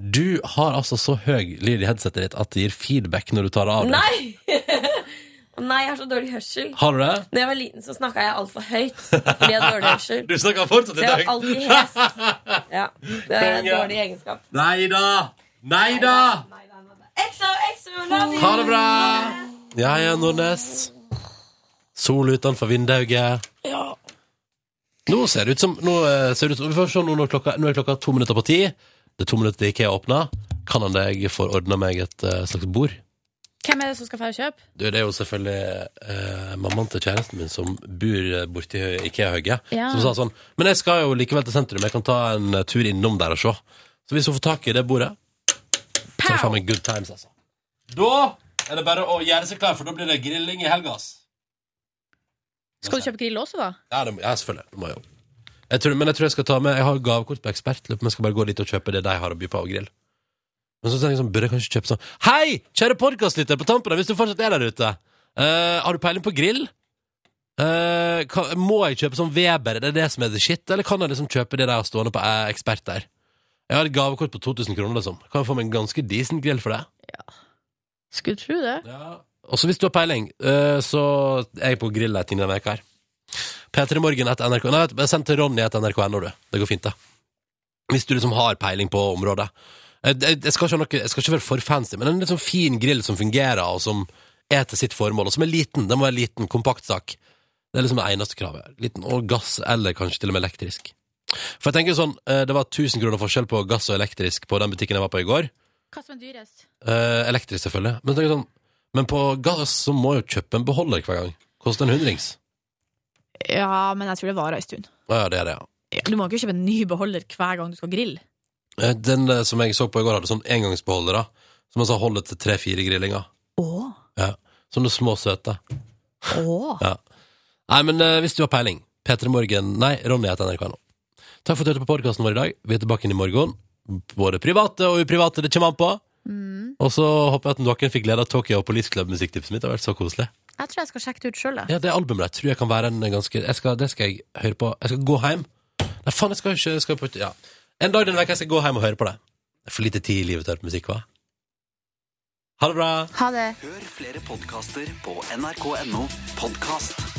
B: Du har altså så høy lyd i headsetet ditt at det gir feedback når du tar det av deg.
D: Nei! Å Nei, jeg har så dårlig hørsel.
B: Har du det?
D: Når jeg var liten, så snakka jeg altfor høyt. Fordi jeg hadde dårlig hørsel.
B: Du snakker fortsatt i
D: Så jeg
B: dag.
D: var alltid hes. Ja, det er en
B: Konge.
D: dårlig egenskap.
B: Nei da! Nei da!
D: Exo, exo, love you!
B: Ha det bra! Ja ja, Nordnes. Sol utenfor vinduet.
D: Ja.
B: Nå ser det ut som Nå, eh, ser det ut som, vi får se nå, når klokka, nå er klokka to minutter på ti. Det er to minutter til IKEA åpner. Kan han deg få ordna meg et eh, slags bord?
F: Hvem er det som skal få kjøpe?
B: Du, det er jo selvfølgelig eh, mammaen til kjæresten min som bor eh, borti Hø- IKEA-høgget,
F: Ja.
B: som sa sånn Men jeg skal jo likevel til sentrum, jeg kan ta en eh, tur innom der og se. Så hvis hun får tak i det bordet, så er det faen meg good times, altså. Da er det bare å gjøre seg klar, for da blir det grilling i helga, ass.
F: Skal du kjøpe grill også, da?
B: Ja, det må, ja selvfølgelig. Det må jeg jo. Jeg tror, men jeg tror jeg skal ta med Jeg har gavekort på Ekspert, lurer på om jeg skal bare gå dit og kjøpe det de har å by på av grill. Men så tenker jeg sånn, burde jeg kanskje kjøpe sånn Hei, kjære podkastlytter på tampen, her, hvis du fortsatt er der ute. eh, har du peiling på grill? Eh, kan, må jeg kjøpe sånn Weber, er det det som er the shit, eller kan jeg liksom kjøpe det de har stående på eh, Ekspert der? Jeg har et gavekort på 2000 kroner, liksom. Kan jeg få meg en ganske decent grill for det?
F: Skulle tro det.
B: Også hvis du har peiling, eh, så er jeg på grillleiting denne veka her. P3morgen etter NRK Nei, vet du, send til Ronny etter nrk.no, du. Det går fint, det. Hvis du liksom har peiling på området. Eh, Jeg, jeg, skal ikke ha noe, jeg skal ikke være for fancy, men en litt sånn fin grill som fungerer, og som er til sitt formål, og som er liten. Det må være liten, kompakt sak. Det er liksom det eneste kravet. Liten og gass, eller kanskje til og med elektrisk. For jeg tenker sånn, eh, Det var 1000 kroner forskjell på gass og elektrisk på den butikken jeg var på i går.
F: Hva som er dyrest?
B: Eh, elektrisk, selvfølgelig. Men, tenk sånn, men på gass så må jeg jo kjøpe en beholder hver gang. Koster en hundrings.
F: Ja, men jeg tror det varer en stund.
B: Ja, ja, det er det, ja.
F: Du må jo ikke kjøpe en ny beholder hver gang du skal grille.
B: Eh, Den eh, som jeg så på i går, hadde sånn engangsbeholdere. Som altså holder til tre-fire grillinger.
F: Åh.
B: Ja. Sånne små, søte.
F: Åh.
B: Ja. Nei, men eh, hvis du har peiling, P3 Morgen Nei, Ronny heter NRK nå. Takk for at du hørte på podkasten vår i dag. Vi er tilbake inn i morgen. Både private og uprivate, det kommer an på. Og så håper jeg at noen fikk glede av Tokyo Police Club-musikktipset mitt. Det har vært så koselig.
F: Jeg tror jeg skal sjekke det ut sjøl, jeg.
B: Ja, det albumet der tror jeg kan være en ganske jeg skal, Det skal jeg høre på. Jeg skal gå hjem. Nei, faen, jeg skal ikke jeg skal på, ja. En dag denne veka skal jeg gå hjem og høre på det. Det er for lite tid i livet til å høre på musikk, hva? Ha det bra.
F: Ha det.
N: Hør flere podkaster på nrk.no podkast.